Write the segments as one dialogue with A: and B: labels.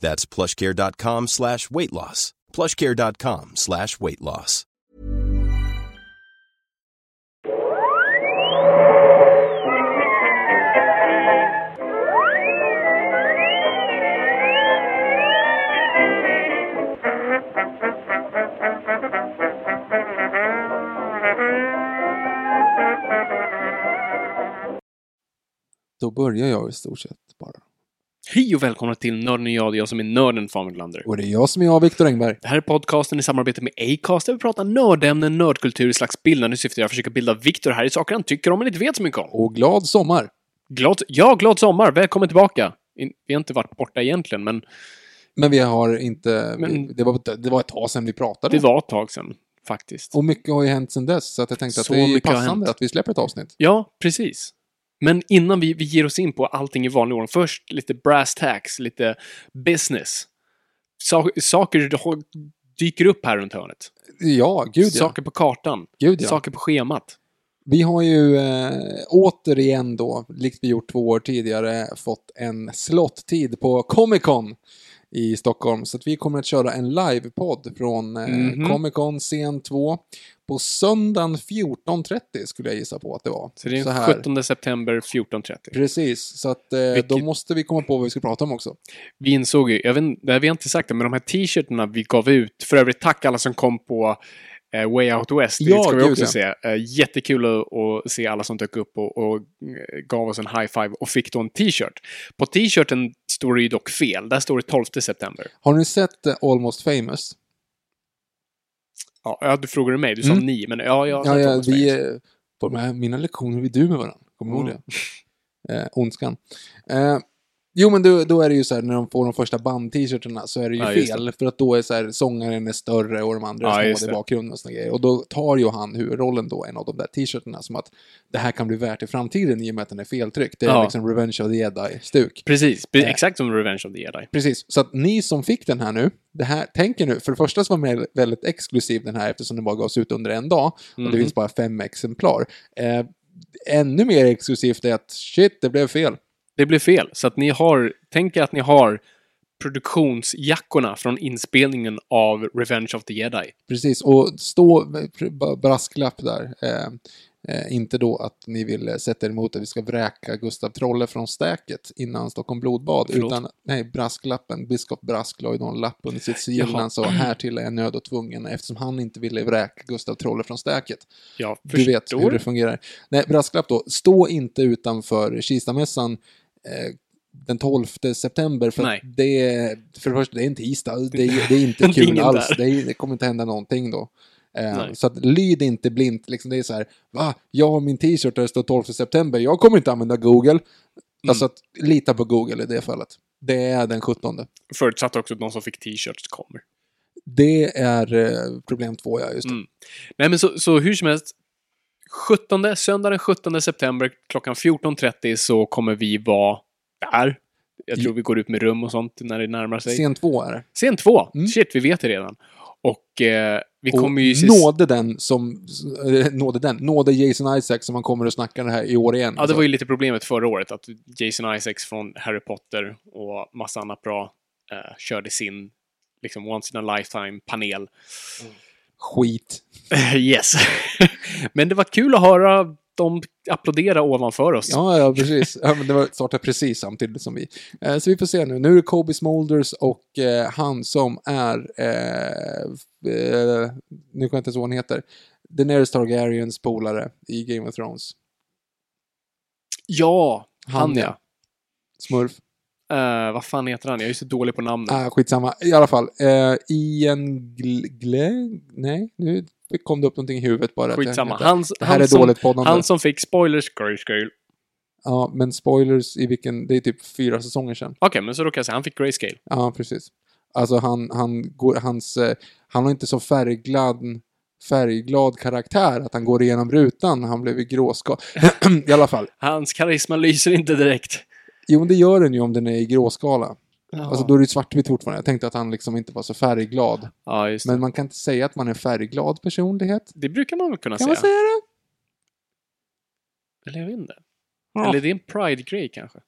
A: That's plushcare.com slash weight loss. Plushcare.com slash weight loss.
B: Då börjar jag i stort sett bara.
C: Hej och välkomna till Nörden och jag, det är jag som är nörden Fabian Glander.
B: Och det är jag som är jag, Viktor Engberg.
C: Det här är podcasten i samarbete med Acast där vi pratar nördämnen, nördkultur i slags bildande syfte. Jag försöker bilda Viktor här i saker han tycker om men inte vet så mycket om.
B: Och glad sommar!
C: Glad, ja, glad sommar! Välkommen tillbaka! In, vi har inte varit borta egentligen, men
B: Men vi har inte...
C: Men-
B: det, var, det var ett tag sedan vi pratade.
C: det var ett tag sedan, faktiskt.
B: Och mycket har ju hänt sedan dess, så att jag tänkte att
C: Så
B: det är
C: mycket har hänt.
B: passande att vi släpper ett avsnitt.
C: Ja, precis. Men innan vi, vi ger oss in på allting i vanlig ordning, först lite brass tacks, lite business. Sa, saker dyker upp här runt hörnet.
B: Ja, gud ja.
C: saker på kartan.
B: Gud, ja.
C: Saker på schemat.
B: Vi har ju eh, återigen då, likt vi gjort två år tidigare, fått en slottid på Comic Con i Stockholm. Så att vi kommer att köra en livepodd från eh,
C: Mhm.
B: Comic Con scen 2 på söndagen 14.30 skulle jag gissa på att det var.
C: Så det är
B: Så
C: den
B: här.
C: 17 september 14.30.
B: Precis, så att eh, då
C: Vilket-
B: måste vi komma på vad vi ska prata om också.
C: Vi insåg ju, jag vet, inte- det här, vi har inte sagt det, men de här t-shirtarna vi gav ut, för övrigt tack alla som kom på eh, Way Out West, det
B: Ja,
C: ska vi
B: gud,
C: också
B: ja.
C: se. Eh, jättekul att, att se alla som dök upp och, och eh, gav oss en high five och fick då en t-shirt. På t-shirten står det ju dock fel, där står det 12 september.
B: Har ni sett eh, Almost famous?
C: Ja, ja, du frågade mig, du sa
B: Mm.
C: ni, men ja, jag har
B: Ja,
C: sett
B: ja,
C: Thomas
B: vi,
C: Banks.
B: eh, på de här, mina lektioner vi du med varandra. Kommer du ihåg
C: Mm.
B: det? Eh, ondskan. Eh, jo, men då, då är det ju så här när de får de första band-t-shirtarna så är det ju
C: Ja, just
B: fel. För att då är så här, sångaren är större och de andra
C: Ja,
B: är
C: just
B: små i
C: det.
B: bakgrunden och såna grejer. Och då tar ju han huvudrollen då, en av de där t-shirtarna, som att det här kan bli värt i framtiden i och med att den är feltryckt. Det är
C: Ja.
B: liksom Revenge of the Jedi-stuk.
C: Precis, pre-
B: eh.
C: exakt som Revenge of the Jedi.
B: Precis, så att ni som fick den här nu, det här, tänker nu, för det första så var den väldigt exklusiv den här eftersom den bara gavs ut under en dag och det
C: Mhm.
B: finns bara fem exemplar. Eh, ännu mer exklusivt är att shit, det blev fel.
C: Det blev fel. Så att ni har, tänk er att ni har produktionsjackorna från inspelningen av Revenge of the Jedi.
B: Precis, och stå, bra- brasklapp där. Eh, eh, inte då att ni vill eh, sätta er emot att vi ska vräka Gustav Trolle från stäket innan Stockholm blodbad.
C: Förlåt?
B: Utan, nej, brasklappen. Biskop Brask la ju då en lapp under sitt sigill när
C: Jaha.
B: han sa härtill är jag nödd och tvungen eftersom han inte ville vräka Gustav Trolle från stäket.
C: Jag
B: Du vet
C: förstår.
B: hur det fungerar. Nej, brasklapp då. Stå inte utanför Kistamässan eh, den 12 september. För, att
C: Nej.
B: det, är- för det första, det är en tisdag. Det är, det är inte
C: Det är
B: kul
C: ingen
B: alls.
C: där.
B: Det, är, det kommer inte hända någonting då. Eh,
C: Nej.
B: så att, lyd inte blint. Liksom, det är så här, va? Jag har min t-shirt där det står 12 september. Jag kommer inte använda Google.
C: Mm.
B: Alltså, att, lita på Google i det fallet. Det är den 17.
C: Förutsatt också att de som fick t-shirts kommer.
B: Det är eh, problem två, ja. Just det.
C: Mm. Nej, men så, så hur som helst. 17, söndag den 17 september klockan 14.30 så kommer vi vara där. Jag
B: Mm.
C: tror vi går ut med rum och sånt när det närmar sig.
B: Scen två är det.
C: Scen 2.
B: Mm.
C: Shit, vi vet det redan. Och eh, vi
B: Och
C: kommer ju...
B: nåde den som... eh, Nåde den. Nåde Jason Isaac som han kommer och snackar det här i år igen.
C: Ja, det var ju lite problemet förra året att Jason Isaacs från Harry Potter och massa annat bra eh, körde sin liksom once in a lifetime-panel.
B: Alltså, Skit.
C: yes. Men det var kul att höra de applådera ovanför oss.
B: Ja, ja precis. Ja, men det var startade precis samtidigt som vi. Eh, så vi får se nu. Nu är det Kobe Smulders och eh, han som är... Eh, eh, nu kommer jag inte ens ihåg vad han heter. Daenerys Targaryens polare i Game of Thrones.
C: Ja, han
B: Han,
C: ja.
B: Smurf.
C: Eh, vad fan heter han? Jag är ju så dålig på namnen.
B: Ah, skitsamma. I alla fall. Eh, Ian Gle... Gle... Nej, nu kom det upp någonting i huvudet bara.
C: Skitsamma.
B: Han,
C: Han,
B: det här
C: han,
B: är
C: som,
B: dåligt poddande.
C: han som fick spoilers, Grace Scale.
B: Ja, men spoilers i vilken... Det är typ fyra säsonger sedan.
C: Okej, men så då kan jag säga han fick grayscale.
B: Ja, precis. Alltså han, han, går, hans, eh, han har inte så färgglad, färgglad karaktär att han går igenom rutan. Han blev ju gråskal. I alla fall.
C: Hans karisma lyser inte direkt.
B: Jo, men det gör den ju om den är i gråskala.
C: Ja,
B: Alltså då är det ju svartvitt fortfarande. Jag tänkte att han liksom inte var så färgglad.
C: ja just det.
B: Men man kan inte säga att man är en färgglad personlighet.
C: Det brukar man väl kunna
B: Kan
C: säga?
B: man säga det?
C: Eller jag vet inte.
B: Ja.
C: Eller det är en pride-grej kanske.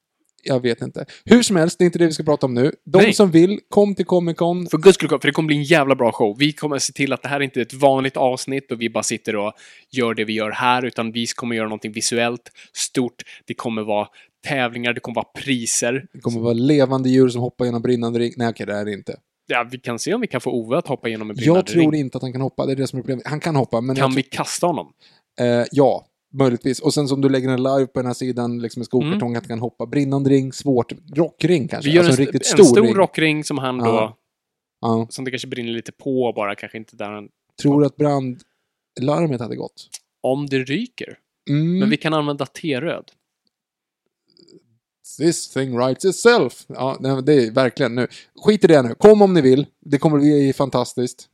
B: Jag vet inte. Hur som helst, det är inte det vi ska prata om nu. De
C: Nej.
B: som vill, kom till Comic Con.
C: För guds skull, för det kommer bli en jävla bra show. Vi kommer se till att det här inte är ett vanligt avsnitt och vi bara sitter och gör det vi gör här, utan vi kommer göra någonting visuellt, stort. Det kommer vara tävlingar, det kommer vara priser.
B: Det kommer vara levande djur som hoppar genom brinnande ring. Nej, okej, det är det inte.
C: Ja, vi kan se om vi kan få Ove att hoppa genom en brinnande
B: Jag tror
C: ring.
B: inte att han kan hoppa. Det är det som är problemet. Han kan hoppa, men jag
C: Kan vi kasta honom?
B: Eh, ja, möjligtvis. Och sen som du lägger en live på den här sidan, liksom en skokartong, att den kan hoppa. Brinnande ring, svårt. Rockring kanske.
C: Mm. Vi gör
B: alltså
C: en,
B: en,
C: st-
B: riktigt
C: en
B: stor,
C: stor
B: ring.
C: rockring som han då,
B: Ja. Ja.
C: som det kanske brinner lite på bara, kanske inte där han...
B: Tror du att brandlarmet hade gått?
C: Om det ryker.
B: Mm.
C: Men vi kan använda T-röd.
B: This thing writes itself. Ja, nej, men det är verkligen nu. Skit i det nu. Kom om ni vill. Det kommer bli fantastiskt.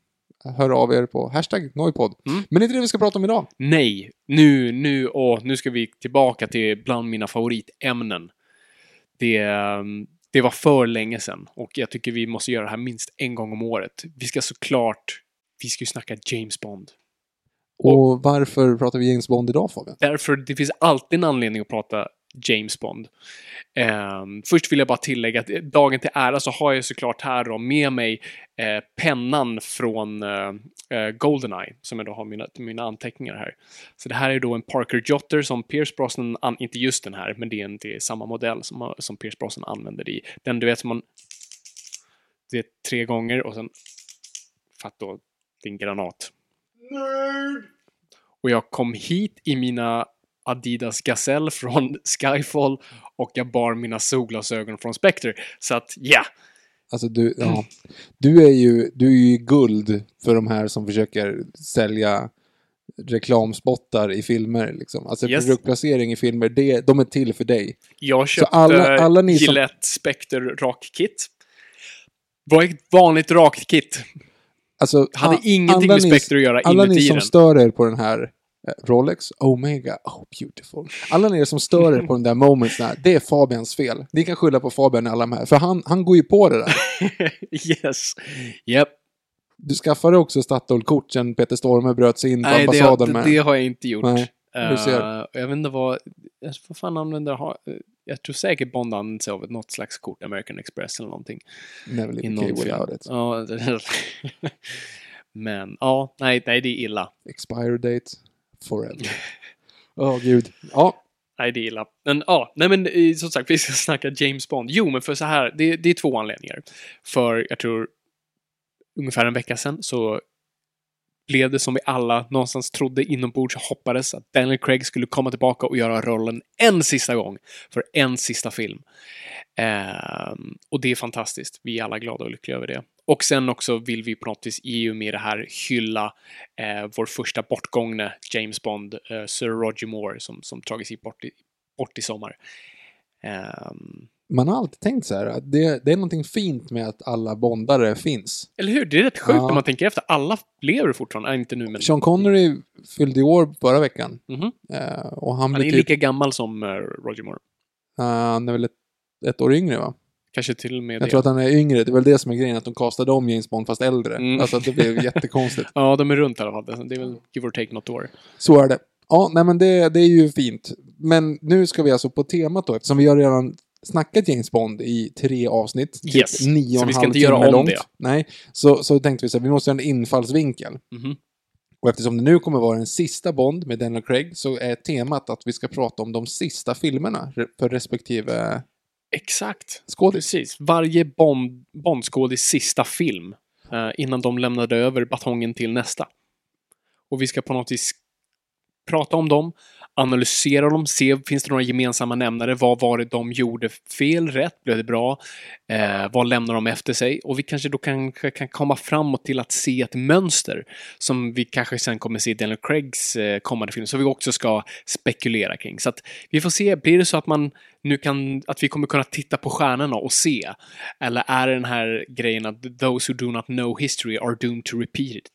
B: Hör av er på hashtag Noipod.
C: Mm.
B: Men det är inte det vi ska prata om idag.
C: Nej, nu, nu, åh, nu ska vi tillbaka till bland mina favoritämnen. Det, ehm, det var för länge sedan och jag tycker vi måste göra det här minst en gång om året. Vi ska såklart, vi ska ju snacka James Bond.
B: Och, varför pratar vi James Bond idag Fabian?
C: Därför, det finns alltid en anledning att prata James Bond. Ehm, först vill jag bara tillägga att dagen till ära så har jag såklart här då med mig eh, pennan från eh, eh, Goldeneye, som jag då har mina, mina anteckningar här. Så det här är då en Parker Jotter som Pierce Brosnan, an- inte just den här, men det är, en, det är samma modell som, har- som Pierce Brosnan använder i. Den du vet som man... Det är tre gånger och sen... Fatt då, din granat. Och jag kom hit i mina Adidas Gazelle från Skyfall och jag bar mina solglasögon från Spectre. Så att, ja!
B: Alltså du,
C: Mm.
B: ja. du är ju, du är ju guld för de här som försöker sälja reklamspottar i filmer. Liksom. Alltså
C: Yes.
B: produktplacering i filmer, det, de är till för dig.
C: Jag köpte
B: alla- alla ni som-
C: Gillette Spectre rakkit. Var ett vanligt rakkit.
B: Alltså,
C: Hade
B: a-
C: ingenting
B: alla
C: med
B: ni-
C: Spectre att göra
B: Alla ni
C: inuti
B: som
C: den.
B: stör er på den här eh, Rolex, Omega, oh beautiful. Alla ni som stör er på den där moments, där, det är Fabians fel. Ni kan skylla på Fabian i alla de här, för han, han går ju på det där.
C: yes. Yep.
B: Du skaffade också Statoil-kort sen Peter Storme bröt sig in på
C: Nej, det,
B: ambassaden
C: det,
B: med.
C: det har jag inte gjort.
B: Nej,
C: Eh,
B: du ser.
C: jag vet inte vad... Jag, vad fan använder... ha- eh, Jag tror säkert Bond använder sig av ett- något slags kort, American Express eller någonting.
B: Never
C: i
B: lived
C: någon
B: okay
C: film.
B: without it.
C: Ja, det- men ja, nej, nej, det är illa.
B: expire date forever. Åh gud. Ja,
C: Nej, det är illa. Men ja, nej men eh, som sagt, vi ska snacka James Bond. Jo, men för så här, det, det är två anledningar. För jag tror ungefär en vecka sedan så blev det som vi alla någonstans trodde inombords och hoppades att Daniel Craig skulle komma tillbaka och göra rollen en sista gång för en sista film. Ehm, och det är fantastiskt. Vi är alla glada och lyckliga över det. Och sen också vill vi på något vis i och med det här hylla eh, vår första bortgångne James Bond, eh, Sir Roger Moore, som, som tagit sig bort i, bort i sommar. Ehm,
B: man har alltid tänkt så här att det, det är någonting fint med att alla bondare finns.
C: eller hur? Det är rätt sjukt
B: Ja.
C: när man tänker efter. Alla lever fortfarande. Nej, inte nu, men
B: Sean Connery fyllde i år förra veckan.
C: Mhm.
B: Eh, och han
C: han
B: blir
C: är
B: typ,
C: lika gammal som eh, Roger Moore.
B: eh, han är väl ett, ett år yngre va?
C: Kanske till och med
B: Jag
C: det.
B: tror att han är yngre, det är väl det som är grejen, att de kastade om James Bond fast äldre.
C: Mm.
B: Alltså att det blev jättekonstigt.
C: Ja, de är runt i alla fall. Det är väl give or take något år.
B: Så är det. Ja, nej men det, det är ju fint. Men nu ska vi alltså på temat då, eftersom vi har redan snackat James Bond i tre avsnitt. Typ
C: Yes.
B: nio
C: Så
B: och en
C: vi ska
B: halv
C: inte göra
B: timme
C: om
B: långt.
C: det.
B: Nej, så, så tänkte vi så här, vi måste göra en infallsvinkel.
C: Mhm.
B: Och eftersom det nu kommer vara den sista Bond med Daniel Craig så är temat att vi ska prata om de sista filmerna re- för respektive
C: Exakt.
B: skådis.
C: Precis. Varje Bond- Bondskådis sista film eh, innan de lämnade över batongen till nästa. Och vi ska på något vis prata om dem, analysera dem, se finns det några gemensamma nämnare, vad var det de gjorde fel, rätt, blev det bra, eh, vad lämnar de efter sig? Och vi kanske då kan, kan komma framåt till att se ett mönster som vi kanske sen kommer se i Daniel Craigs eh, kommande film, som vi också ska spekulera kring. Så att vi får se, blir det så att man nu kan, att vi kommer kunna titta på stjärnorna och se? Eller är det den här grejen att those who do not know history are doomed to repeat it?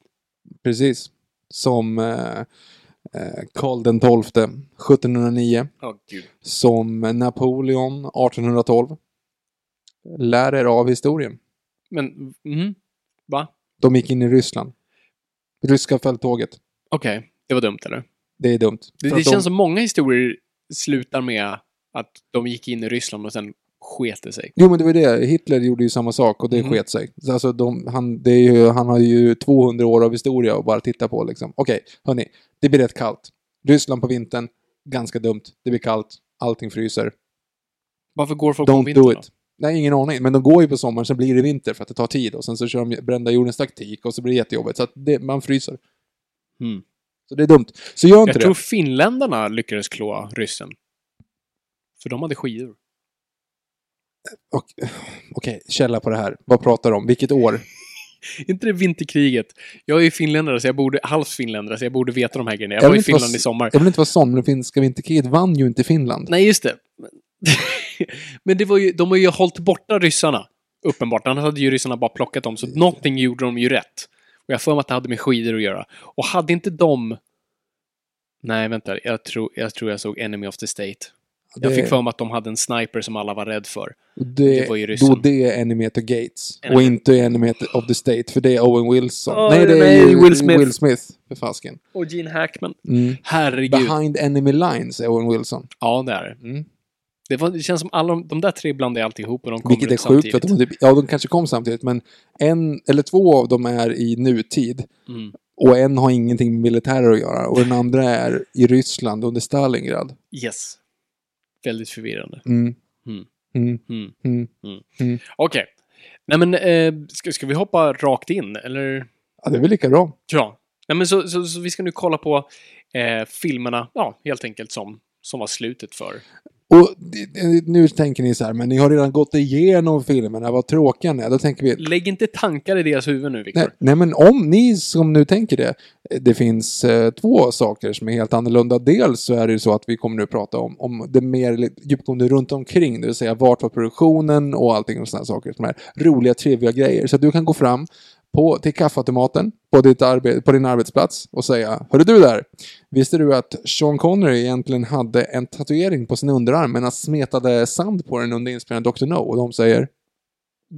B: Precis. Som eh, eh, Karl den XII 1709.
C: Ja, gud.
B: Som Napoleon 1812. Lär er av historien.
C: Men, mhm. va?
B: De gick in i Ryssland. Ryska fälttåget.
C: Okej, det var dumt eller?
B: Det är dumt.
C: Det,
B: För
C: det
B: att de-
C: känns som många historier slutar med att de gick in i Ryssland och sen sket det sig.
B: Jo men det var det, Hitler gjorde ju samma sak och det
C: Mm.
B: sket sig. Så Alltså de, han, det är ju, han har ju 200 år av historia att bara titta på liksom. Okej, hörni. Det blir rätt kallt. Ryssland på vintern, ganska dumt. Det blir kallt, allting fryser.
C: Varför går folk på
B: Don't
C: vintern
B: do
C: då?
B: it. Nej, ingen aning. Men de går ju på sommaren, sen blir det vinter för att det tar tid. Och sen så kör de brända jordens taktik och så blir det jättejobbigt. Så att det, man fryser.
C: Mm.
B: Så det är dumt. Så gör inte
C: Jag tror
B: det.
C: finländarna lyckades klå ryssen. För de hade skidor.
B: Och- Okej, källa på det här. Vad pratar de om? Vilket år?
C: inte det vinterkriget? Jag är ju finländare, så jag borde, halvt finländare, så jag borde veta de här grejerna. Jag,
B: Jag
C: var
B: vill
C: i
B: inte vara
C: Finland
B: s-
C: i sommar.
B: Jag vill inte vara sån, men det finska vinterkriget vann ju inte Finland.
C: Nej, just det. Men det var ju, de har ju hållit borta ryssarna. Uppenbart. Annars hade ju ryssarna bara plockat dem.
B: Mm.
C: Så någonting gjorde de ju rätt. Och jag har för mig att det hade med skidor att göra. Och hade inte de... Nej, vänta. Jag tror jag, tror jag såg Enemy of the State. Jag
B: Det-
C: fick för mig att de hade en sniper som alla var rädd för.
B: Det,
C: Det var ju ryssen.
B: då det är Enemy at the Gates.
C: Enemy.
B: Och inte Enemy at the- of the State, för det är Owen Wilson.
C: Åh,
B: nej, det är
C: nej,
B: ju
C: Will Smith.
B: Will Smith för fasken.
C: Och Gene Hackman.
B: Mm.
C: Herregud.
B: Behind Enemy Lines är Owen Wilson.
C: Ja, det är det.
B: Mm.
C: det. Var, det känns som alla de, de där tre blandade jag alltid ihop och de kom
B: Vilket är
C: ut
B: sjukt, för att
C: samtidigt.
B: de, typ, ja, de kanske kom samtidigt, men en eller två av dem är i nutid.
C: Mm.
B: Och en har ingenting med militärer att göra. Och den andra är i Ryssland under Stalingrad.
C: Yes. Väldigt förvirrande.
B: Mm.
C: Mm.
B: Mm.
C: Mm.
B: Mm.
C: Okej. Nej men, eh, ska, ska vi hoppa rakt in, eller?
B: Ja, det är väl lika bra.
C: Ja. Nej men så, så, så vi ska nu kolla på eh, filmerna, ja, helt enkelt som, som var slutet för.
B: Och det- det- nu tänker ni så här, men ni har redan gått igenom filmerna, vad tråkiga ni är. Då tänker vi,
C: Lägg inte tankar i deras huvud nu, Viktor.
B: Nej, nej, men om ni som nu tänker det, eh, det finns eh, två saker som är helt annorlunda. Dels så är det ju så att vi kommer nu prata om, om det mer li- djupgående runt omkring, det vill säga vart var produktionen och allting och sådana saker. Som är roliga, trevliga grejer. Så att du kan gå fram på, till kaffeautomaten på, ditt arbe- på din arbetsplats och säga Hörru du där! Visste du att Sean Connery egentligen hade en tatuering på sin underarm men han smetade sand på den under inspelningen av Dr. No? Och de säger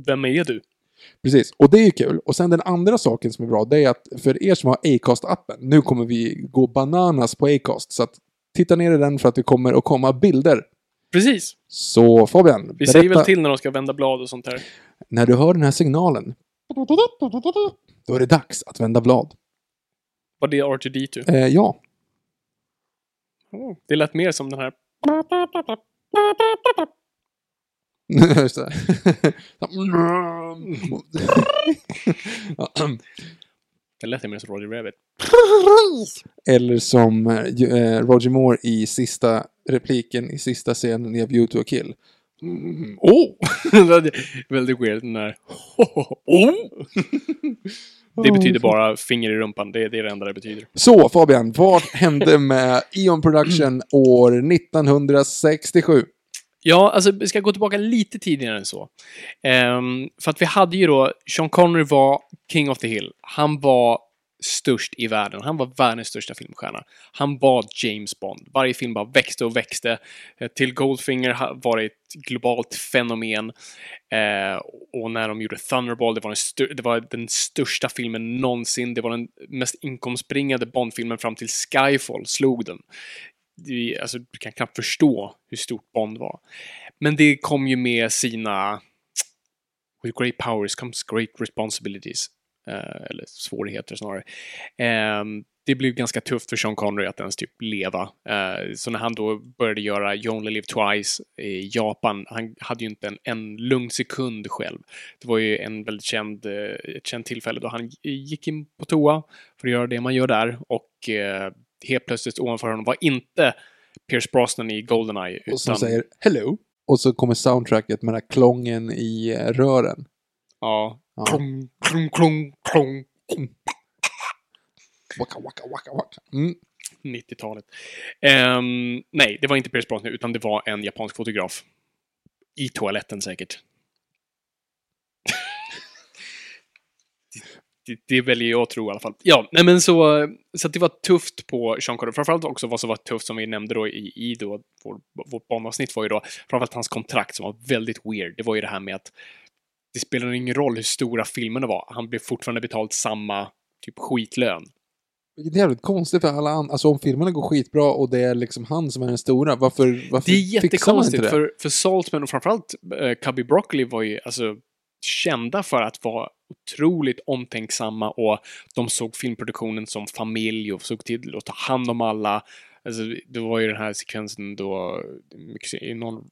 C: Vem är du?
B: Precis, och det är ju kul. Och sen den andra saken som är bra, det är att för er som har Acast-appen, nu kommer vi gå bananas på Acast. Så att titta ner i den för att det kommer att komma bilder.
C: Precis.
B: Så Fabian,
C: Vi säger
B: berätta
C: väl till när de ska vända blad och sånt där.
B: när du hör den här signalen. Då är det dags att vända blad.
C: Var det R2D2?
B: Eh, ja,
C: Oh, det lät mer som den här...
B: just det. Ja.
C: Det lät mer som Roger Rabbit.
B: Eller som eh, ju- eh, Roger Moore i sista repliken i sista scenen i A View to a Kill. Mm, oh!
C: Det är Väldigt weird den där... Oh! Det betyder bara finger i rumpan. Det, det är det enda det betyder.
B: Så Fabian, vad hände med Eon Production år 1967?
C: Ja, alltså vi ska gå tillbaka lite tidigare än så. Ehm, för att vi hade ju då, Sean Connery var king of the hill. Han var störst i världen. Han var världens största filmstjärna. Han var James Bond. Varje film bara växte och växte. Eh, Till Goldfinger ha- var det ett globalt fenomen. Eh, och när de gjorde Thunderball, det var, den stö- det var den största filmen någonsin. Det var den mest inkomstbringande Bond-filmen fram till Skyfall slog den det, alltså, du kan knappt förstå hur stort Bond var. Men det kom ju med sina With great powers comes great responsibilities. Eh, eller svårigheter snarare. Ehm, det blev ganska tufft för Sean Connery att ens typ leva. Eh, så när han då började göra You Only Live Twice i Japan, han hade ju inte en, en lugn sekund själv. Det var ju en väldigt känd, eh, ett känt tillfälle då han gick in på toa för att göra det man gör där och eh, helt plötsligt ovanför honom var inte Pierce Brosnan i Goldeneye.
B: Och som säger hello. Och så kommer soundtracket med den här klången i eh, rören.
C: Ja.
B: Ja.
C: Klung, klung, klung, klung.
B: Waka, waka, waka, waka. Mm.
C: 90-talet. Ehm, nej, det var inte Pierce Brosnan, utan det var en japansk fotograf. I toaletten säkert. det, det, det väljer jag att tro i alla fall. Ja, nej men så, så att det var tufft på Sean Connery. Framförallt också vad som var tufft, som vi nämnde då i, i då, vår, vårt banavsnitt var ju då, framförallt hans kontrakt som var väldigt weird. Det var ju det här med att det spelade ingen roll hur stora filmerna var, han blev fortfarande betalt samma typ skitlön.
B: Vilket är jävligt konstigt för alla andra. Alltså om filmerna går skitbra och det är liksom han som är den stora, varför, varför
C: Det är
B: fixar man inte
C: jättekonstigt,
B: det?
C: för, för Saltman och framförallt eh, Cubby Broccoli var ju alltså kända för att vara otroligt omtänksamma och de såg filmproduktionen som familj och såg till att ta hand om alla. Alltså, det var ju den här sekvensen då, mycket se- i någon,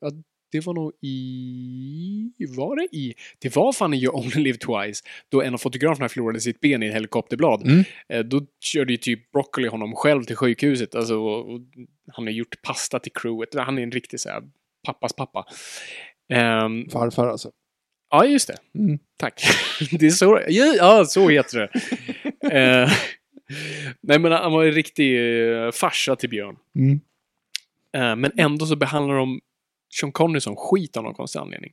C: ja, det var nog i, var det i, det var fan i You Only Live Twice, då en av fotograferna förlorade sitt ben i ett helikopterblad.
B: Mm.
C: Eh, Då körde ju typ Broccoli honom själv till sjukhuset. Alltså, och, och han har gjort pasta till crewet. Han är en riktig så här, pappas pappa. Ehm,
B: Farfar alltså.
C: ja, just det.
B: Mm.
C: Tack. Det är så, ja, ja, så heter det. Eh, nej, men han var en riktig uh, farsa till Björn.
B: Mm.
C: Eh, men ändå så behandlar de Sean Connery som skit av någon konstig anledning.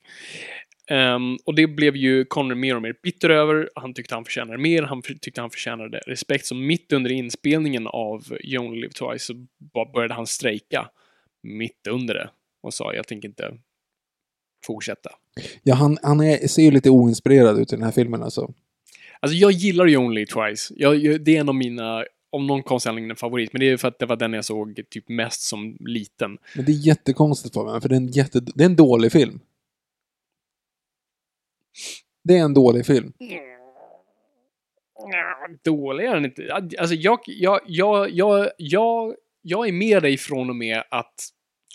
C: Ehm, och det blev ju Connery mer och mer bitter över. Han tyckte han förtjänade mer, han för, tyckte han förtjänade respekt. Så mitt under inspelningen av You Only Live Twice så ba- började han strejka. Mitt under det. Och sa, jag tänker inte fortsätta.
B: Ja, han, han är, ser ju lite oinspirerad ut i den här filmen alltså.
C: Alltså jag gillar ju Only Twice. Jag, jag, det är en av mina, om någon konstig anledning, en favorit. Men det är för att det var den jag såg typ mest som liten.
B: Men det är jättekonstigt för mig, för det är en, jätte, det är en dålig film. Det är en dålig film.
C: Nja, Dålig är den inte. Alltså jag, jag, jag, jag, jag, jag är med dig från och med att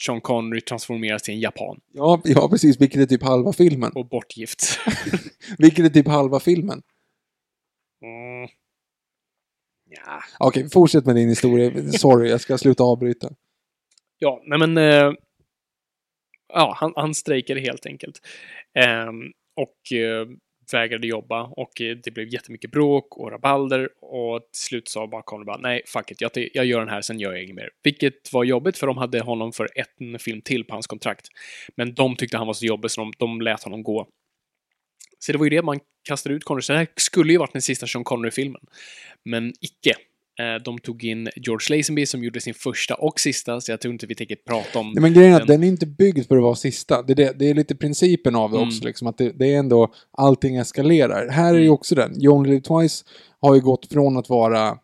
C: Sean Connery transformeras till en japan
B: Ja, ja, precis. Vilket är typ halva filmen.
C: och bortgift.
B: Vilket är typ halva filmen.
C: Mm. Ja.
B: Okej, fortsätt med din historia. Sorry, jag ska sluta avbryta.
C: Ja, nej men... Eh, ja, han, han strejkade helt enkelt. Ehm, och eh, vägrade jobba och eh, det blev jättemycket bråk och rabalder och till slut sa bara Connery bara nej, fuck it, jag, jag gör den här, sen gör jag inget mer. Vilket var jobbigt för de hade honom för en film till på hans kontrakt. Men de tyckte han var så jobbig så de, de lät honom gå. Så det var ju det man kastade ut Connery. Så det här skulle ju varit den sista Sean Connery-filmen. Men icke. Eh, De tog in George Lazenby som gjorde sin första och sista, så jag tror inte vi tänker prata om
B: Nej, men grejen är att
C: den.
B: den är inte byggd för att vara sista. Det är, det, det är lite principen av det
C: Mm.
B: också, liksom, att det, det är ändå allting eskalerar. Här är ju också den. You Only Live Twice har ju gått från att vara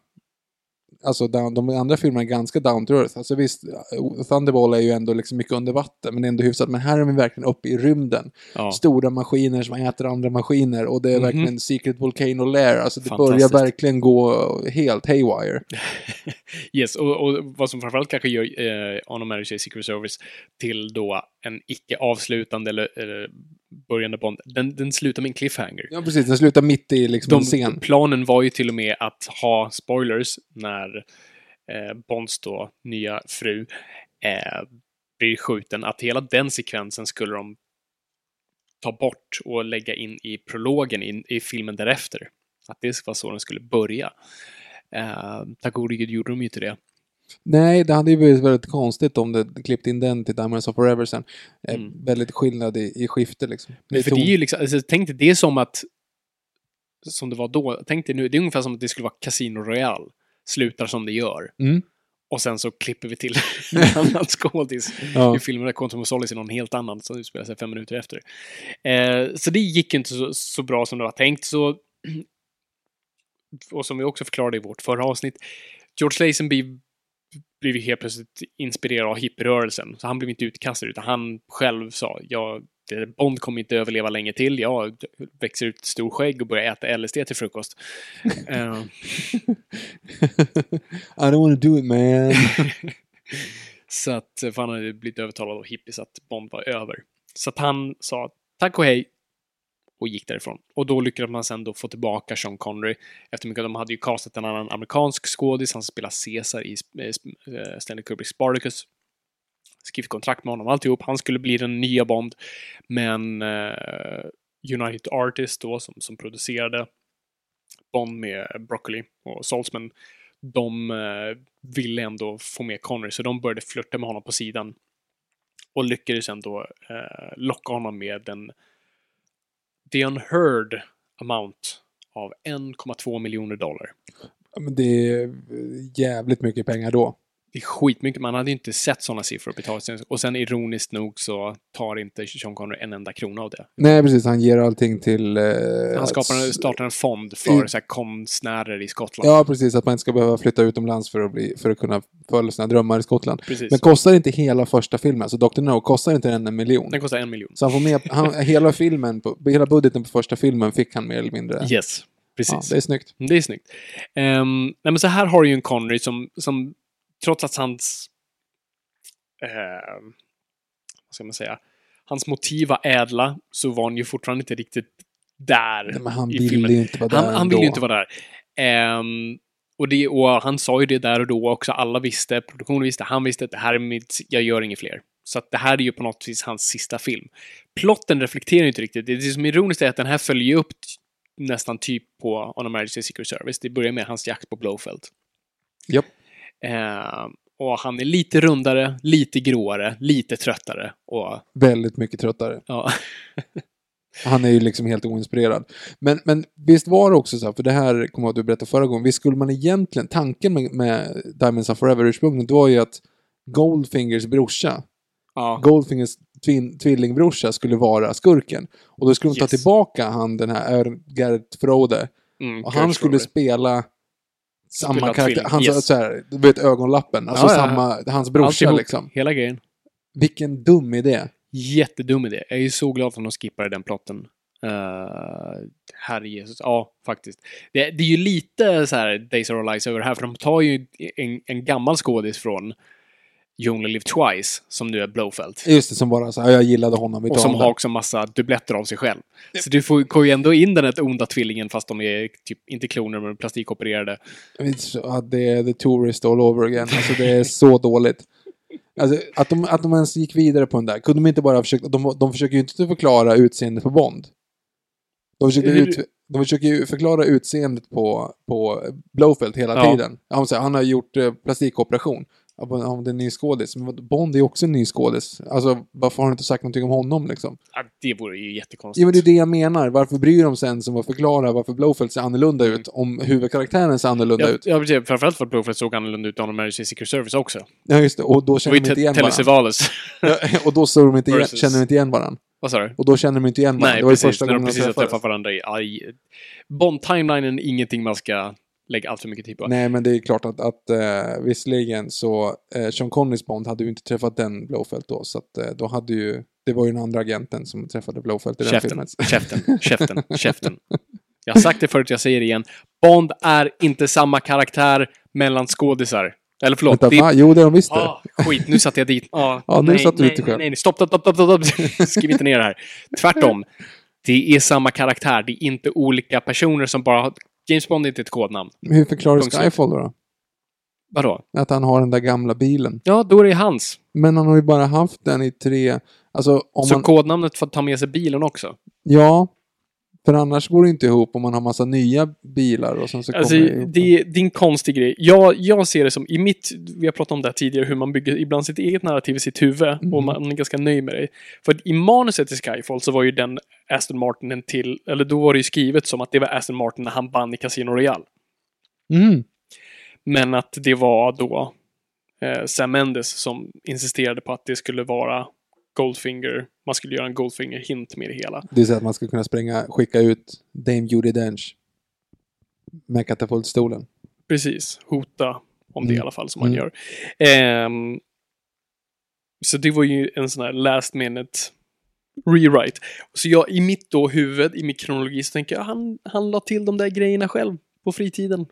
B: Alltså down, de andra filmerna är ganska down to earth. Alltså visst, Thunderball är ju ändå liksom mycket under vatten, men ändå hyfsat. Men här är vi verkligen uppe i rymden.
C: ja.
B: Stora maskiner som äter andra maskiner och det är
C: Mhm.
B: verkligen Secret Volcano Lair. Alltså det börjar
C: Fantastiskt.
B: verkligen gå helt haywire.
C: Yes, och, och vad som framförallt kanske gör eh, On a Marriage Day Secret Service till då en icke avslutande eller, eller börjande Bond, den, den slutar med en cliffhanger.
B: Ja, precis. Den slutar mitt i liksom en
C: De,
B: scen.
C: planen var ju till och med att ha spoilers när eh, Bonds då nya fru eh, blir skjuten, att hela den sekvensen skulle de ta bort och lägga in i prologen i, i filmen därefter. Att det var så den skulle börja. Eh, tack gode gud gjorde de ju inte det.
B: Nej, det hade ju blivit väldigt konstigt om det klippt in den till Diamonds of Forever sen. Eh,
C: Mm.
B: Väldigt skillnad i, i skifte liksom.
C: Men för det
B: tog-
C: är ju liksom, alltså, tänk dig, det är som att, som det var då, tänk dig nu, det är ungefär som att det skulle vara Casino Royale, slutar som det gör.
B: Mm.
C: Och sen så klipper vi till en annan skådis
B: ja.
C: i filmen där Quantum of Solace är någon helt annan som utspelar sig fem minuter efter. Eh, så det gick inte så, så bra som det var tänkt. Så, och som vi också förklarade i vårt förra avsnitt, George Lazenby blev ju helt plötsligt inspirerad av hipprörelsen. Så han blev inte utkastad, utan han själv sa jag eh, Bond kommer inte överleva länge till. Jag växer ut stor skägg och börjar äta LSD till frukost. Eh,
B: I don't wanna do it man.
C: så att, eh, för han hade blivit övertalad av hippies att Bond var över. Så att han sa tack och hej och gick därifrån. Och då lyckades man sen då få tillbaka Sean Connery. Efter mycket, de hade ju castat en annan amerikansk skådis, han spelar Caesar i eh, sp- eh, Stanley Kubricks Spartacus. Skrivit kontrakt med honom, alltihop. Han skulle bli den nya Bond. Men eh, United Artists då, som, som producerade Bond med Broccoli och Saltzman, de eh, ville ändå få med Connery, så de började flirta med honom på sidan. Och lyckades ändå eh, locka honom med den the unheard amount av 1,2 miljoner dollar.
B: Ja, Men det är eh, jävligt mycket pengar då.
C: Det är skitmycket, man hade ju inte sett sådana siffror på Italien. Och sen ironiskt nog så tar inte Sean Connery en enda krona av det.
B: Nej precis, han ger allting till... eh,
C: Han
B: att-
C: skapar, startar en fond för
B: I-
C: så här, konstnärer i Skottland.
B: Mm. Ja precis, att man inte ska behöva flytta utomlands för att, bli, för att kunna följa sina drömmar i Skottland.
C: Precis.
B: Men kostar inte hela första filmen, så Dr. No, kostar inte den en miljon?
C: Den kostar en miljon.
B: Så han får med, han, hela filmen, på, hela budgeten på första filmen fick han mer eller mindre.
C: Yes, precis.
B: Ja, det är snyggt.
C: Mm, Det är snyggt. Ehm, nej, men så här har du ju en Connery som, som trots att hans... ehm, vad ska man säga? Hans motiv var ädla, så var han ju fortfarande inte riktigt där.
B: Nej, men han
C: i
B: ville
C: filmen.
B: ju inte vara där
C: Han, han ville ju
B: ändå.
C: inte vara där. Ehm, och, det, och han sa ju det där och då också. Alla visste, produktionen visste, han visste att det här är mitt, jag gör inget fler. Så att det här är ju på något vis hans sista film. Plotten reflekterar ju inte riktigt. Det, det som är ironiskt är att den här följer ju upp t- nästan typ på On a Emergency Secret Service. Det börjar med hans jakt på Blowfeld.
B: Japp.
C: Ehm, och han är lite rundare, lite gråare, lite tröttare. Och,
B: Väldigt mycket tröttare.
C: ja.
B: Han är ju liksom helt oinspirerad. Men, men visst var det också så här, för det här kommer jag att du berättade förra gången, visst skulle man egentligen, tanken med, med Diamonds are forever-ursprungligen, det var ju att Goldfingers brorsa,
C: ja.
B: Goldfingers tvin, tvillingbrorsa skulle vara skurken. Och då skulle de
C: Yes.
B: ta tillbaka han den här Ern- Gerrit Frode.
C: Mm,
B: Och
C: Kurt
B: han skulle
C: Schroeder.
B: spela samma
C: Spela
B: karaktär.
C: tvilling,
B: Han sa
C: yes.
B: så här, du vet ögonlappen. Alltså
C: Ja, ja, ja.
B: samma, hans brorsa
C: Alltihop,
B: liksom.
C: Hela grejen.
B: Vilken dum idé.
C: Jättedum idé. Jag är ju så glad att de skippade den plotten. Uh, herre Jesus. Ja, faktiskt. Det, det är ju lite så här Days of Our Lives över det här, för de tar ju en, en gammal skådis från You Only Live Twice, som nu är Blowfeld.
B: Just det, som bara så här, jag gillade honom. vi
C: Och
B: tar
C: som
B: honom.
C: har också massa dubbletter av sig själv. Så du får, går ju ändå in den här onda tvillingen fast de är typ inte kloner men plastikopererade.
B: It's, ja, det är the tourist all over again. Alltså det är så dåligt. Alltså, att, de, att de ens gick vidare på den där. Kunde de inte bara försöka... De, de försöker ju inte förklara utseendet på Bond. De försöker,
C: Hur-
B: ut, de försöker ju förklara utseendet på, på Blowfeld hela
C: Ja.
B: tiden. Han, säger, han har gjort eh, plastikoperation. Ja, men Om det är en ny skådis. Men vad- Bond är ju också en ny skådis. Alltså, varför har du inte sagt någonting om honom liksom?
C: Ja, det vore ju jättekonstigt.
B: Jo, men det är det jag menar. Varför bryr de sig ens om att förklara varför Blowfeld ser annorlunda ut? Om huvudkaraktären ser annorlunda
C: Ja,
B: ut?
C: ja, precis. framförallt för att Blowfeld såg annorlunda ut än Emergency Secret Service också.
B: Ja, just det. Och då
C: Det var
B: känner
C: ju
B: de inte igen
C: Te-
B: varandra.
C: Telesivales.
B: Och då såg de inte igen,
C: Versus.
B: känner de inte igen varandra.
C: Vad sa du?
B: Och då känner de inte igen varandra.
C: Nej,
B: det var ju
C: precis.
B: första
C: när
B: gången
C: de
B: de
C: precis har
B: träffades.
C: träffat varandra i... aj. Bond-timelinen är ingenting man ska lägga allt för mycket tid på.
B: Nej, men det är klart att, att eh, visserligen så, eh, Sean Connerys Bond hade ju inte träffat den Blowfeld då, så att eh, då hade ju, det var ju den andra agenten som träffade Blowfeld i den
C: käften,
B: filmen.
C: käften, käften, käften. Jag har sagt det förut, jag säger det igen. Bond är inte samma karaktär mellan skådisar. Eller förlåt,
B: Vänta,
C: det är-
B: va? Jo, det har de visst det.
C: Ah, skit, nu satte jag dit. Ah,
B: Ja, nu
C: nej,
B: satte du
C: nej,
B: ut dig själv.
C: Nej, nej, stopp, stopp, stopp, stopp, stopp. Skriv inte ner det här. Tvärtom. Det är samma karaktär, det är inte olika personer som bara har... James Bond är inte ett kodnamn.
B: Men Hur förklarar du
C: Punkt slut.
B: Skyfall då,
C: Vadå?
B: då? Att han har den där gamla bilen.
C: Ja, då är det hans.
B: Men han har ju bara haft den i tre... Alltså, om
C: Så
B: man...
C: kodnamnet får ta med sig bilen också.
B: Ja. För annars går det inte ihop om man har massa nya bilar och sen så
C: Alltså,
B: kommer ihop
C: det, är- det är en konstig grej. Jag, jag ser det som, i mitt, vi har pratat om det här tidigare, hur man bygger ibland sitt eget narrativ i sitt huvud och man är ganska nöjd med det. För att i manuset i Skyfall så var ju den Aston Martinen till, eller då var det ju skrivet som att det var Aston Martin när han vann i Casino Royale.
B: Mm.
C: Men att det var då eh, Sam Mendes som insisterade på att det skulle vara Goldfinger, man skulle göra en Goldfinger-hint med det hela.
B: Det är så att man ska kunna spränga, skicka ut Dame Judi Dench med katapultstolen.
C: Precis, hota om det i alla fall som man
B: Mm.
C: gör. Ehm, så det var ju en sån här last minute rewrite. Så jag i mitt då huvud, i min kronologi, så tänker jag han, han la till de där grejerna själv på fritiden.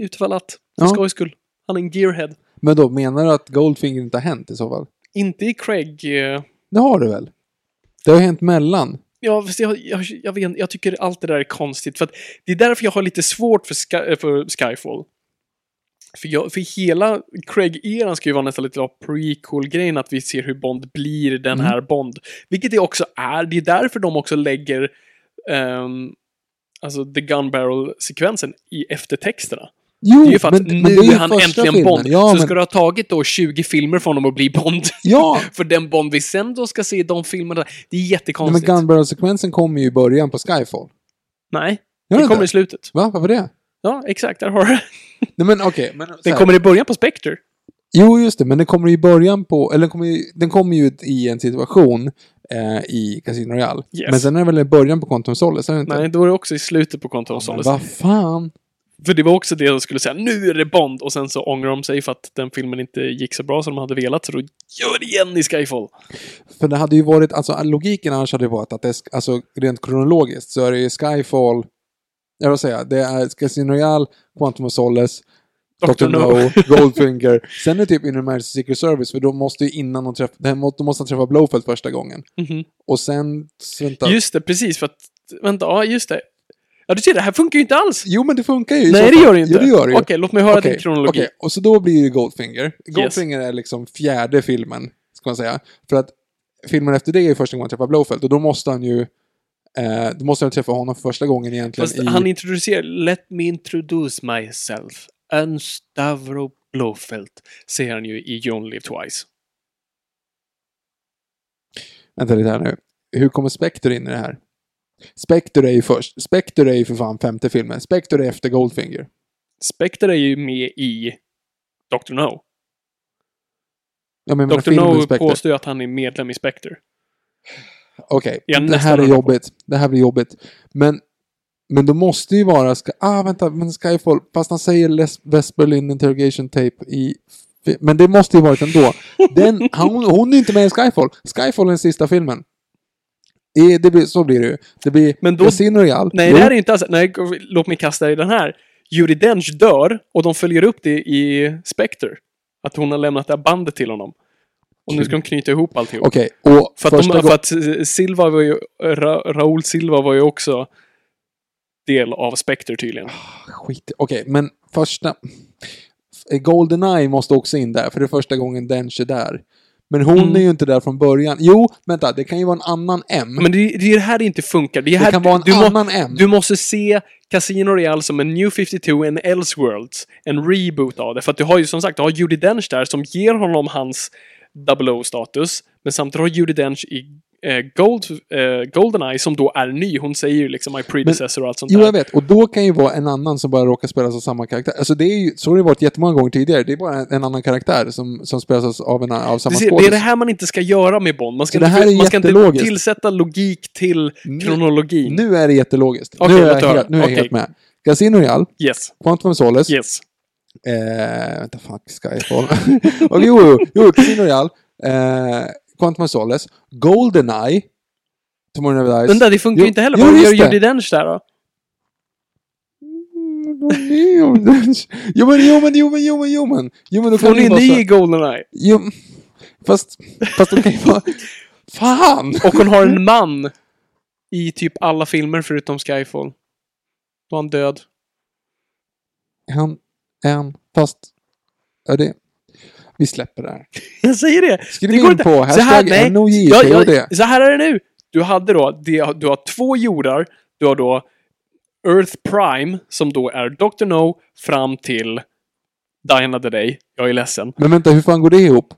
C: Utifall att, för
B: Ja.
C: skojs skull. Han är en gearhead.
B: Men då, menar du att Goldfinger inte har hänt i så fall?
C: Inte i Craig. eh,
B: Det har det väl? Det har ju hänt mellan.
C: Ja, fast jag, jag, jag, vet, jag tycker allt det där är konstigt. För att det är därför jag har lite svårt för, Sky, eh, för Skyfall. För, jag, för hela Craig-eran ska ju vara nästan lite av prequel-grejen, att vi ser hur Bond blir den
B: Mm.
C: här Bond. Vilket det också är. Det är därför de också lägger ehm, alltså the gun barrel-sekvensen i eftertexterna.
B: Jo,
C: Det är ju för att nu
B: det ju
C: är han
B: första
C: äntligen
B: filmen.
C: Bond.
B: Ja,
C: så
B: men,
C: ska det ha tagit då 20 filmer från honom att bli Bond.
B: ja.
C: För den Bond vi sen då ska se i de filmerna, det
B: Nej, men
C: är jättekonstigt. Nej,
B: Gunbarrel-sekvensen kommer ju i början på Skyfall. Gör
C: det
B: den
C: kommer i
B: inte?
C: slutet.
B: Va? Varför det?
C: Ja, exakt, där har du det.
B: Nej men okej. men så
C: Den
B: här.
C: kommer i början på Spectre.
B: Jo, just det. Men den kommer i början på... Eller den kommer ju, den kommer ju i en situation eh, i Casino Royale.
C: Yes.
B: Men sen är det väl i början på Quantum Solace, är det inte?
C: Nej, då var det också i slutet på Quantum of
B: Men
C: Solace.
B: vad fan?
C: För det var också det de skulle säga, nu är det Bond! Och sen så ångrar de sig för att den filmen inte gick så bra som de hade velat, så då gör det igen i Skyfall!
B: För det hade ju varit... Alltså logiken annars hade ju varit att det... sk- Alltså rent kronologiskt så är det ju Skyfall... Jag vill säga, det är Casino Royale, Quantum of Solace, Dr. No, Goldfinger. Sen är det typ Inner Emergency Secret Service, för de måste ju innan de träffar... De måste, de måste träffa Blowfeld första gången.
C: Mhm.
B: Och sen... Vänta.
C: Just det, precis för att... Vänta, ja just det. Ja du ser, det här funkar ju inte alls!
B: Jo, men det funkar ju. i så
C: Nej, det
B: fall.
C: gör det ju inte.
B: Jo, det gör det ju.
C: Okej, låt mig höra din
B: Okej,
C: kronologi.
B: okej, och så då blir det Goldfinger. Goldfinger är liksom fjärde filmen, ska man säga. För att filmen efter det är ju första gången han träffar Blowfeld och då måste han ju eh, då måste han träffa honom för första gången egentligen
C: Fast
B: i...
C: han introducerar Let me introduce myself. En Stavro Blofeld. Säger han ju i You Only Live Twice.
B: Vänta lite här nu. Hur kommer Spectre in i det här? Spectre är ju först. Spectre är ju för fan femte filmen. Spectre är efter Goldfinger.
C: Spectre är ju med i Dr. No.
B: Ja, men jag menar
C: Dr.
B: filmen
C: No
B: Spectre.
C: påstår ju att han är medlem i Spectre.
B: Okej,
C: Jag
B: det
C: nästan
B: här är
C: höll på.
B: jobbigt. Det här blir jobbigt. Men, men då måste ju vara... Ska, ah, vänta, men Skyfall. Fast han säger Les, West Berlin Interrogation Tape i... fi- Men det måste ju varit ändå. Den, hon, hon är inte med i Skyfall. Skyfall är den sista filmen. I, det blir, så blir det ju. Det blir
C: Men då-
B: Casino Royale.
C: Nej,
B: Jo,
C: det här är inte alls... Nej, låt mig kasta i den här. Judi Dench dör och de följer upp det i Spectre. Att hon har lämnat det här bandet till honom. Och nu ska de knyta ihop alltihop.
B: Okej, och
C: För att,
B: första
C: de,
B: gången...
C: för att eh, Silva var ju, Ra, Raul Silva var ju också del av Spectre tydligen.
B: Skit Okej, men första... eh, Goldeneye måste också in där, för det är första gången Dench är där. Men hon
C: Mm.
B: är ju inte där från början. Jo, vänta, det kan ju vara en annan M.
C: Men det, det är det här det inte funkar. Det, är här,
B: Ah, det kan vara en
C: du, må,
B: annan M.
C: du måste se Casino Royale som en New 52, en Elseworlds, en reboot av det. För att du har ju som sagt, du har Judi Dench där som ger honom hans 00-status. Men samtidigt har Judi Dench i eh, Gold, eh, Goldeneye som då är ny. Hon säger ju liksom My predecessor och allt sånt
B: Jo,
C: där.
B: jag vet. Och då kan ju vara en annan som bara råkar spelas av samma karaktär. Alltså det är ju, så har det varit jättemånga gånger tidigare. Det är bara en, en annan karaktär som, som spelas av, en, av samma
C: Du ser, det är
B: skådis.
C: det här man inte ska göra med Bond. Man ska,
B: Så det här
C: inte,
B: är
C: man ska inte
B: jättelogiskt.
C: tillsätta logik till
B: Nu-
C: kronologin.
B: Nu är det jättelogiskt.
C: Okej,
B: nu är
C: låt
B: jag,
C: höra.
B: helt, nu är jag
C: Okej.
B: helt med. Casino Royale,
C: Yes,
B: Quantum of Solace.
C: yes.
B: Eh, vänta, fuck, Skyfall. och jo, jo, jo, Casino Royale, eh, Quantum of Solace, Goldeneye, Tomorrow Never Dies.
C: Den där, det funkar
B: Jo,
C: ju inte heller.
B: jo,
C: Vad gör
B: just det.
C: Judi Dench där då?
B: Jo, men, jo, men, jo, men, jo, men, jo, men, jo, men, jo, men, då kan
C: Hon
B: det ju
C: är
B: vara så-
C: ny i Goldeneye.
B: Jo, fast, fast de kan ju vara... Fan!
C: Och hon har en
B: Mm.
C: man i typ alla filmer förutom Skyfall. Då är han död.
B: En, en, fast... Ja, det... Vi släpper det här.
C: Jag säger det!
B: Skriv
C: Det går
B: in
C: inte.
B: på
C: Så här,
B: hashtag
C: nej. Jag,
B: NOJPOD.
C: jag, så här är det nu! Du hade då, det- du har två jordar. Du har då Earth Prime, som då är Dr. No, fram till Die Another Day. Jag är ledsen.
B: Men vänta, hur fan går det ihop?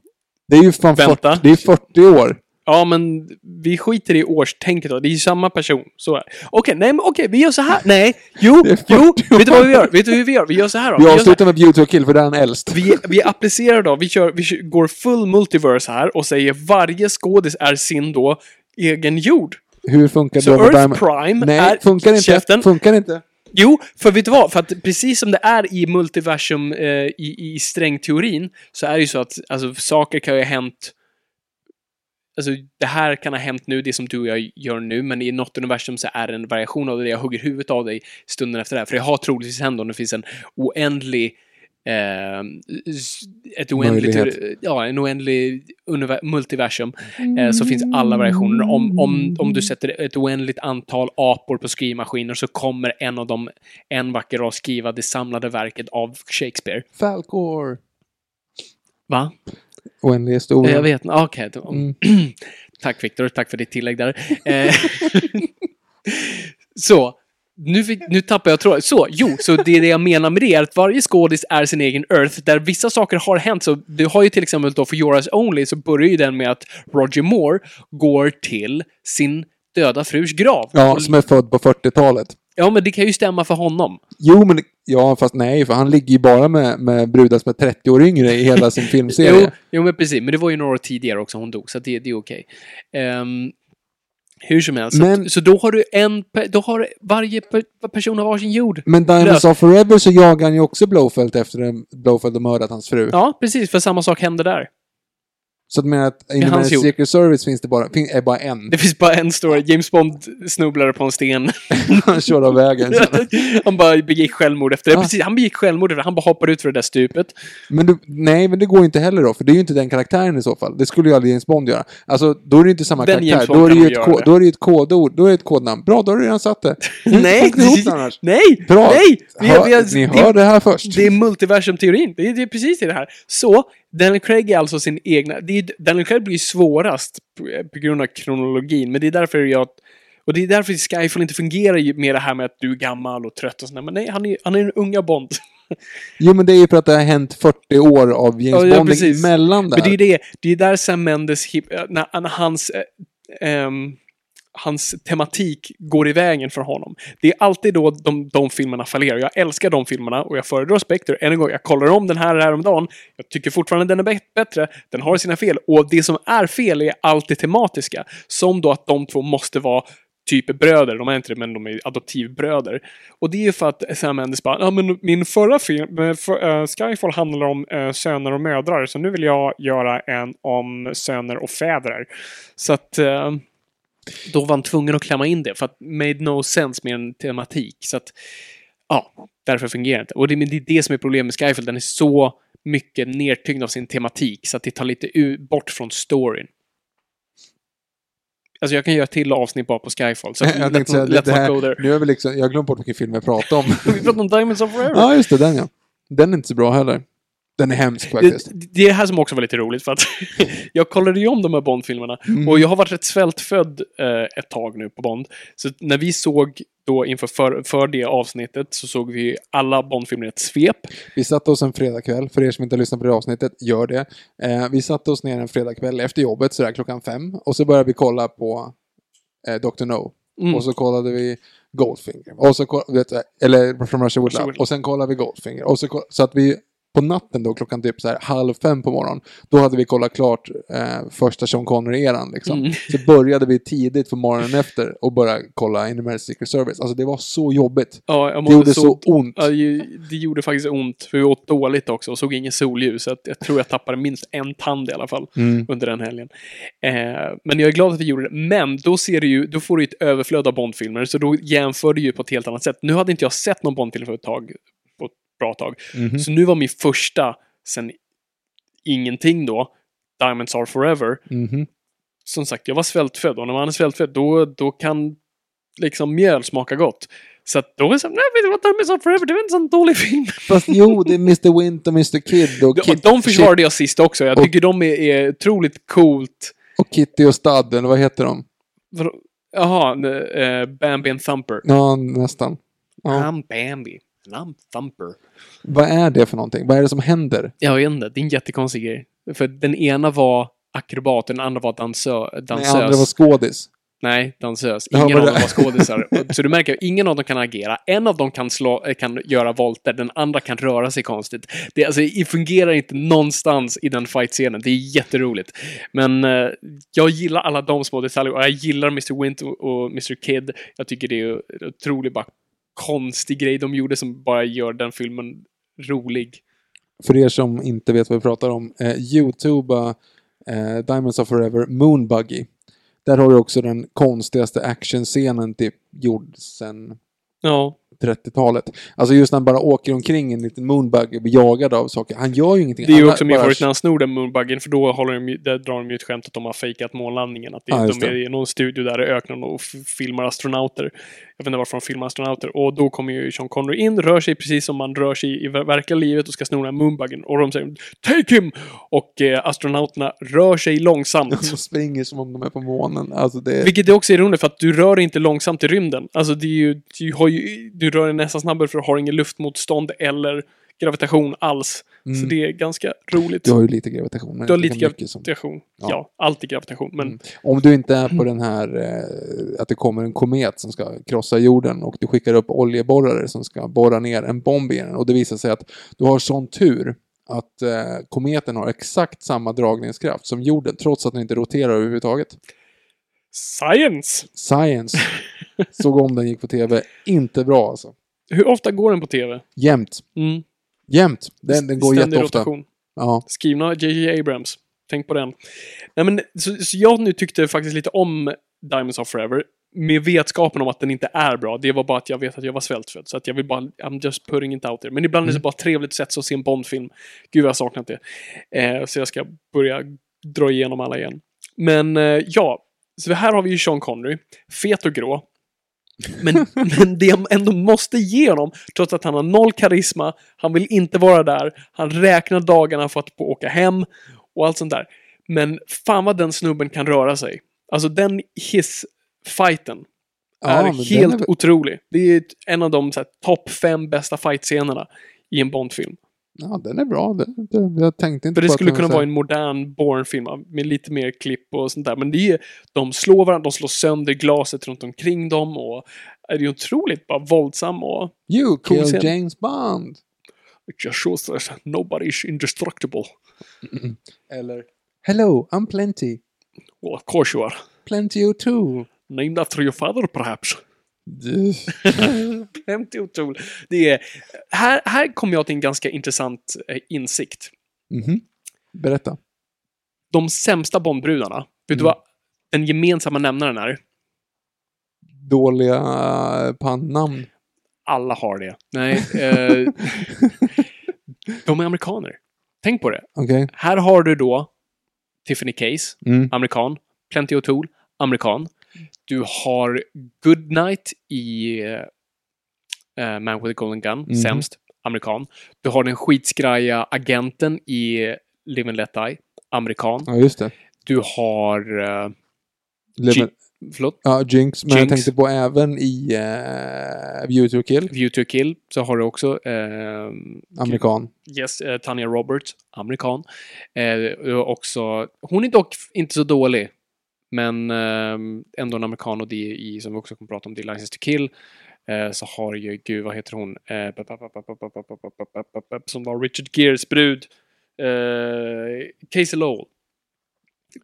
B: Det är ju fan
C: Vänta.
B: 40, det är 40 år.
C: Ja, men vi skiter i årstänket då. Det är ju samma person. Så är det. Okej, nej men okej, vi gör så här. Nej, jo,
B: Det är
C: jo.
B: 40
C: Vet du vad vi gör? Vet du hur vi gör? Vi gör så här då. Vi
B: Vi
C: gör så här.
B: avslutar med Beauty och Kill, för där är han äldst.
C: Vi, vi applicerar då, vi, kör, vi kör, går full multiverse här och säger varje skådis är sin då egen jord.
B: Hur funkar
C: Så
B: Dom och
C: Earth
B: Diamond?
C: Prime
B: Nej,
C: är...
B: funkar inte.
C: Käften.
B: Funkar inte.
C: Jo, för vet du vad? För att precis som det är i multiversum, eh, i, i strängteorin, så är det ju så att alltså, saker kan ju ha hänt alltså, det här kan ha hänt nu, det som du och jag gör nu, men i något universum så är det en variation av det. Jag hugger huvudet av dig stunden efter det här. För det har troligtvis hänt om det finns en oändlig eh, s- ett oändligt,
B: Möjlighet.
C: ja, en oändlig univer- multiversum eh, så finns alla variationer. Om, om, om du sätter ett oändligt antal apor på skrivmaskiner så kommer en av dem en vacker dag skriva det samlade verket av Shakespeare.
B: Falcor!
C: Va?
B: Oändlig historia.
C: Jag vet inte. Okej. då-
B: Mm.
C: Tack Viktor, tack för ditt tillägg där. Eh, så, nu, fick- nu tappar jag tråden. Så, jo, så det, är det jag menar med det är att varje skådis är sin egen Earth, där vissa saker har hänt. Så du har ju till exempel då för Yours Only, så börjar ju den med att Roger Moore går till sin döda frus grav.
B: Ja,
C: Och-
B: som är född på 40-talet.
C: ja, men det kan ju stämma för honom.
B: Jo, men... Ja, fast nej, för han ligger ju bara med, med brudar som är 30 år yngre i hela sin filmserie.
C: Jo, jo, men precis. Men det var ju några år tidigare också hon dog, så det, det är okej. Ehm, hur som helst.
B: Men-
C: så, så då har du en... pe- Då har varje pe- person har varsin jord.
B: Men Diamonds
C: Löst.
B: of Forever så jagar han ju också Blowfelt efter att Blowfelt har mördat hans fru.
C: Ja, precis. För samma sak händer där.
B: Så att menar att inom
C: hans jord.
B: Secret Service finns det bara, fin- är bara en.
C: Det finns bara en stor... James Bond snubblade på en sten.
B: Han kör av vägen.
C: han bara begick självmord efter det.
B: Ja.
C: Precis, han begick självmord efter det. Han bara hoppade ut för det där stupet.
B: Men du, nej, men det går inte heller då, för det är ju inte den karaktären i så fall. Det skulle ju aldrig James Bond göra. Alltså, då är det inte samma
C: Den James
B: karaktär.
C: Bond
B: Då är, det
C: kan
B: ju ett
C: nog göra
B: ko-
C: det.
B: då är det ju ett kodord. Då är det ett kodnamn. Bra, då har du redan satt det. Du
C: Nej!
B: kokte ihop det annars.
C: Nej!
B: Bra.
C: Nej! Vi-
B: Hör,
C: vi har-
B: ni
C: det-
B: hör det här först.
C: Det är multiversum-teorin. Det är, det är precis det här. Så, Daniel Craig är alltså sin egna... Det är, Daniel Craig blir ju svårast på, på grund av kronologin, men det är därför jag... Och det är därför Skyfall inte fungerar ju med det här med att du är gammal och trött och sådär. Men nej, han är, han är en unga Bond.
B: Jo, men det är ju för att det har hänt 40 år av James
C: Ja, ja,
B: Bond
C: precis.
B: emellan där.
C: Men det är det. Det är där Sam Mendes... Hip, äh, när, när hans... eh, ehm, hans tematik går i vägen för honom. Det är alltid då de, de filmerna fallerar. Jag älskar de filmerna och jag föredrar Spectre. Än en gång, jag kollar om den här häromdagen. Jag tycker fortfarande den är bet- bättre. Den har sina fel. Och det som är fel är alltid tematiska. Som då att de två måste vara typ bröder. De är inte det, men de är adoptivbröder. Och det är ju för att Sam Mendes bara, ja men min förra film, eh, för, eh, Skyfall handlar om eh, söner och mödrar, så nu vill jag göra en om söner och fäder. Så att eh, då var han tvungen att klämma in det, för att made no sense med en tematik. Så att, ja, därför fungerar det inte. Och det, men det är det som är problemet med Skyfall, den är så mycket nertyngd av sin tematik, så att det tar lite u- bort från storyn. Alltså jag kan göra ett till avsnitt bara på Skyfall, så att
B: jag
C: let's,
B: tänkte säga,
C: let's
B: det
C: not go there.
B: här, nu har vi liksom, jag har glömt bort vilken film jag pratade om.
C: Vi pratade om Diamonds of Forever.
B: Ja, just det. Den ja. Den är inte så bra heller. Den är hemsk faktiskt.
C: Det, det är det här som också var lite roligt för att jag kollade ju om de här Bond-filmerna
B: Mm.
C: och jag har varit rätt svältfödd eh, ett tag nu på Bond. Så att när vi såg då inför för, för det avsnittet så såg vi alla Bond-filmer i ett svep.
B: Vi satte oss en fredagkväll, för er som inte har lyssnat på det avsnittet, gör det. Eh, vi satte oss ner en fredagkväll efter jobbet, sådär klockan fem, och så började vi kolla på eh, Dr. No.
C: Mm.
B: Och så kollade vi Goldfinger. Och så koll- vet, du, eller från Russia With
C: Russia
B: Love.
C: With Love.
B: Och sen kollade vi Goldfinger. Och så, koll- så att vi på natten då, klockan typ så här halv fem på morgonen, då hade vi kollat klart eh, första Sean Connery-eran. Liksom.
C: Mm.
B: Så började vi tidigt på morgonen efter och började kolla Animal Secret Service. Alltså det var så jobbigt.
C: Ja, jag
B: Det
C: mådde
B: gjorde
C: så,
B: så ont.
C: Ja, ju- det gjorde faktiskt ont, för vi åt dåligt också och såg ingen solljus. Så att jag tror jag tappade minst en tand i alla fall
B: Mm.
C: under den helgen. Eh, men jag är glad att vi gjorde det. Men då, ser du ju, då får du ju ett överflöd av Bondfilmer, så då jämför du ju på ett helt annat sätt. Nu hade inte jag sett någon Bondfilm för ett tag, på ett bra tag.
B: Mhm.
C: Så nu var min första, sen ingenting då, Diamonds Are Forever.
B: Mhm.
C: Som sagt, jag var svältfödd och när man är svältfödd då, då kan liksom mjöl smaka gott. Så att då är det så här, nej vet du vad, Diamonds Are Forever, det var inte en sån dålig film.
B: Fast jo, det är Mr. Wint och Mr. Kid och,
C: De,
B: Kit,
C: de försvarade jag sist också. Jag tycker de är, är otroligt coolt.
B: och Kitty och Stud, eller vad heter de?
C: Vadå? Jaha, eh, Bambi and Thumper.
B: Ja, nästan. Ja.
C: I'm Bambi. And I'm Thumper.
B: Vad är det för någonting? Vad är det som händer?
C: Jag vet inte, det är en jättekonstig grej. För den ena var akrobat, den andra var dansö,
B: Den
C: dansös.
B: andra var skådis.
C: Nej, dansös.
B: Ja, men
C: Ingen av
B: det-
C: dem var skådisar. Så du märker, ingen av dem kan agera. En av dem kan, slå, eh, kan göra volter, den andra kan röra sig konstigt. Det alltså, det fungerar inte någonstans i den fight-scenen. Det är jätteroligt. Men eh, jag gillar alla de små detaljer och jag gillar Mr. Wint och, och Mr. Kid. Jag tycker det är en otroligt bara konstig grej de gjorde som bara gör den filmen rolig.
B: För er som inte vet vad vi pratar om, eh, youtuba eh, Diamonds of Forever, Moonbuggy. Där har du också den konstigaste actionscenen typ gjord sen
C: Ja.
B: 30-talet. Alltså just när han bara åker omkring i en liten moonbuggy och blir jagad av saker. Han gör ju ingenting.
C: Det är ju
B: Han
C: också
B: bara-
C: min favorit när han snor den moonbuggen, för då håller de, ju- där drar de ju ett skämt att de har fejkat månlandningen. Att det,
B: Ja, just
C: de är
B: det.
C: i någon studio där i öknen och f- filmar astronauter. Jag vet inte varför de filmar astronauter. Och då kommer ju Sean Connery in, rör sig precis som man rör sig i ver- verkliga livet och ska sno den här moonbuggen. Och de säger ”Take him!” Och eh, astronauterna rör sig långsamt.
B: De springer som om de är på månen. Alltså det är...
C: Vilket är också ironiskt för att du rör inte långsamt i rymden. Alltså det är ju, du, har ju, du rör dig nästan snabbare för du har ingen luftmotstånd eller gravitation alls. Så
B: Mm.
C: det är ganska roligt.
B: Du har ju lite gravitation. Men
C: Du har
B: inte
C: lite typ.
B: lika mycket som...
C: gravitation.
B: Ja.
C: Ja. allt är gravitation. Men
B: Mm. Om du inte är på den här eh, att det kommer en komet som ska krossa jorden och du skickar upp oljeborrare som ska borra ner en bomb i den och det visar sig att du har sån tur att eh, kometen har exakt samma dragningskraft som jorden trots att den inte roterar överhuvudtaget.
C: science!
B: Science. Såg om den gick på tv. Inte bra alltså.
C: Hur ofta går den på tv?
B: Jämt.
C: Mm.
B: Jämt. Den, den går
C: Ständig
B: jätteofta.
C: rotation.
B: Ja.
C: Skriven av J.J. Abrams. Tänk på den. Nej, men, så, så jag nu tyckte faktiskt lite om Diamonds of Forever. Med vetskapen om att den inte är bra. Det var bara att jag vet att jag var svältfödd. Så att jag vill bara, I'm just putting it out there. Men ibland är
B: Mm.
C: det bara ett trevligt sätt att se en Bondfilm. Gud, jag har saknat det. Eh, så jag ska börja dra igenom alla igen. Men eh, ja, så här har vi ju Sean Connery. Fet och grå. Men, men det jag ändå måste ge honom, trots att han har noll karisma, han vill inte vara där, han räknar dagarna för att få åka hem och allt sånt där. Men fan vad den snubben kan röra sig. Alltså den hiss-fighten
B: Ja,
C: är
B: men den
C: helt
B: är väl-
C: otrolig. Det är ett- en av de så här, topp fem bästa fight-scenerna i en Bond-film.
B: ja, den är bra. Det, det, jag tänkte inte
C: För det
B: på att
C: skulle
B: den
C: kunna
B: var så
C: vara
B: här-
C: en modern Bourne-film med lite mer klipp och sånt där. Men det är, de slår varandra, de slår sönder glaset runt omkring dem och är ju otroligt bara våldsam och
B: You
C: cool
B: kill
C: scen.
B: James Bond.
C: It just shows that nobody is indestructible.
B: Eller Hello, I'm plenty.
C: Well, of course you are.
B: Plenty you too.
C: Named after your father perhaps. Skämt är otroligt. Det är, här, här kom jag till en ganska intressant eh, insikt.
B: Mhm. Berätta.
C: De sämsta Bondbrudarna, vet
B: Mm.
C: du vad den gemensamma nämnaren är?
B: Dåliga eh, pannamn.
C: Alla har det. Nej, eh, de är amerikaner. Tänk på det.
B: Okej.
C: Här har du då Tiffany Case,
B: Mm.
C: amerikan. Plenty O'Toole, amerikan. Du har Goodnight i eh, Man with a Golden Gun,
B: Mhm.
C: sämst, amerikan. Du har den skitskraja agenten i Live and Let Die, amerikan.
B: Ja, just det.
C: Du har... eh,
B: Lever-
C: förlåt?
B: ja, Jinx. Men jag
C: Jinx.
B: tänkte på även i uh, View to a Kill.
C: View to a Kill, så har du också... Eh,
B: Amerikan.
C: yes, eh, Tanya Roberts, amerikan. Eh, du har också... Hon är dock inte så dålig. Men eh, ändå en amerikan och det är i, som vi också kommer prata om, det är License to Kill. Eh, så har ju, gud vad heter hon? Eh, pop, pop, pop, pop, pop, pop, pop, pop, pop, pop, pop, som var Richard Gears brud. Eh, Casey Lowell.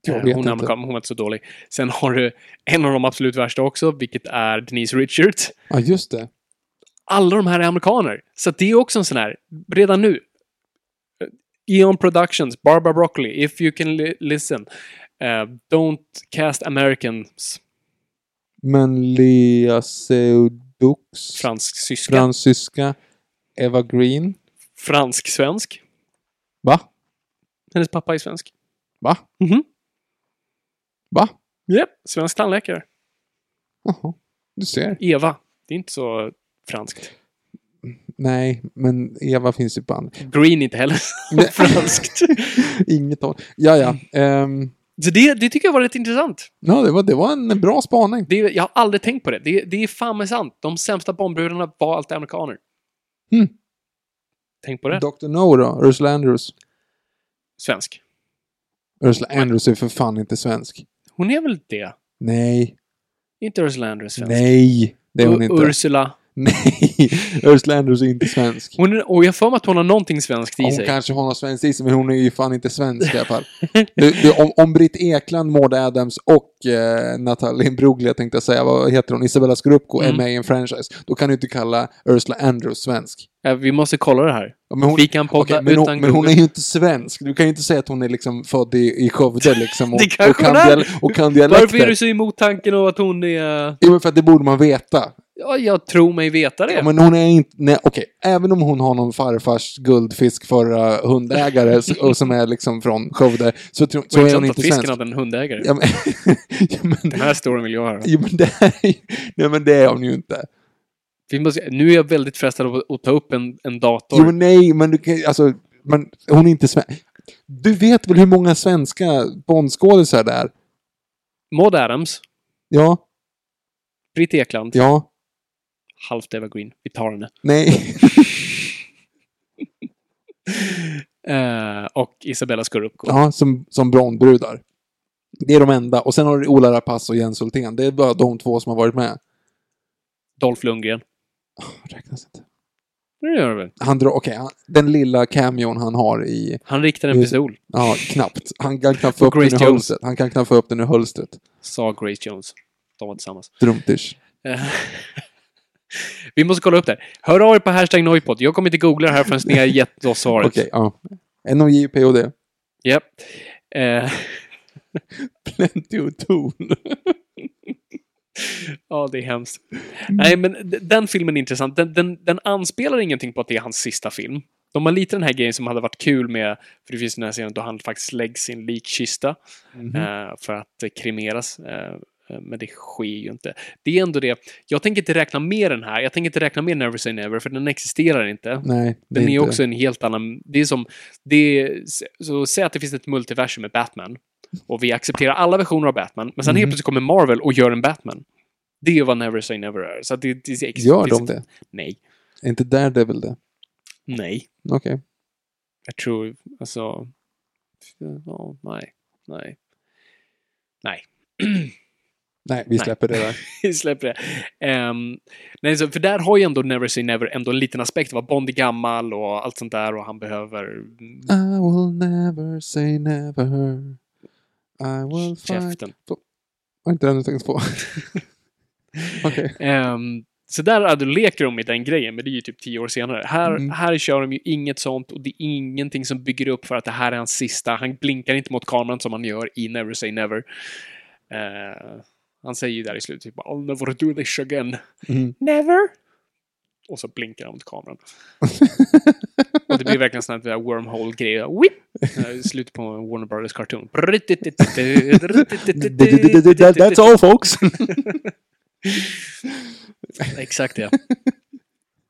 B: Jag
C: Eh,
B: vet
C: hon är
B: inte.
C: amerikan, men hon var inte så dålig. Sen har du en av de absolut värsta också, vilket är Denise Richards
B: Ja, just det.
C: alla de här är amerikaner. Så att det är också en sån här, redan nu. eh, Eon Productions, Barbara Broccoli, If You Can li- Listen. eh, don't cast Americans,
B: Men Lea Seudoux.
C: fransk-syska,
B: Fransyska. Eva Green.
C: fransk-svensk.
B: Va?
C: Hennes pappa är svensk.
B: Va?
C: Mhm.
B: Va?
C: Japp, svensk tandläkare.
B: Jaha. Du ser.
C: Eva. Det är inte så franskt.
B: Nej, men Eva finns ju på andra.
C: Green inte heller
B: Nej.
C: franskt.
B: Inget av... Ja, ja. Ehm,
C: Så det, det tycker jag var rätt intressant.
B: ja, det var, det var en bra spaning.
C: Det, jag har aldrig tänkt på det. Det, det är fan med sant. De sämsta bombrudarna var alltid amerikaner.
B: Mm.
C: Tänk på det.
B: Dr. No då? Ursula Andrews?
C: Svensk.
B: Ursula Andrews är för fan inte svensk.
C: Hon är väl det?
B: Nej.
C: Inte Ursula Andress svensk?
B: Nej. Det är hon
C: U-
B: inte.
C: Ursula
B: Nej, Ursula Andrews är inte svensk.
C: Hon är, och jag har för mig att hon har någonting svenskt i
B: Hon
C: sig.
B: kanske har något svenskt i sig, men hon är ju fan inte svensk i alla fall. Du, du, om, om Britt Ekland, Maud Adams och eh, Natalie Imbruglia tänkte jag säga, vad heter hon, Isabella Scorupco är
C: Mm.
B: med i en franchise, då kan du inte kalla Ursula Andrews svensk.
C: Eh, Vi måste kolla det här.
B: Ja, Men hon,
C: Vi kan podda
B: Okej, men,
C: utan
B: hon, men hon
C: Google.
B: är ju inte svensk. Du kan ju inte säga att hon är liksom född i, i Skövde liksom och,
C: Det kanske
B: och, kan
C: hon är.
B: dial- och kan dialekter.
C: Varför är du så emot tanken av att hon är...
B: Jo, men för att det borde man veta.
C: Ja, jag tror mig veta det.
B: Ja, men hon är inte... Nej, okej. Även om hon har någon farfars guldfisk förra hundägare s- och som är liksom från Skövde så, tror,
C: Det
B: så
C: var
B: är hon
C: intressant
B: inte
C: att fisken
B: svensk.
C: hade en hundägare.
B: Ja, men, ja, men,
C: Den här storyn vill jag höra.
B: ja, men, det, här- nej, men det är hon ju inte.
C: Vi måste, nu är jag väldigt frestad av att, att ta upp en, en dator.
B: Jo, men nej, men du kan alltså, men hon är inte svensk. Du vet väl hur många svenska Bondskådisar det är?
C: Maud Adams,
B: Ja,
C: Britt Ekland,
B: ja,
C: halvt evergreen. Vi tar henne.
B: nej.
C: Eh, och Isabella Scorupco.
B: Ja, som, som brondbrudar. Det är de enda. Och sen har du Ola Rapace och Jens Hultén. Det är bara de två som har varit med.
C: Dolph Lundgren.
B: Räknas inte.
C: Det gör det väl.
B: Han drar, okej, han- den lilla cameon han har i,
C: Han riktar en
B: Just-
C: pistol,
B: ja, knappt. Han kan knappa
C: Och
B: upp den
C: Grace
B: ur
C: Jones.
B: hölstret. Han kan knappa upp den ur hölstret.
C: sa Grace Jones. De var tillsammans.
B: Drumtish.
C: Eh, Vi måste kolla upp det här. Hör av er på hashtag Noipod. Jag kommer inte googla det här förrän ni har gett oss svaret.
B: Okej, ja. NOJ, POD.
C: Japp. Eh,
B: Plenty of tone.
C: Ja, det är hemskt. Nej, men d- den filmen är intressant. Den, den, den anspelar ingenting på att det är hans sista film. De har lite den här grejen som hade varit kul med, för det finns den här scenen då han faktiskt läggs i en likkista eh, för att eh, kremeras. Eh, men det sker ju inte. Det är ändå det. Jag tänker inte räkna med den här. Jag tänker inte räkna med Never Say Never, för den existerar inte.
B: Nej, det
C: Den är
B: inte-
C: också en helt annan... Det är som... Det är, så säg att det finns ett multiversum med Batman. Och vi accepterar alla versioner av Batman. Men sen helt
B: Mhm.
C: plötsligt kommer Marvel och gör en Batman. Det är vad Never Say Never är. Så att det, det, det,
B: Gör de det?
C: Nej.
B: Är inte Daredevil det?
C: Nej.
B: Okej.
C: Jag tror... Alltså... Ja, nej. Nej.
B: Nej, vi
C: Nej.
B: släpper det där.
C: Vi släpper det. Ehm, nej, så, för där har ju ändå Never Say Never ändå en liten aspekt. Vad Bond är gammal och allt sånt där och han behöver...
B: I will never say never. I will fight.
C: Käften.
B: Var inte den du tänkte på? Okej.
C: Ehm, så där är du leker de med den grejen, men det är ju typ tio år senare. Här,
B: Mm.
C: här kör de ju inget sånt och det är ingenting som bygger upp för att det här är hans sista. Han blinkar inte mot kameran som han gör i Never Say Never. Eh, han säger ju där i slutet typ I'll never do this again.
B: Mm.
C: Never! Och så blinkar han mot kameran. och det blir verkligen sån här wormhole-grej. Whip! Eh, Slut på en Warner Brothers cartoon.
B: That's all folks!
C: Exakt det.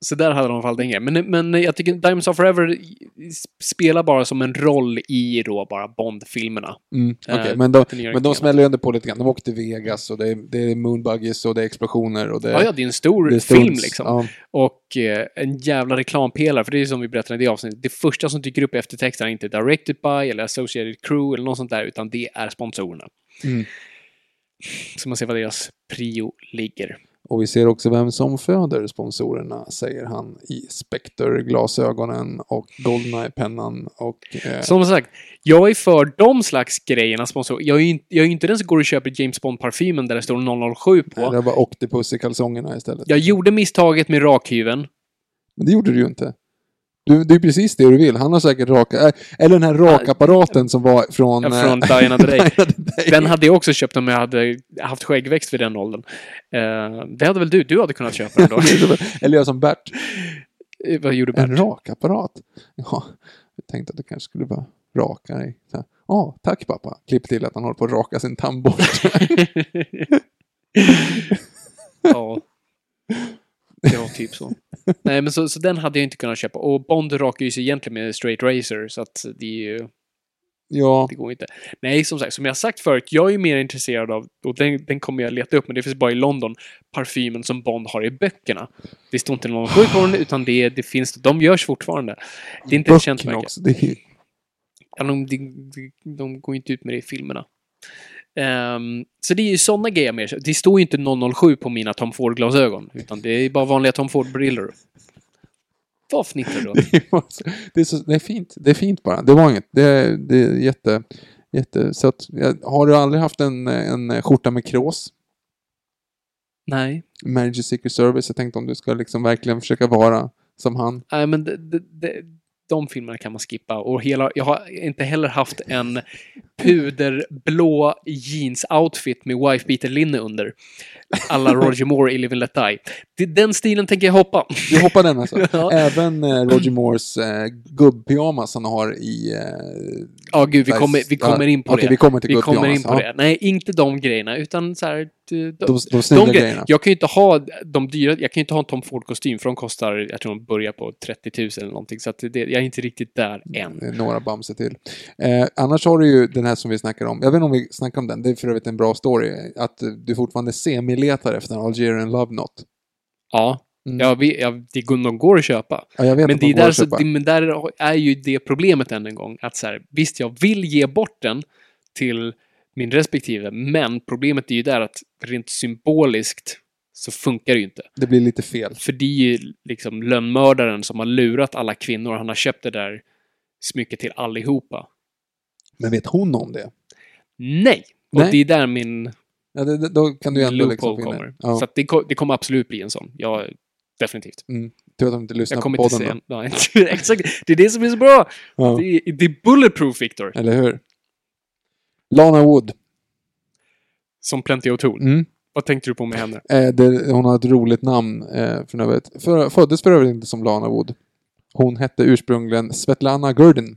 C: Så där hade de i alla fall den grejen. Men, men jag tycker Diamonds Are Forever spelar bara som en roll i då bara Bond-filmerna.
B: Mm,
C: Eh,
B: okej, men de,
C: den gör
B: men de
C: inget
B: smäller ju ändå på lite grann. De åker till Vegas och det är, det är moonbuggies och det är explosioner och det,
C: Ja, ja, det är en stor
B: det är
C: film
B: stunts.
C: liksom.
B: Ja.
C: Och eh, en jävla reklampelare, för det är som vi berättade i det avsnittet. Det första som dyker upp i eftertexten är inte Directed By eller Associated Crew eller något sånt där, utan det är sponsorerna.
B: Mm.
C: Så man ser vad deras prio ligger.
B: Och vi ser också vem som föder sponsorerna, säger han i Spectre-glasögonen och Goldeneye-pennan och... Eh,
C: Som sagt, jag är för de slags grejerna. Sponsor. Jag, är ju inte, jag är ju inte den som går och köper James Bond-parfymen där det står 007 på.
B: det var Octopus i kalsongerna istället.
C: Jag gjorde misstaget med rakhyveln.
B: Men det gjorde du ju inte. Du, det är precis det du vill. Han har säkert raka... eh, Eller den här rakapparaten som var från...
C: Ja,
B: eh,
C: från Diana the Day.
B: Diana the Day.
C: Den hade jag också köpt om jag hade haft skäggväxt vid den åldern. Eh, det hade väl du? Du hade kunnat köpa den då?
B: Eller jag som Bert.
C: Eh, Vad gjorde
B: En
C: Bert?
B: rakapparat? Ja, jag tänkte att du kanske skulle bara raka dig. Så här, Ja, tack pappa. Klipp till att han håller på att raka sin tandborste.
C: ja. Det var typ så. Nej, men så, så den hade jag inte kunnat köpa. Och Bond rakar ju sig egentligen med straight razor, så att det är ju...
B: ja,
C: Det går inte. Nej, som sagt, som jag sagt förut, jag är ju mer intresserad av, och den, den kommer jag leta upp, men det finns bara i London, parfymen som Bond har i böckerna. Det står inte någon sjuk på den, utan det, det finns, de görs fortfarande. Det är inte ett känt
B: böckerna
C: märke.
B: också. Det är, ju-
C: Ja, de, de, de går inte ut med det i filmerna. Ehm, så det är ju sådana grejer mer. Det står ju inte 007 på mina Tom Ford-glasögon. Utan det är bara vanliga Tom Ford-brillor. Vad fnittrar du åt?
B: Det var så- det, är så, det är fint. Det är fint bara. Det var inget. Det är, det är jätte... jätte så att, jag- har du aldrig haft en, en skjorta med krås?
C: Nej.
B: Manager Secret Service. Jag tänkte om du ska liksom verkligen försöka vara som han.
C: Nej, men de, de, de, de filmerna kan man skippa. Och hela, jag har inte heller haft en puderblå jeans-outfit med wife-beater-linne under. Alla Roger Moore i Live and Let Die. Det- Den stilen tänker jag hoppa.
B: Du hoppar den alltså?
C: Ja.
B: Även eh, Roger Moores eh, gubbpyjamas han har i... Eh,
C: Ja, gud, vi
B: Nice.
C: kommer, vi kommer in på
B: Okej,
C: det.
B: vi kommer till
C: Vi
B: gubbpyjamas.
C: kommer in på
B: Ja.
C: det. Nej, inte de grejerna, utan så här... De, de,
B: De, de snygga
C: gre-
B: grejerna.
C: Jag kan ju inte ha de dyra, jag kan ju inte ha en Tom Ford-kostym för de kostar, jag tror de börjar på 30 000 eller någonting, så att det, jag är inte riktigt där än.
B: Det är Några Bamse till. Eh, annars har du ju den här som vi snackar om. Jag vet inte om vi snackar om den. Det är för övrigt en bra story. Att eh, du fortfarande semiletar efter en Algerian Love Knot.
C: Ja,
B: Mm.
C: ja, vi, ja det, går- de går att köpa.
B: Ja, jag vet
C: Men
B: att de
C: det, är
B: går
C: där,
B: att
C: så,
B: köpa.
C: det, men där är ju det problemet än en gång, att så här, visst, jag vill ge bort den till min respektive, men problemet är ju där att rent symboliskt så funkar det ju inte.
B: det blir lite fel.
C: För det är ju liksom lönnmördaren som har lurat alla kvinnor. Han har köpt det där smycket till allihopa.
B: Men vet hon om det?
C: Nej! Och
B: Nej.
C: det är där min
B: Ja, det, det, då kan du ändå
C: loophole
B: liksom få in
C: kommer.
B: det. Ja,
C: Så att det, ko- det kommer absolut bli en sån. Ja, definitivt.
B: Tur att de inte lyssnar
C: Jag
B: på
C: kommer inte
B: podden.
C: säga... Nej, exakt. Det är det som är så bra!
B: då.
C: Det, är, det är bulletproof, Victor.
B: Ja, eller hur? Lana Wood.
C: Som Plenty O'Toole.
B: Mm.
C: Vad tänkte du på med henne?
B: Eh, det, hon har ett roligt namn eh, för övrigt. För, föddes för övrigt inte som Lana Wood. Hon hette ursprungligen Svetlana Gurdin.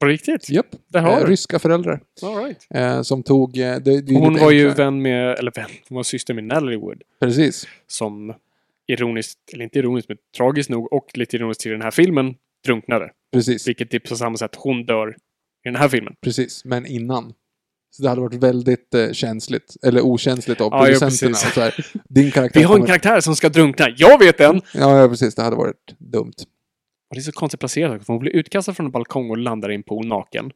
C: På riktigt?
B: Japp.
C: Där har
B: Eh,
C: du.
B: ryska föräldrar.
C: All right.
B: Eh, som tog... Eh, det, det är lite
C: Hon var ju
B: enklare.
C: vän med... Eller vän. Hon var syster med Natalie Wood.
B: Precis.
C: som ironiskt, eller inte ironiskt, men tragiskt nog och lite ironiskt till den här filmen drunknade.
B: Precis.
C: Vilket är på samma sätt hon dör i den här filmen.
B: Precis. Men innan. Så det hade varit väldigt eh, känsligt. Eller okänsligt av
C: Ja, ja,
B: producenterna.
C: precis.
B: och så här, din karaktär
C: Vi har en
B: kommer-
C: karaktär som ska drunkna. Jag vet en!
B: Ja, ja, precis. Det hade varit dumt.
C: Och det är så konstigt placerat. för Hon blir utkastad från en balkong och landar i en pool naken.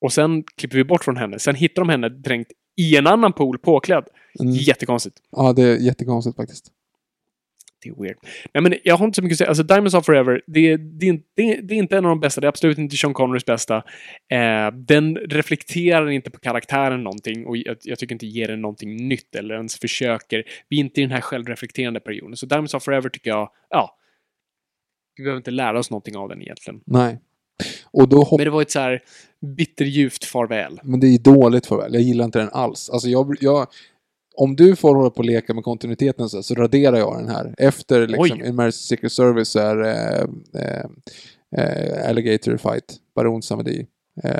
C: Och sen klipper vi bort från henne. Sen hittar de henne dränkt i en annan pool påklädd.
B: Mm.
C: Jättekonstigt.
B: Ja, det är jättekonstigt faktiskt.
C: Det är weird. Nej, men jag har inte så mycket att säga. Alltså, Diamonds Are Forever, det är, det, är, inte- det, är, det är inte en av de bästa. Det är absolut inte Sean Connerys bästa. Eh, den reflekterar inte på karaktären någonting och jag, jag tycker inte ger den någonting nytt eller ens försöker. Vi är inte i den här självreflekterande perioden. Så Diamonds Are Forever tycker jag, ja. Vi behöver inte lära oss någonting av den egentligen.
B: Nej. Och då hopp...
C: Men det var ett så här bitterljuvt farväl.
B: Men det är ju dåligt för väl. Jag gillar inte den alls. Alltså jag, jag, om du får hålla på och leka med kontinuiteten så, här, så raderar jag den här. Efter liksom,
C: Oj.
B: in Marriage Secret Service så är eh, eh, eh, Alligator Fight, Baron Samedi, eh,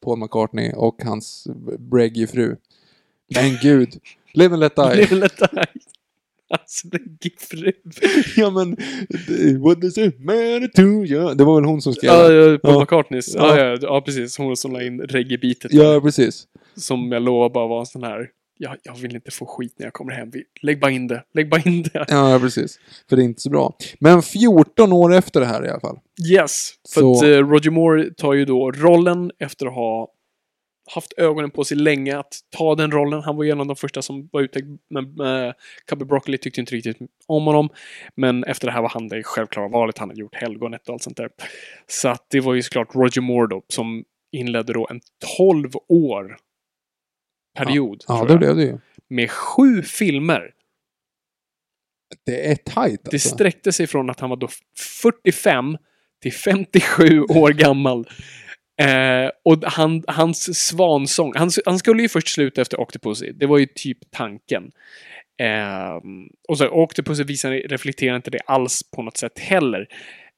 B: Paul McCartney och hans breggy fru. Men gud! Live and let die!
C: Lilla Daj. Alltså, det är giffrig.
B: ja men, what is it matter to you? Det var väl hon som skrev
C: Ja,
B: det?
C: ja, Paul
B: Ja.
C: McCartneys. Ja, ja, ja, precis. Hon som la in reggae-beatet.
B: Ja, precis.
C: Som jag lovar bara var en sån här. Jag, jag vill inte få skit när jag kommer hem. Vi- Lägg bara in det. Lägg bara in det.
B: Ja, precis. För det är inte så bra. Men 14 år efter det här i alla fall.
C: Yes. För
B: Så-
C: att eh, Roger Moore tar ju då rollen efter att ha haft ögonen på sig länge att ta den rollen. Han var ju en av de första som var ute men eh, Cubby Broccoli tyckte inte riktigt om honom. Men efter det här var han det självklara valet. Han hade gjort Helgonet och allt sånt där. Så att det var ju såklart Roger Moore då som inledde då en 12 år period.
B: Ja,
C: tror
B: det
C: jag.
B: blev det ju.
C: med sju filmer.
B: Det är tajt
C: Det
B: alltså.
C: sträckte sig från att han var då 45 till 57 år gammal. Eh, och han, hans svansång, han, han skulle ju först sluta efter Octopussy, det var ju typ tanken. Eh, och så Octopussy visar, reflekterar inte det alls på något sätt heller.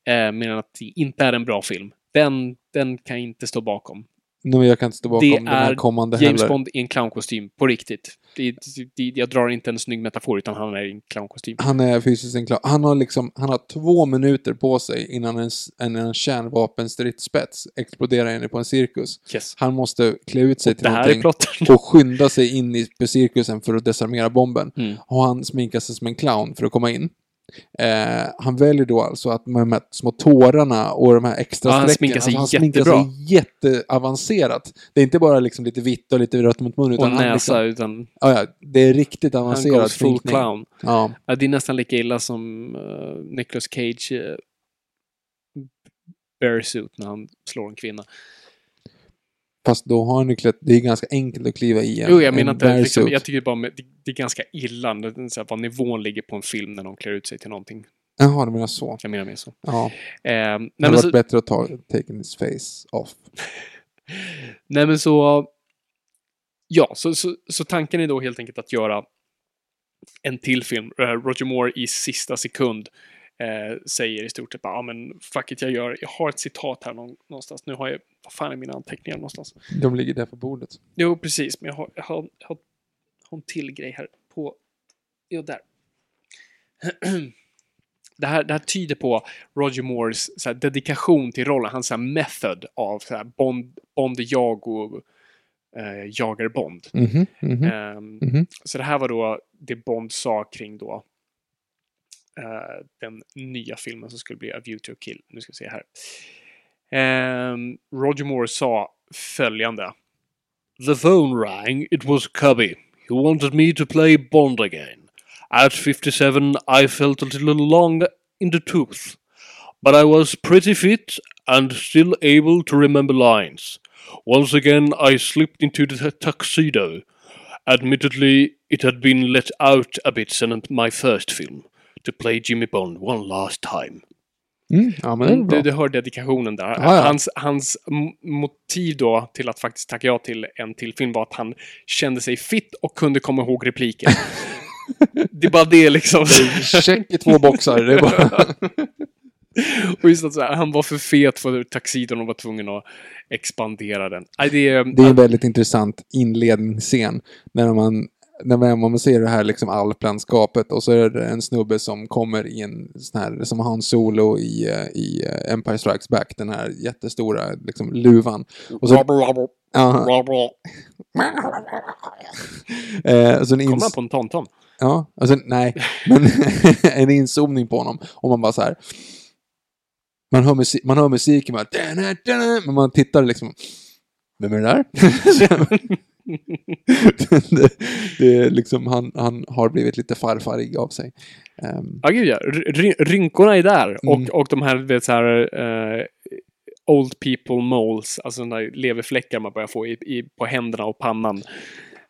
C: Eh, medan att det inte är en bra film. Den, den kan jag inte stå bakom.
B: Nej, men jag kan inte stå bakom
C: Det
B: den här
C: är
B: kommande
C: James
B: heller.
C: Bond i en cloownkostym, på riktigt. Det, det, jag drar inte en snygg metafor, utan han är i en clownnkostym.
B: Han är fysiskt en clown. Han har liksom, han har två minuter på sig innan en, s- en, en kärnvapenstridsspets exploderar inne på en cirkus.
C: Yes.
B: Han måste klä ut sig till
C: Det här är
B: någonting
C: plotten.
B: och skynda sig in i på cirkusen för att desarmera bomben.
C: Mm.
B: Och han sminkar sig som en clown för att komma in. Eh, han väljer då alltså att med de här små tårarna och de här extra
C: Ja, han
B: strecken,
C: sminkar sig
B: alltså, han sminkar
C: jättebra.
B: sig jätteavancerat. Det är inte bara liksom lite vitt och lite rött mot mun,
C: Och
B: utan han liksom,
C: näsa, utan
B: ja, ja, det är riktigt
C: han
B: avancerad
C: goes full
B: sminkning.
C: clown.
B: Ja.
C: Ja, det är nästan lika illa som eh, Nicolas Cage uh, bearsuit när han slår en kvinna.
B: Fast då har han ju klätt, det är ganska enkelt att kliva i en
C: Jo, jag
B: en
C: menar inte, liksom,
B: bearsuit.
C: jag tycker bara med, det, det är ganska illa det är så här, vad nivån ligger på en film när de klär ut sig till någonting.
B: Jaha, du menar så.
C: Jag menar mer så. Eh,
B: Ja.
C: nej,
B: Det hade
C: men
B: varit
C: så
B: bättre att ta taken his face off.
C: nej, men så... Ja, så, så, så tanken är då helt enkelt att göra en till film. Eh, Roger Moore i sista sekund eh, säger i stort sett bara, ja men fuck it, jag gör, jag har ett citat här någon, någonstans. Nu har jag, vad fan är mina anteckningar någonstans?
B: De ligger där på bordet.
C: Jo, precis. Men jag har, jag har, jag har, jag har en till grej här på... Jo, där. Det här, det här tyder på Roger Moores så här, dedikation till rollen, hans så här, method av så här, Bond, Bond är jag och eh, jagar Bond.
B: Mhm, mhm,
C: Ehm,
B: mhm.
C: så det här var då det Bond sa kring då eh, den nya filmen som skulle bli A View to a Kill. Nu ska vi se här. Ehm, Roger Moore sa följande. The phone rang. It was Cubby. He wanted me to play Bond again. At 57 I felt a little long in the tooth. But I was pretty fit and still able to remember lines. Once again I slipped into the tuxedo. Admittedly, it had been let out a bit since my first film, to play Jimmy Bond one last time.
B: Mm, ja, men det är bra.
C: du, du hör dedikationen där.
B: ja.
C: Hans, hans m- motiv då till att faktiskt tacka ja till en till film var att han kände sig fit och kunde komma ihåg repliken. det är bara det liksom.
B: Check i två boxar. Det är bara...
C: och just att så här, han var för fet för taxidon och var tvungen att expandera den. Nej, det är,
B: Det är en väldigt intressant inledningsscen. När man, när man, man ser det här liksom alplandskapet och så är det en snubbe som kommer i en sån här, som Han Solo i, eh, i eh, Empire Strikes Back, den här jättestora liksom, luvan. Och så, ja, eh, så en
C: Kom
B: ins-
C: han på en tomtom?
B: Ja, alltså nej, men en inzoomning på honom. Och man bara så här. Man hör, musi- man hör musiken bara... "Dana, dana", Men man tittar liksom... Vem är det där? det, det är liksom, han, han har blivit lite farfarig av sig. Ehm,
C: Ja, gud ja. R- ry- rynkorna är där.
B: Mm.
C: Och, och de här, vet, så här eh, old people moles, alltså de där leverfläckar man börjar få i, i, på händerna och pannan.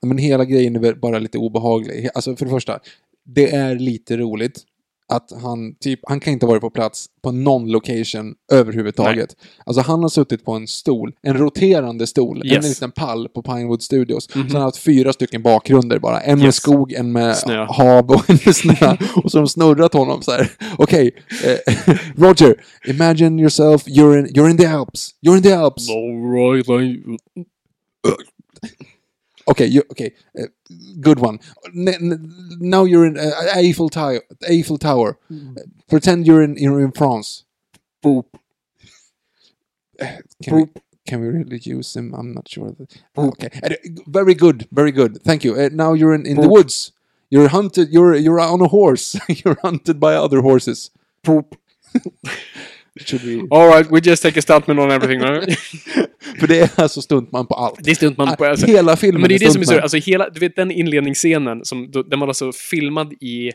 B: men hela grejen är väl bara lite obehaglig. Alltså för det första, det är lite roligt att han, typ, han kan inte ha varit på plats på någon location överhuvudtaget. Alltså han har suttit på en stol, en roterande stol,
C: Yes. Mhm.
B: en liten pall på Pinewood Studios. Så han har haft fyra stycken bakgrunder bara. En med
C: Yes.
B: skog, en med
C: Snö.
B: hav och en med snö. och så har de snurrat honom så här. Okej, eh, Roger, imagine yourself, you're in, you're in the Alps. You're in the Alps. Okay, you okay. Uh, good one. N- n- now you're in uh, Eiffel Tower. Eiffel Tower.
C: Mm-hmm.
B: Uh, pretend you're in you're in France. Uh,
C: Boop.
B: Can, We, can we really use him? I'm not sure. That, okay, Uh, very good, very good. Thank you. Uh, now you're in, in the
C: Boop.
B: woods. You're hunted. You're you're on a horse. you're hunted by other horses. Poop. Should we?
C: All right, we just take a stuntman on everything. right?
B: För det är alltså stuntman på allt.
C: det är stuntman på... Alltså,
B: Hela filmen
C: men det är det som är så,
B: stuntman.
C: alltså hela, du vet den inledningsscenen som, då- den var alltså filmad i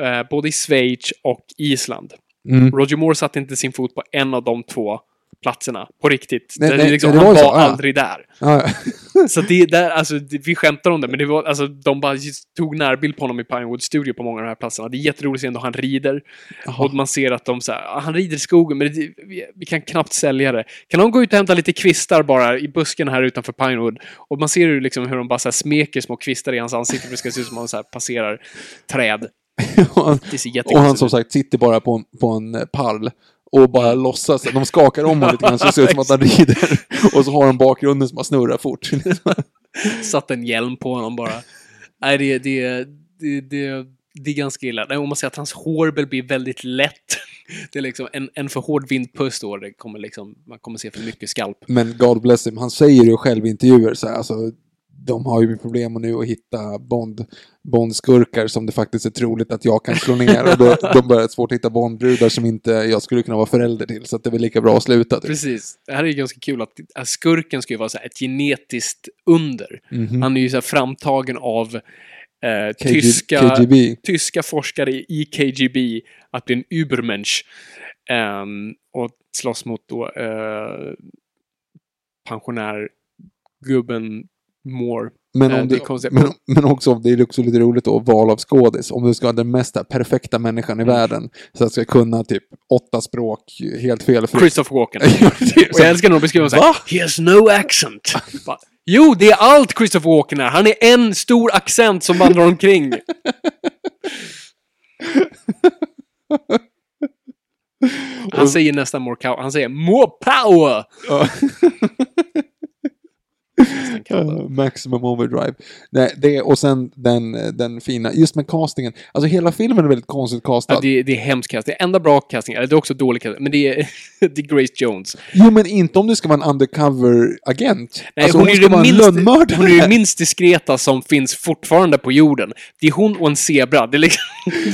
C: eh, både i Schweiz och Island.
B: Mm.
C: Roger Moore satte inte sin fot på en av de två platserna på riktigt.
B: Nej,
C: det,
B: nej,
C: är liksom,
B: nej, det
C: han
B: var ju
C: var
B: så, ja.
C: aldrig där.
B: Ja, ja.
C: Så det är där, alltså, det- vi skämtar om det, men det var, alltså, de bara just tog närbild på honom i Pinewood Studio på många av de här platserna. Det är jätteroligt att se då han rider.
B: Jaha.
C: Och man ser att de så här, "Ah, han rider i skogen, men det, vi, vi kan knappt sälja det. Kan de gå ut och hämta lite kvistar bara i busken här utanför Pinewood? Och man ser ju liksom hur de bara så här smeker små kvistar i hans ansikte för det ska se ut som att han så här passerar träd. Det ser jättekonstigt
B: Och han som
C: ut.
B: sagt sitter bara på en, på en eh, pall och bara låtsas. De skakar om honom lite grann så det ser ut som att han rider. Och så har han bakgrunden som bara snurrar fort.
C: satt en hjälm på honom bara. Nej, det, det, det, det, det är ganska illa. Nej, om man säger att hans hårbel blir väldigt lätt. Det är liksom en, en för hård vindpust då, det kommer liksom, man kommer se för mycket skalp.
B: Men God bless him, han säger ju själv i intervjuer så här, alltså de har ju problem nu att hitta Bond, Bondskurkar som det faktiskt är troligt att jag kan slå ner. Och då, de börjar svårt att hitta Bondbrudar som inte jag skulle kunna vara förälder till. Så att det är väl lika bra att sluta. Typ.
C: Precis. Det här är ju ganska kul att, att skurken ska ju vara så här ett genetiskt under.
B: Mhm.
C: Han är ju så här framtagen av eh,
B: KG
C: tyska,
B: KGB.
C: tyska forskare i KGB att bli en Übermensch. Ehm, och slåss mot då eh, pensionärgubben Moore.
B: Men,
C: Eh,
B: om
C: det
B: du,
C: är konstigt.
B: men, men också, det är också lite roligt då, val av skådis. Om du ska ha den mest här perfekta människan i
C: Mm.
B: världen, så att ska kunna typ åtta språk helt felfritt.
C: Christopher Walken.
B: Typ
C: Och jag
B: så.
C: älskar när de beskriver honom
B: Va?
C: såhär. He has no accent. Bara, jo, det är allt Christopher Walken är. Han är en stor accent som vandrar omkring. Han säger nästan more cow. Han säger more power!
B: Ja.
C: som han kallar det.
B: Eh, Maximum overdrive. Nej, det, och sen den, den fina, just med castingen. Alltså hela filmen är väldigt konstigt castad.
C: Ja, det, det är hemskt casting. Enda bra casting, eller det är också dålig casting, men det är, det är Grace Jones.
B: Jo men inte om du ska vara en undercover-agent.
C: Nej,
B: alltså,
C: hon, är
B: ska vara
C: det
B: en
C: minst,
B: lönnmördare.
C: hon är det minst diskreta som finns fortfarande på jorden. Det är hon och en zebra. Det är liksom...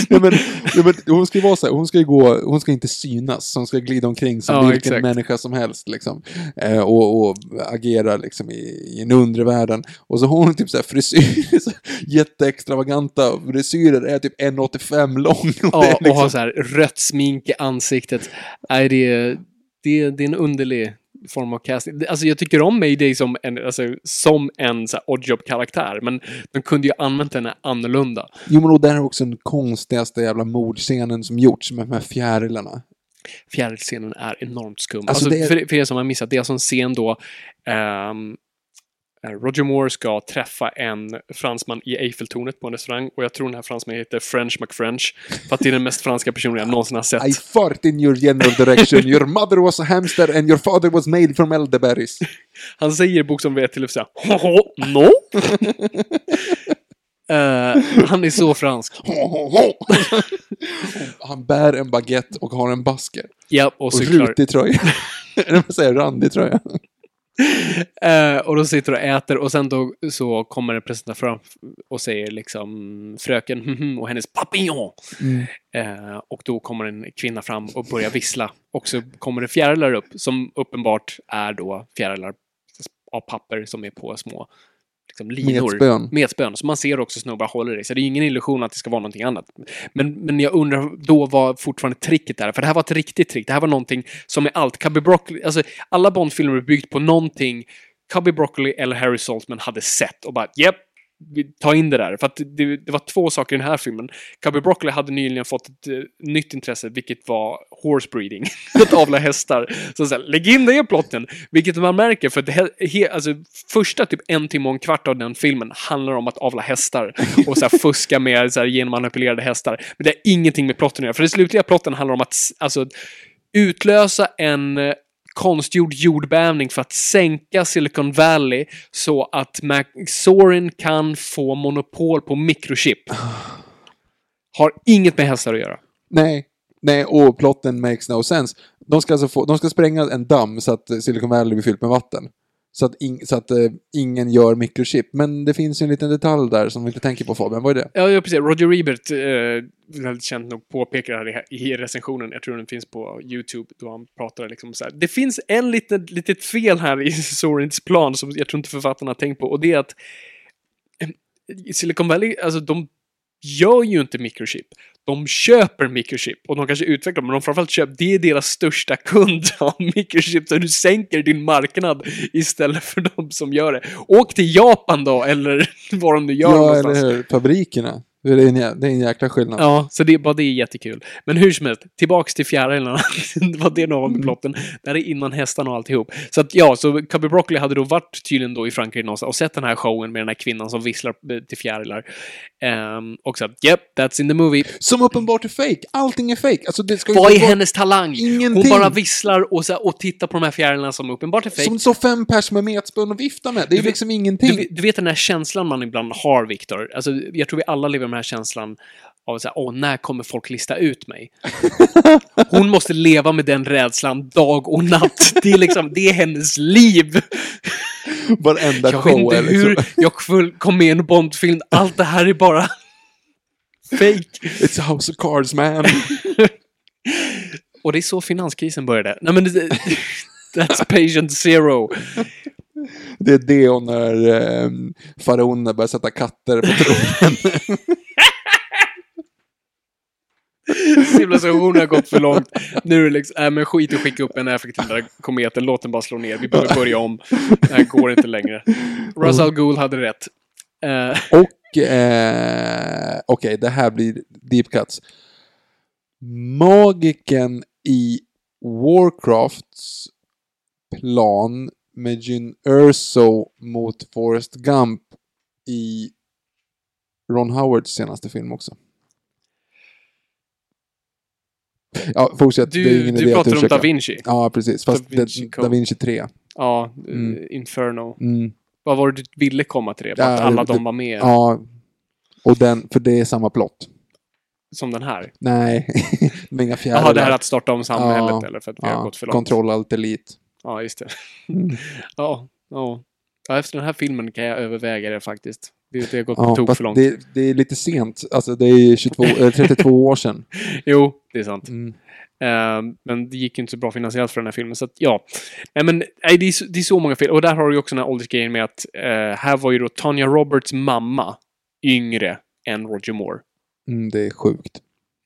B: ja, men, ja, men, hon ska ju vara så här, hon ska ju gå, hon ska inte synas, hon ska glida omkring som
C: Ja,
B: vilken
C: exakt.
B: människa som helst liksom. Eh, och, och agera liksom i, i den undre världen. Och så har hon typ så här frisyr, så jätteextravaganta frisyrer, är typ 1,85 lång. Och det är
C: Ja, och har
B: liksom,
C: så här rött smink i ansiktet. Nej, det, är- det, är- det är en underlig form av casting. Det- Alltså jag tycker om May Day som en, alltså, som en så här oddjob-karaktär, men de kunde ju använt henne annorlunda.
B: jo men och där är också den konstigaste jävla mordscenen som gjorts med de här fjärilarna.
C: Fjärilscenen är enormt skum.
B: Alltså,
C: Alltså,
B: det är-
C: för, för er som har missat, det är alltså en scen då ehm, Roger Moore ska träffa en fransman i Eiffeltornet på en restaurang och jag tror den här fransmannen heter French McFrench för att det är den mest franska personen jag någonsin har sett.
B: I fart in your general direction, your mother was a hamster and your father was made from elderberries.
C: Han säger bokstavligen vid ett tillfälle såhär "Hoho, no. Eh, han är så fransk.
B: Han bär en baguette och har en basker.
C: Ja, och
B: Och
C: cyklar.
B: rutig tröja. Eller vad säger jag, randig tröja.
C: Eh, och de sitter och äter och sen då så kommer en presentant fram och säger liksom fröken mhm, och hennes papillon. Eh, och då kommer en kvinna fram och börjar vissla. Och så kommer det fjärilar upp som uppenbart är då fjärilar av papper som är på små liksom, linor.
B: Metspön.
C: metspön. Så man ser också snubbar håller i. Så det är ingen illusion att det ska vara någonting annat. Men, men jag undrar då vad fortfarande tricket är. För det här var ett riktigt trick. Det här var någonting som är allt. Cubby Broccoli, alltså alla Bond-filmer är byggt på någonting Cubby Broccoli eller Harry Saltman hade sett och bara japp, vi tar in det där. För att det, det var två saker i den här filmen. Cubby Broccoli hade nyligen fått ett eh, nytt intresse, vilket var horse breeding. att avla hästar. Så, så här, lägg in det i plotten! Vilket man märker, för att he, he, alltså, första typ en timme och en kvart av den filmen handlar om att avla hästar och så här, fuska med så här, genmanipulerade hästar. Men det har ingenting med plotten att göra, för den slutliga plotten handlar om att s- alltså, utlösa en eh, konstgjord jordbävning för att sänka Silicon Valley så att Mac Sorin kan få monopol på mikrochip. Har inget med hästar att göra.
B: Nej. Nej, och plotten makes no sense. De ska, alltså få, de ska spränga en damm så att eh, Silicon Valley blir fyllt med vatten. Så att, ing- så att eh, ingen gör mikrochip. Men det finns ju en liten detalj där som vi inte tänker på Fabian. Vad är det?
C: Ja, ja precis. Roger Ebert, eh, väldigt känd nog, påpekar det här i recensionen. Jag tror den finns på YouTube, då han pratar liksom så här. Det finns en liten, litet fel här i Sorins plan som jag tror inte författarna har tänkt på och det är att eh, Silicon Valley, alltså de gör ju inte microchip. De köper microchip och de kanske utvecklar men de framförallt köper, det är deras största kund av microchip, så du sänker din marknad istället för de som gör det. Åk till Japan då, eller var de nu gör
B: Ja,
C: någonstans.
B: eller hur? Fabrikerna. Det är en, jä- det är en jäkla skillnad.
C: Ja, så det, bara det är jättekul. Men hur som helst, tillbaks till fjärilarna. det var det någon med plotten. Det här är innan hästarna och alltihop. Så att ja, så Cubby Broccoli hade då varit tydligen då i Frankrike någonstans och sett den här showen med den här kvinnan som visslar eh, till fjärilar. Ehm, och sagt yep, that's in the movie.
B: Som uppenbart är fake. Allting är fake. Alltså, det ska ju
C: Vad är
B: inte vara-
C: hennes talang?
B: Ingenting.
C: Hon bara visslar och, så, här- och tittar på de här fjärilarna som uppenbart är fake.
B: Som står fem pers med metspön och viftar med. Det är
C: Du vet-
B: liksom ingenting.
C: Du, du vet den här känslan man ibland har, Viktor? Alltså, jag tror vi alla lever med den här känslan av så här, åh, när kommer folk lista ut mig? Hon måste leva med den rädslan dag och natt. Det är liksom, det är hennes liv.
B: Varenda
C: Jag vet
B: show
C: inte
B: är liksom.
C: hur jag kv- kom med i en Bondfilm. Allt det här är bara fake.
B: It's a house of cards man.
C: Och det är så finanskrisen började. Nej men det- that's patient zero.
B: Det är det och när eh, faraonerna börjar sätta katter på tronen.
C: Civilisationen har gått för långt. Nu är det liksom, nej men skit och skicka upp en effektiv där kometen. Låt den bara slå ner. Vi behöver börja om. Det här går inte längre. Ra's
B: Mm.
C: al Ghul hade rätt. Eh,
B: Och, eh, okej, det här blir deep cuts. Magiken i Warcrafts plan med Jyn Erso mot Forrest Gump i Ron Howards senaste film också. Ja, fortsätt. det är
C: du
B: ingen
C: du
B: idé att
C: pratar om
B: ursäkta.
C: Da Vinci.
B: Ja, precis. Fast
C: Da Vinci
B: det-
C: Code.
B: Da Vinci 3.
C: Ja, eh,
B: Mm.
C: Inferno.
B: Mm.
C: Vad var det du ville komma till det? Bara Att
B: Ja,
C: alla
B: det-
C: de var med
B: Ja. Och den, för det är samma plott.
C: som den här?
B: Nej, det är inga fjärilar.
C: Jaha, det här att starta om samhället
B: Ja,
C: eller för att vi har
B: ja,
C: gått för långt.
B: Control Alt Elite.
C: Ja, just det.
B: Mm.
C: Ja, ja. ja, efter den här filmen kan jag överväga det faktiskt. Det, det har gått på
B: Ja,
C: tok
B: fast
C: för långt.
B: det, det är lite sent. Alltså det är ju 22, eh, 32 år sedan.
C: Jo, det är sant.
B: Mm.
C: Ehm, men det gick ju inte så bra finansiellt för den här filmen. Så att, ja. Nej, men nej, det, är så, det är så många fel. Och där har du ju också den här åldersgrejen med att eh, här var ju då Tanya Roberts mamma yngre än Roger Moore.
B: Mm, det är sjukt.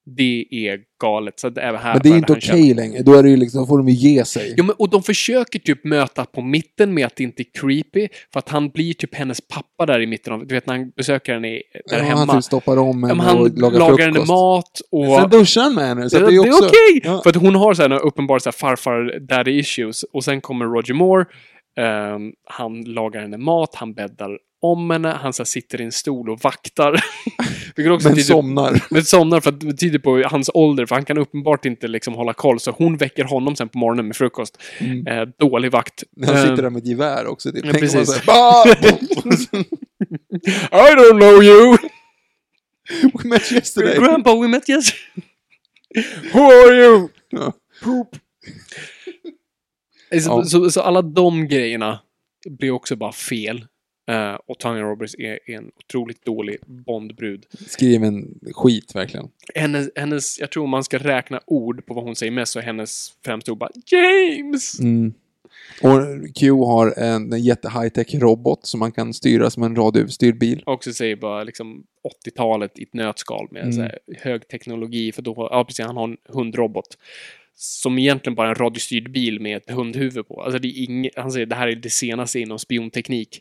C: Det är galet. Så att även här
B: Men det är
C: började
B: inte
C: han
B: okej
C: känna-
B: längre. Då, är det ju liksom, då får de ju ge sig.
C: Jo, men, och de försöker typ möta på mitten med att det inte är creepy. För att han blir typ hennes pappa där i mitten. Av, du vet när han besöker henne i, där
B: Ja,
C: hemma.
B: han typ stoppar om
C: Ja, men
B: henne
C: han
B: och lagar,
C: lagar, henne
B: frukost.
C: mat och...
B: Sen duschar han med henne. Så
C: det,
B: att det är,
C: det är
B: också...
C: okej!
B: Ja.
C: För att hon har så här några uppenbara så här farfar daddy issues. Och sen kommer Roger Moore. ehm, han lagar henne mat, han bäddar om henne, han så här, sitter i en stol och vaktar. Vilket också
B: Men
C: tyder,
B: somnar.
C: men somnar för att det tyder på hans ålder, för han kan uppenbart inte liksom hålla koll. Så hon väcker honom sen på morgonen med frukost.
B: Mm.
C: Eh, dålig vakt.
B: Han
C: Ehm,
B: sitter där med ett gevär också. typ. Det
C: ja,
B: tänker man
C: precis.
B: så här, "Bah!"
C: I don't know you!
B: We met yesterday.
C: Grandpa, we met yes! Who are you?
B: Ja.
C: Så,
B: Ja.
C: Alltså, så, så alla de grejerna blir också bara fel. Eh, och Tanya Roberts är en otroligt dålig Bondbrud.
B: Skriven skit verkligen.
C: Hennes, hennes, jag tror om man ska räkna ord på vad hon säger mest så är hennes främsta ord bara James!
B: Mm. Och Q har en, en jätte high tech robot som man kan styra som en radiostyrd bil.
C: Och också säger bara liksom 80-talet i ett nötskal med
B: Mm.
C: så här, hög teknologi för då, ja precis, han har en hundrobot. Som egentligen bara är en radiostyrd bil med ett hundhuvud på. Alltså det är inget, han säger det här är det senaste inom spionteknik.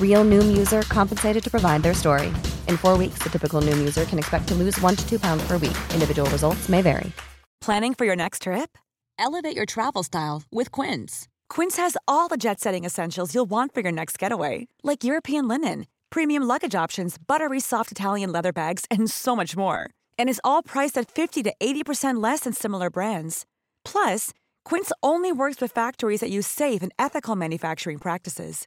D: Real Noom user compensated to provide their story. In four weeks, the typical Noom user can expect to lose one to two pounds per week. Individual results may vary.
E: Planning for your next trip? Elevate your travel style with Quince. Quince has all the jet setting essentials you'll want for your next getaway, like European linen, premium luggage options, buttery soft Italian leather bags, and so much more. And is all priced at 50 to 80% less than similar brands. Plus, Quince only works with factories that use safe and ethical manufacturing practices.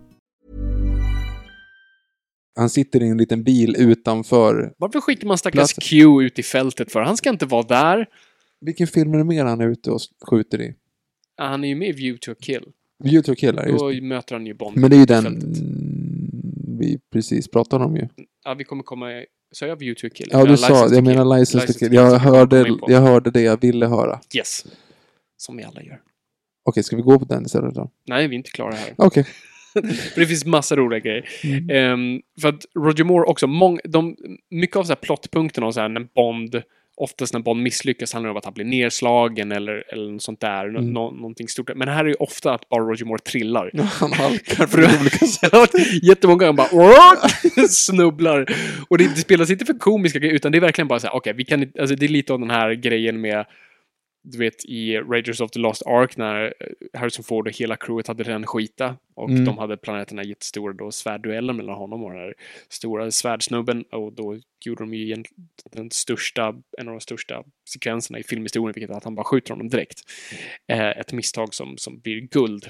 B: han sitter i en liten bil utanför.
C: Varför skickar man stackars
B: Plötsligt.
C: Q ut i fältet för? Han ska inte vara där.
B: Vilken film är det mer han är ute och skjuter i?
C: Ja, Han är ju med i View to a kill.
B: Youtube killar, just
C: Då möter han ju Bond.
B: Men det är ju
C: i
B: den...
C: fältet.
B: vi precis pratade om ju.
C: Ja, vi kommer komma... Sa jag view to a kill?
B: Ja, du sa,
C: License to
B: jag menar
C: Kill.
B: License to
C: License to
B: Kill. Jag
C: Kill kommer
B: hörde,
C: vi in på.
B: jag hörde det jag ville höra. Okej,
C: Yes. Som vi alla gör.
B: ska vi gå på den istället då?
C: Nej, vi er är inte klara här.
B: Okej.
C: För det finns massa roliga grejer. Ehm, för att Roger Moore också, mång, de, mycket av så här plottpunkterna och så här när Bond, oftast när Bond misslyckas handlar det om att han blir nerslagen eller, eller något sånt där. Nå, nå, någonting stort. Men här är ju ofta att bara Roger Moore trillar.
B: Han halkar
C: För det- Jag har hört Jättemånga gånger bara "Åh!" snubblar. Och det, det spelas inte för komiska grejer, utan det är verkligen bara så här, okej, vi kan inte- alltså det är lite av den här grejen med du vet i Raiders of the Lost Ark när eh, Harrison Ford och hela crewet hade den skita och
B: Mm.
C: de hade planerat den här jättestora då svärdduellen mellan honom och den här stora svärdsnubben och då gjorde de ju egentligen den största, en av de största sekvenserna i filmhistorien, vilket är att han bara skjuter honom direkt. Eh, ett misstag som, som blir guld.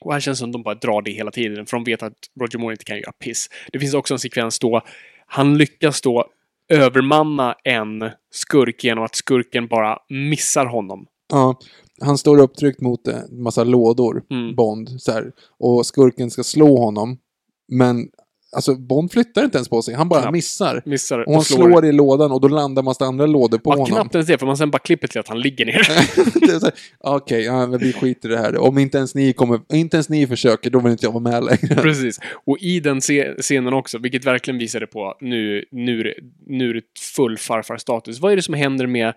C: Och här känns det som de bara drar det hela tiden, för de vet att Roger Moore inte kan göra piss. Det finns också en sekvens då han lyckas då övermanna en skurk genom att skurken bara missar honom.
B: Ja, han står upptryckt mot en massa lådor,
C: Mm.
B: Bond, så här, och skurken ska slå honom. Men alltså, Bond flyttar inte ens på sig, han bara
C: Knappt.
B: missar.
C: Missar
B: Och han slår. i lådan och då landar massa andra lådor på
C: Mm. ja,
B: honom.
C: knappt ens det, för man sen bara klipper till att han ligger ner.
B: Det är så här, Okej, ja, men vi skiter i det här. Om inte ens ni, kommer, inte ens ni försöker, då vill inte jag vara med längre.
C: Precis. Och i den se- scenen också, vilket verkligen visade på nu, nu, är det- nu är det full farfarstatus. Vad är det som händer med,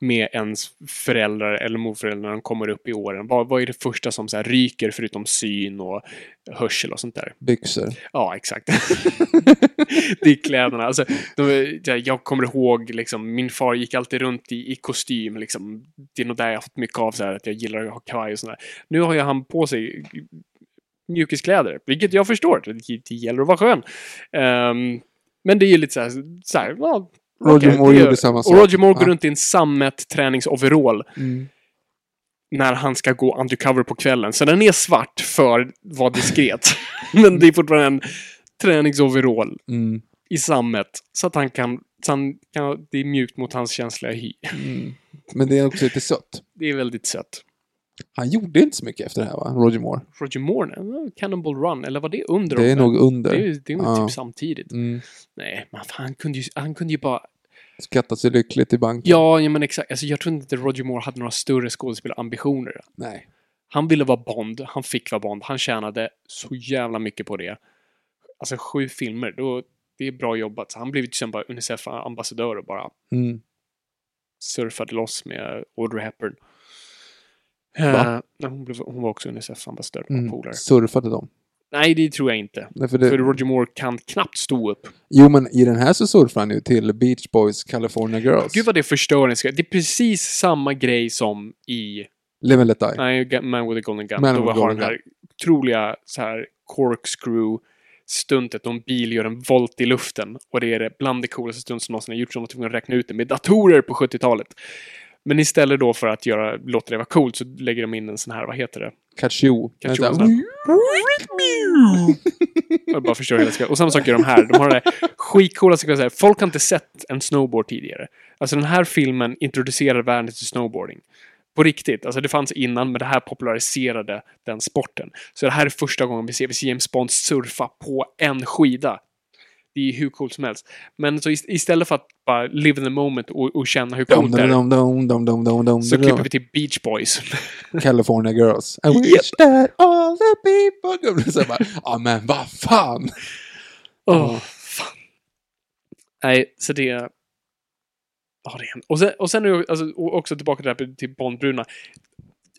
C: med ens föräldrar eller morföräldrar när de kommer upp i åren? Vad, vad är det första som så här ryker förutom syn och hörsel och sånt där?
B: Byxor.
C: Ja, exakt. det är kläderna. Alltså, de, jag- jag kommer ihåg, liksom, min far gick alltid runt i, i kostym. Liksom. Det är nog där jag har fått mycket av, så här, att jag gillar att ha kavaj och sådär. Nu har ju han på sig mjukiskläder, vilket jag förstår. Det, det gäller att vara skön. Ehm, men det är ju lite så här, så här ja,
B: Roger
C: okej,
B: Moore
C: det gör-
B: gjorde samma sak.
C: Och Roger Moore går
B: Ja.
C: runt i en sammet träningsoverall
B: Mm.
C: när han ska gå undercover på kvällen. Så den är svart för att vara diskret. Men det är fortfarande en träningsoverall
B: Mm.
C: i sammet. Så att han kan, så han kan... Det är mjukt mot hans känsliga hy.
B: Men det är också lite sött.
C: Det är väldigt sött.
B: Han gjorde inte så mycket efter det här, va? Roger Moore.
C: Roger Moore, nej, Cannonball Run, eller var det under?
B: Det är
C: dem?
B: nog under.
C: Det är, ju- det är nog
B: Ja.
C: typ samtidigt.
B: Mm.
C: Nej, men fan, han kunde ju, han kunde ju bara...
B: Skattat sig lyckligt i banken.
C: Ja, ja men exakt. Alltså, jag tror inte Roger Moore hade några större skådespelarambitioner.
B: Nej.
C: Han ville vara Bond, han fick vara Bond, han tjänade så jävla mycket på det. Alltså sju filmer, då, det är bra jobbat. Så han blev ju sen bara Unicef-ambassadör och bara
B: Mm.
C: surfade loss med Audrey Hepburn.
B: Va?
C: Eh, nej, hon, blev, hon var också Unicef-ambassadör, mm.
B: Mm.
C: polare.
B: Surfade de.
C: Nej, det tror jag inte.
B: Nej, för
C: För
B: det...
C: Roger Moore kan knappt stå upp.
B: Jo, men i den här så surfar han ju till Beach Boys California Girls.
C: Gud vad det förstör en ska- Det är precis samma grej som i
B: Live and let die.
C: Nej, Gu- Man with a Golden Gun.
B: Man
C: då
B: with a
C: har den
B: Golden
C: här otroliga så här corkscrew stuntet då en bil gör en volt i luften. Och det är det bland det coolaste stunt som någonsin har gjorts. De var tvungna att räkna ut det med datorer på 70-talet. Men istället då för att göra, låta det vara coolt så lägger de in en sån här, vad heter det?
B: Kachou.
C: Kachou,
B: Den är så här-
C: sån Och bara förstör hela skrattet. Och samma sak gör de här. De har det här skitcoola sekvenser. Folk har inte sett en snowboard tidigare. Alltså den här filmen introducerar världen till snowboarding. På riktigt. Alltså det fanns innan, men det här populariserade den sporten. Så det här är första gången vi ser, vi ser James Bond surfa på en skida. Det är ju hur coolt som helst. Men så ist- istället för att bara live in the moment och, och känna hur
B: Dum,
C: coolt det
B: dum,
C: är,
B: dum, dum, dum, dum, dum, dum,
C: så
B: dum.
C: klipper vi till Beach Boys.
B: California Girls. I wish that all the people... Gud, så jag bara, ja men vad fan!
C: Åh, fan. Nej, så det... Ja, det är en... Och sen, och sen är det, alltså, och också tillbaka till det här till Bondbruna.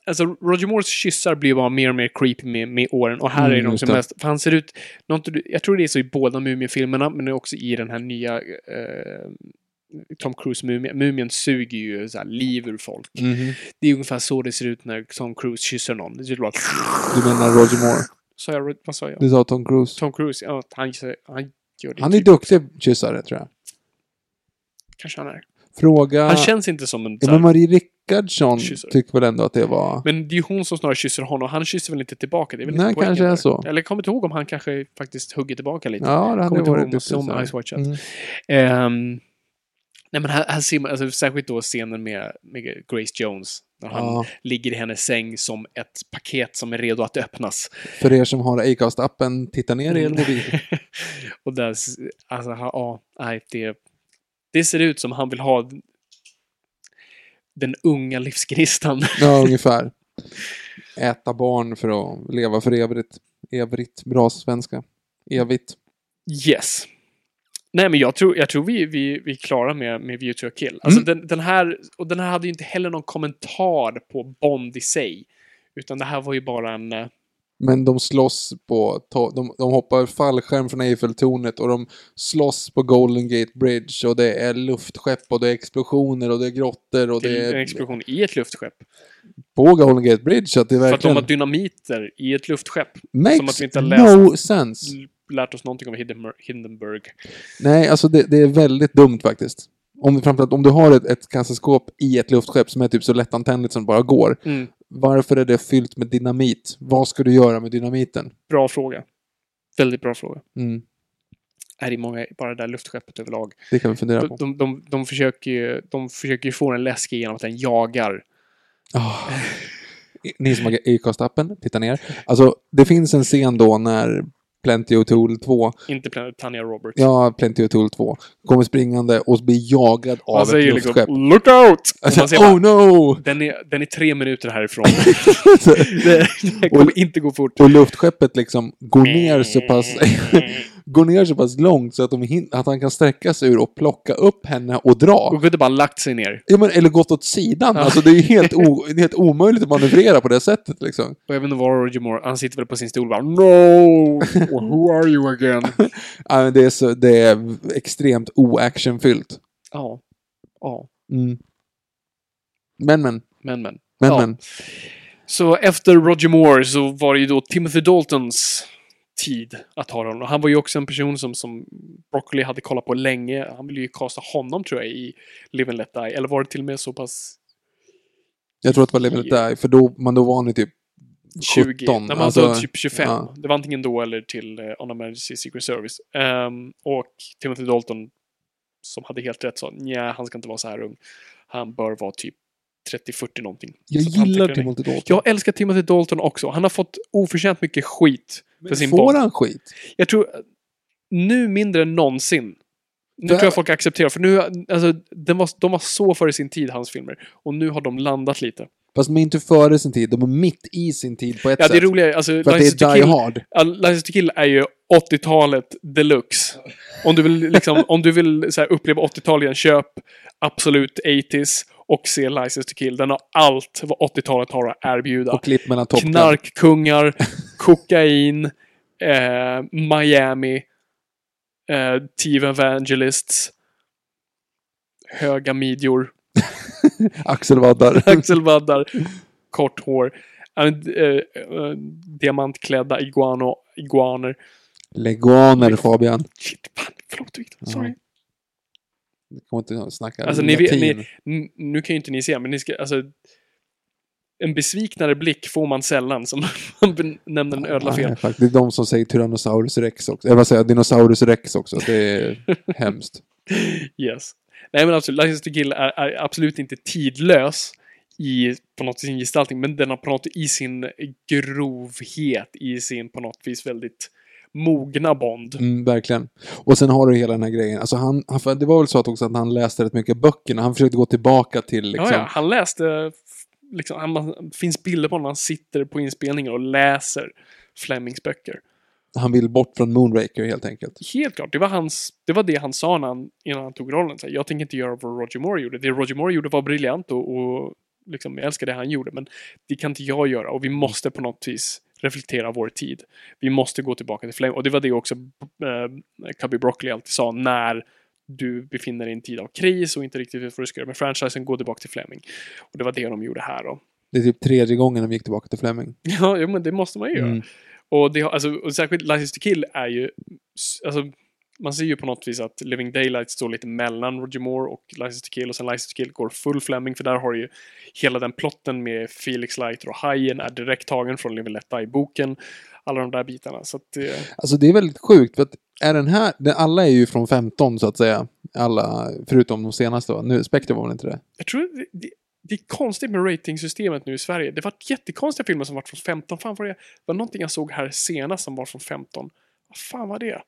C: Alltså, Roger Moores kyssar blir bara mer och mer creepy med, med åren. Och här
B: Mm,
C: är de
B: just
C: som
B: det.
C: mest... För han ser ut... Något, jag tror det är så i båda Mumien-filmerna, men också i den här nya... Eh, Tom Cruise-mumien. Mumien suger ju så här, liv ur folk.
B: Mhm.
C: Det är ungefär så det ser ut när Tom Cruise kysser någon. Det ser ut bara...
B: Du menar Roger Moore?
C: Sa jag, vad sa jag?
B: Du sa Tom Cruise.
C: Tom Cruise, ja, han, han gör det
B: Han är
C: typ.
B: duktig kyssare, tror jag.
C: Kanske han är.
B: Fråga...
C: Han känns inte som en...
B: ja,
C: så
B: men
C: här-
B: Marie Rickardsson
C: Kyssare.
B: tyckte väl ändå att det var...
C: men det är ju hon som snarare kysser honom. Han kysser väl inte tillbaka? Det är väl
B: Nej,
C: lite poängen
B: kanske är
C: där.
B: så.
C: Eller jag kommer inte ihåg om han kanske faktiskt hugger tillbaka lite.
B: Ja, det hade
C: Kommer inte ihåg
B: varit
C: om
B: duktig
C: Selma
B: kyssare.
C: Ice White Chat.
B: Mm.
C: Ehm, nej, men här, här ser man, alltså, särskilt då scenen med, med Grace Jones. när När han
B: Ja.
C: ligger i hennes säng som ett paket som är redo att öppnas.
B: För er som har Acast-appen, titta ner i
C: Mm.
B: er mobil.
C: och där, s- alltså, ha- ja, nej, det, det ser ut som han vill ha d- den unga livsgnistan.
B: Ja, ungefär. Äta barn för att leva för evigt. Evigt, bra svenska. Evigt.
C: Yes. Nej, men jag tror, jag tror vi, vi, vi är klara med, med View to a kill. Alltså
B: Mm.
C: den, den, här, och den här hade ju inte heller någon kommentar på Bond i sig. Utan det här var ju bara en... eh,
B: Men de slåss på, to- de, de hoppar fallskärm från Eiffeltornet och de slåss på Golden Gate Bridge och det är luftskepp och det är explosioner och det är grottor och
C: till
B: det
C: en
B: är
C: explosion i ett luftskepp.
B: på Golden Gate Bridge. Så att det är
C: För att de
B: verkligen
C: har dynamiter i ett luftskepp. som att
B: makes
C: vi inte har läst,
B: no sense.
C: lärt oss någonting om Hindenburg. Hindenburg.
B: Nej, alltså det, det är väldigt dumt faktiskt. Om, framförallt om du har ett, ett kassaskåp i ett luftskepp som är typ så lättantändligt som det bara går.
C: Mm.
B: Varför är det fyllt med dynamit? Vad ska du göra med dynamiten?
C: Bra fråga. Väldigt bra fråga.
B: Mm,
C: Är det många, bara det där luftskeppet överlag.
B: det kan vi fundera
C: De,
B: på.
C: de, de, de, försöker ju, de försöker ju få den läskig genom att den jagar.
B: Ah. Ni som har Acast-appen, titta ner. Alltså, det finns en scen då när Plenty O'Toole 2,
C: Inte Plan- Tanya Roberts.
B: ja, Plenty O'Toole 2, kommer springande och blir jagad av
C: Han
B: ett
C: säger
B: luftskepp.
C: liksom “Look out!” Och man
B: Alltså,
C: ser
B: oh
C: bara,
B: no!
C: den, är, den är tre minuter härifrån. det, det kommer inte gå fort.
B: Och luftskeppet liksom går ner så
C: Mm.
B: pass, går ner så pass långt så att, de hin- att han kan sträcka sig ur och plocka upp henne och
C: Och
B: dra.
C: Gudde bara lagt sig ner.
B: Ja, men, eller gått åt sidan.
C: Ja.
B: Alltså, det är ju helt, o- det är helt omöjligt att manövrera på det sättet liksom.
C: Och även var Roger Moore, han sitter väl på sin stol och bara “No! Who are you again?”
B: Ja, men det, är så, det är extremt oactionfyllt.
C: Ja. Ja.
B: Mm. Men, men.
C: Men, men.
B: Men,
C: ja.
B: men.
C: Så efter Roger Moore så var det ju då Timothy Daltons tid att ha honom. Och Han var ju också en person som, som Broccoli hade kollat på länge. Han ville ju kasta honom tror jag i Live and Let Die. Eller var det till och med så pass
B: Jag tror att det var Live and Let Die, för då, man då var ni typ
C: 20?
B: 17.
C: Nej, men alltså, typ 25.
B: ja.
C: Det var antingen då eller till eh, On Emergency Secret Service. Ehm, och Timothy Dalton som hade helt rätt sa nej han ska inte vara så här ung. Han bör vara typ 30-40 någonting.
B: Jag
C: Så att han
B: gillar
C: tycker den är-
B: Timothy Dalton.
C: Jag älskar Timothy Dalton också. Han har fått oförtjänt mycket skit för sin
B: Får
C: Bond.
B: han skit?
C: Jag tror nu mindre än någonsin. Nu
B: Det-
C: tror jag folk accepterar, för nu, alltså, den var, de var så före sin tid, hans filmer. Och nu har de landat lite.
B: Fast de är inte före sin tid, de är mitt i sin tid på ett
C: Ja, det
B: sätt.
C: roliga är, alltså,
B: För att det
C: License to
B: är Die
C: Kill,
B: Hard.
C: ja, License to Kill är ju 80-talet deluxe. Om du vill, liksom, om du vill så här, uppleva 80-talet igen, köp Absolut 80s och se License to Kill. Den har allt vad 80-talet har att erbjuda.
B: Och klipp mellan Top Gun.
C: knarkkungar, kokain, eh, Miami, eh, TV Evangelists, höga midjor,
B: Axel Vaddar.
C: axelvaddar, kort hår, eh, eh, eh, diamantklädda iguano, iguaner.
B: Leguaner, Fabian.
C: Shit, fan, förlåt Victor, sorry.
B: Vi kommer inte att snacka
C: Alltså, ni vet-
B: latin.
C: ni- N- Nu kan ju inte ni se, men ni ska, alltså, en besviknare blick får man sällan som man nämner en ödla fel.
B: Nej, faktiskt. Det är de som säger Tyrannosaurus rex också. Eh, Jag vill säga Dinosaurus rex också. Det är hemskt.
C: Yes. Nej men absolut, License to Kill är, är absolut inte tidlös i på något sin gestaltning, men den har på något i sin grovhet, i sin på något vis väldigt mogna Bond.
B: Mm, verkligen. Och sen har du hela den här grejen. Alltså han, han, för det var väl så att, också att han läste rätt mycket böckerna. Han försökte gå tillbaka till liksom...
C: Ja, ja, han läste, liksom, han, man- det finns bilder på honom, han sitter på inspelningar och läser Flemings böcker.
B: Han vill bort från Moonraker helt enkelt.
C: Helt klart, det var, hans, det var det han sa när han, innan han tog rollen. Så här, jag tänker inte göra vad Roger Moore gjorde. Det Roger Moore gjorde var briljant och, och liksom, jag älskar det han gjorde, men det kan inte jag göra och vi måste på något vis reflektera vår tid. Vi måste gå tillbaka till Flame. Och det var det också eh, Cubby Broccoli alltid sa när du befinner dig i en tid av kris och inte riktigt vet vad du ska göra med franchisen, gå tillbaka till Fleming. Och det var det de gjorde här då.
B: Det är typ tredje gången de gick tillbaka till Fleming.
C: Ja, jo, men det måste man ju göra.
B: Mm.
C: Och, det, har- alltså, och särskilt License to Kill är ju... s- Alltså, man ser ju på något vis att Living Daylight står lite mellan Roger Moore och License to Kill och sen License to Kill går full Fleming för där har du ju hela den plotten med Felix Leiter och Hajen är direkt tagen från Living Let Die-boken. Alla de där bitarna. Så att, eh,
B: Alltså det är väldigt sjukt för att är den här, den, alla är ju från 15 så att säga. Alla, förutom de senaste va? Nu, Spectre var väl inte det?
C: jag tror det, det är konstigt med ratingsystemet nu i Sverige. Det var jättekonstiga filmer som var från 15. Fan vad det, det var någonting jag såg här senast som var från 15. Vad fan var det?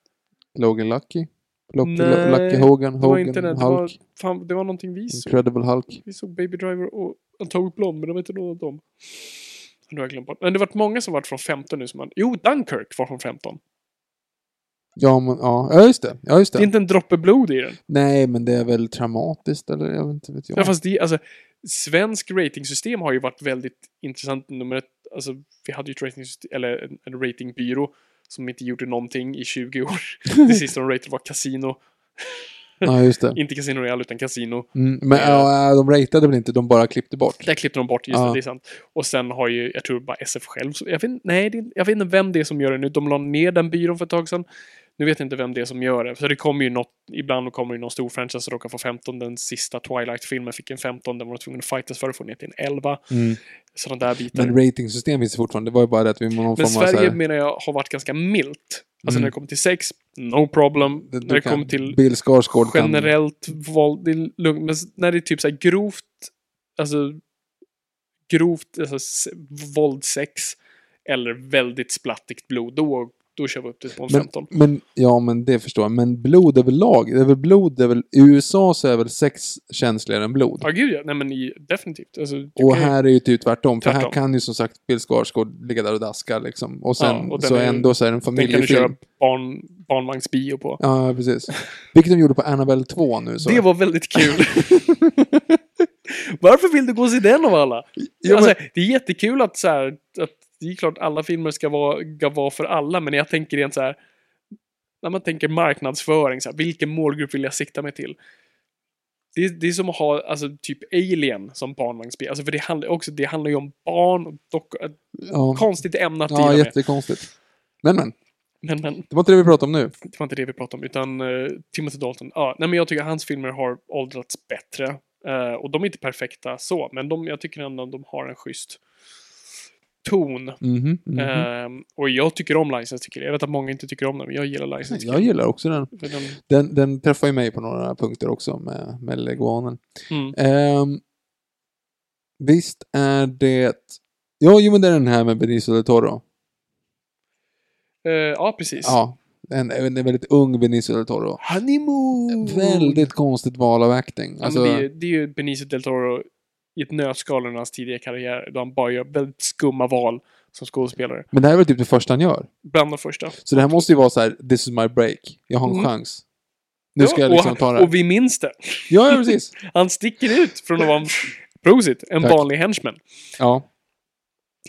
B: Logan Lucky? Lock,
C: Nej,
B: Lucky Hogan,
C: Det var inte
B: Hogan,
C: den.
B: Hulk,
C: Det var, fan, det var någonting vi såg.
B: Incredible Hulk.
C: Vi såg Baby Driver och Atomic Blonde, men det var inte någon av dem. Nu har jag glömt bort. Men det var många som var från 15 nu som man... Jo, Dunkirk var från 15.
B: Ja, men, ja. ja, just det. Ja, just
C: Det
B: det.
C: är inte en droppe blod i den.
B: Nej, men det är väl traumatiskt eller jag vet inte vet jag.
C: Ja, fast det, alltså, svensk ratingsystem har ju varit väldigt intressant. Nummer ett, alltså, vi hade ju ett ratingsystem, eller en, en ratingbyrå som inte gjorde någonting i 20 år. det sista de ratade var Casino.
B: ja, just det.
C: Inte Casino Royale, utan Casino.
B: Mm, men ja, de ratade väl inte, de bara klippte bort.
C: Där klippte de bort, just
B: Ja.
C: det, det är sant. Och sen har ju, jag tror bara SF själv, så- jag vet, nej, det, är- jag vet inte vem det är som gör det nu. De la ner den byrån för ett tag sedan. Nu vet jag inte vem det är som gör det. Så det kommer ju något, ibland kommer ju någon stor franchise som råkar få 15. Den sista Twilight-filmen fick en 15, den var de tvungna att fightas för att få ner till en 11.
B: Mm.
C: Sådana där bitar.
B: Men ratingsystem finns det fortfarande. Det var ju bara det att vi var någon
C: Men
B: form av så
C: Sverige
B: här,
C: menar jag har varit ganska milt. Alltså
B: Mm.
C: när det kommer till sex, no problem.
B: du
C: när det
B: kan-
C: kommer till
B: Bill Skarsgård kan-
C: generellt våld, det är lugnt. Men s- när det är typ så här grovt, alltså grovt alltså, s- våldsex eller väldigt splattigt blod, då, då kör vi upp det på en
B: Men,
C: 15.
B: men, ja, men det förstår jag. Men blod överlag, det är väl blod, det är väl, i USA så är väl sex känsligare än blod.
C: Ja, gud ja. Nej, men i, definitivt. Alltså, du
B: Och
C: kan ju-
B: här är ju typ tvärtom, för här
C: Tvärtom.
B: kan ju som sagt Bill Skarsgård ligga där och daska liksom. Och sen
C: Ja, och den
B: så
C: är ju-
B: ändå så är det en
C: den kan du köra
B: familjefilm.
C: barn, barnvagnsbio på.
B: Ja, precis. Vilket de gjorde på Annabelle 2 nu. Så.
C: Det var väldigt kul. Varför vill du gå och se den av alla?
B: Ja,
C: alltså, det är jättekul att så här, att det är klart alla filmer ska vara, ska vara för alla, men jag tänker rent så här när man tänker marknadsföring, så här, vilken målgrupp vill jag sikta mig till? Det är, det är som att ha alltså, typ Alien som barnvagnsspel. Alltså, för det handlar, också, det handlar ju om barn och dock, ett
B: ja.
C: konstigt ämne att
B: ja,
C: deala med.
B: jättekonstigt. Men men,
C: Men, men
B: det var inte det vi pratade om nu.
C: det var inte det vi pratade om, utan eh, Timothy Dalton. Ja, nej, men jag tycker hans filmer har åldrats bättre. Eh, och de är inte perfekta så, men de, jag tycker ändå att de har en schysst ton.
B: Mhm, mhm.
C: Eh, och jag tycker om License to Kill. Jag vet att många inte tycker om den, men jag gillar License to
B: Jag
C: Kill.
B: gillar också den.
C: För den,
B: Den, den träffar ju mig på några punkter också med, med leguanen.
C: mm,
B: Ehm, visst är det... Ja, jo men det är den här med Benicio del Toro.
C: Eh, ja, precis.
B: Ja, en, en väldigt ung Benicio del Toro.
C: Honeymoon!
B: Väldigt konstigt val av acting.
C: Alltså,
B: Alltså,
C: det, är- det är ju Benicio del Toro i ett nötskal under hans tidiga karriär, då han bara gör väldigt skumma val som skådespelare.
B: Men det här är väl typ det första han gör.
C: Bland de första.
B: Så det här måste ju vara så här: this is my break. Jag har en
C: Mm.
B: chans. Nu ska
C: Ja,
B: jag liksom
C: och,
B: ta det
C: Och
B: här.
C: vi minns det.
B: Ja, ja, precis.
C: Han sticker ut från att vara en, prosit, en
B: Tack.
C: vanlig henchman.
B: Ja.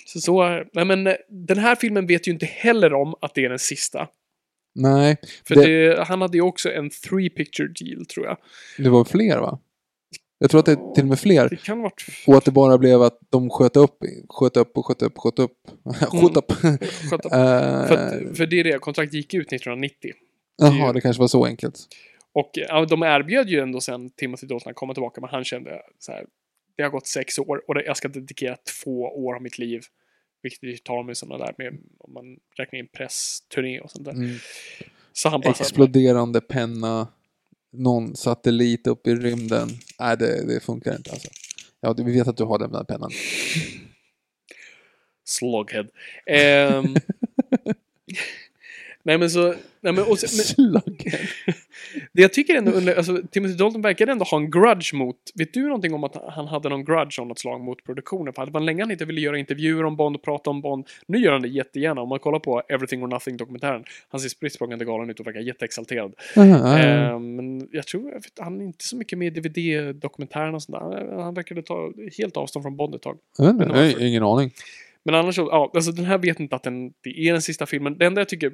C: Så, så är- nej men eh, den här filmen vet ju inte heller om att det är den sista.
B: Nej,
C: För
B: Det-
C: det... han hade ju också en three picture deal, tror jag.
B: det var fler va? Jag tror att det är till och med fler.
C: Det kan ha varit...
B: Och att det bara blev att de sköt upp, sköt upp och sköt upp, sköt upp. sköt upp.
C: skönt att-
B: Eh,
C: Mm. För, att- för det är det, kontraktet gick ut 1990.
B: Jaha, det kanske var så enkelt.
C: Och eh, ja, de erbjöd ju ändå sen Timothy Dalton att komma tillbaka, men han kände så här, det har gått sex år och det- jag ska dedikera två år av mitt liv. Vilket det tar mig sådana där med, om man räknar in pressturné och sånt där.
B: Mm.
C: Så han bara så här,
B: Exploderande penna, någon satellit upp i rymden. Nej, det, det funkar inte alltså. Ja, du- vi vet att du har den där pennan.
C: Sloghead. Ehm, nej men så... Nej men, och sen, men,
B: Sluggen.
C: det jag tycker ändå, under- alltså, Timothy Dalton verkade ändå ha en grudge mot... Vet du någonting om att han hade någon grudge av något slag mot produktionen? För hade man länge han inte ville göra intervjuer om Bond och prata om Bond. Nu gör han det jättegärna. Om man kollar på Everything or Nothing-dokumentären. Han ser spritt språngande galen ut och verkar jätteexalterad.
B: Jaha, Ah, ja, ja.
C: Ehm, Men jag tror, jag vet, han är inte så mycket med i DVD-dokumentären och sånt där. Han- Han verkade ta helt avstånd från Bond ett tag.
B: Jag vet inte, nej, Ingen aning.
C: Men annars så, ja, alltså den här vet inte att den, det är den sista filmen. Det enda jag tycker,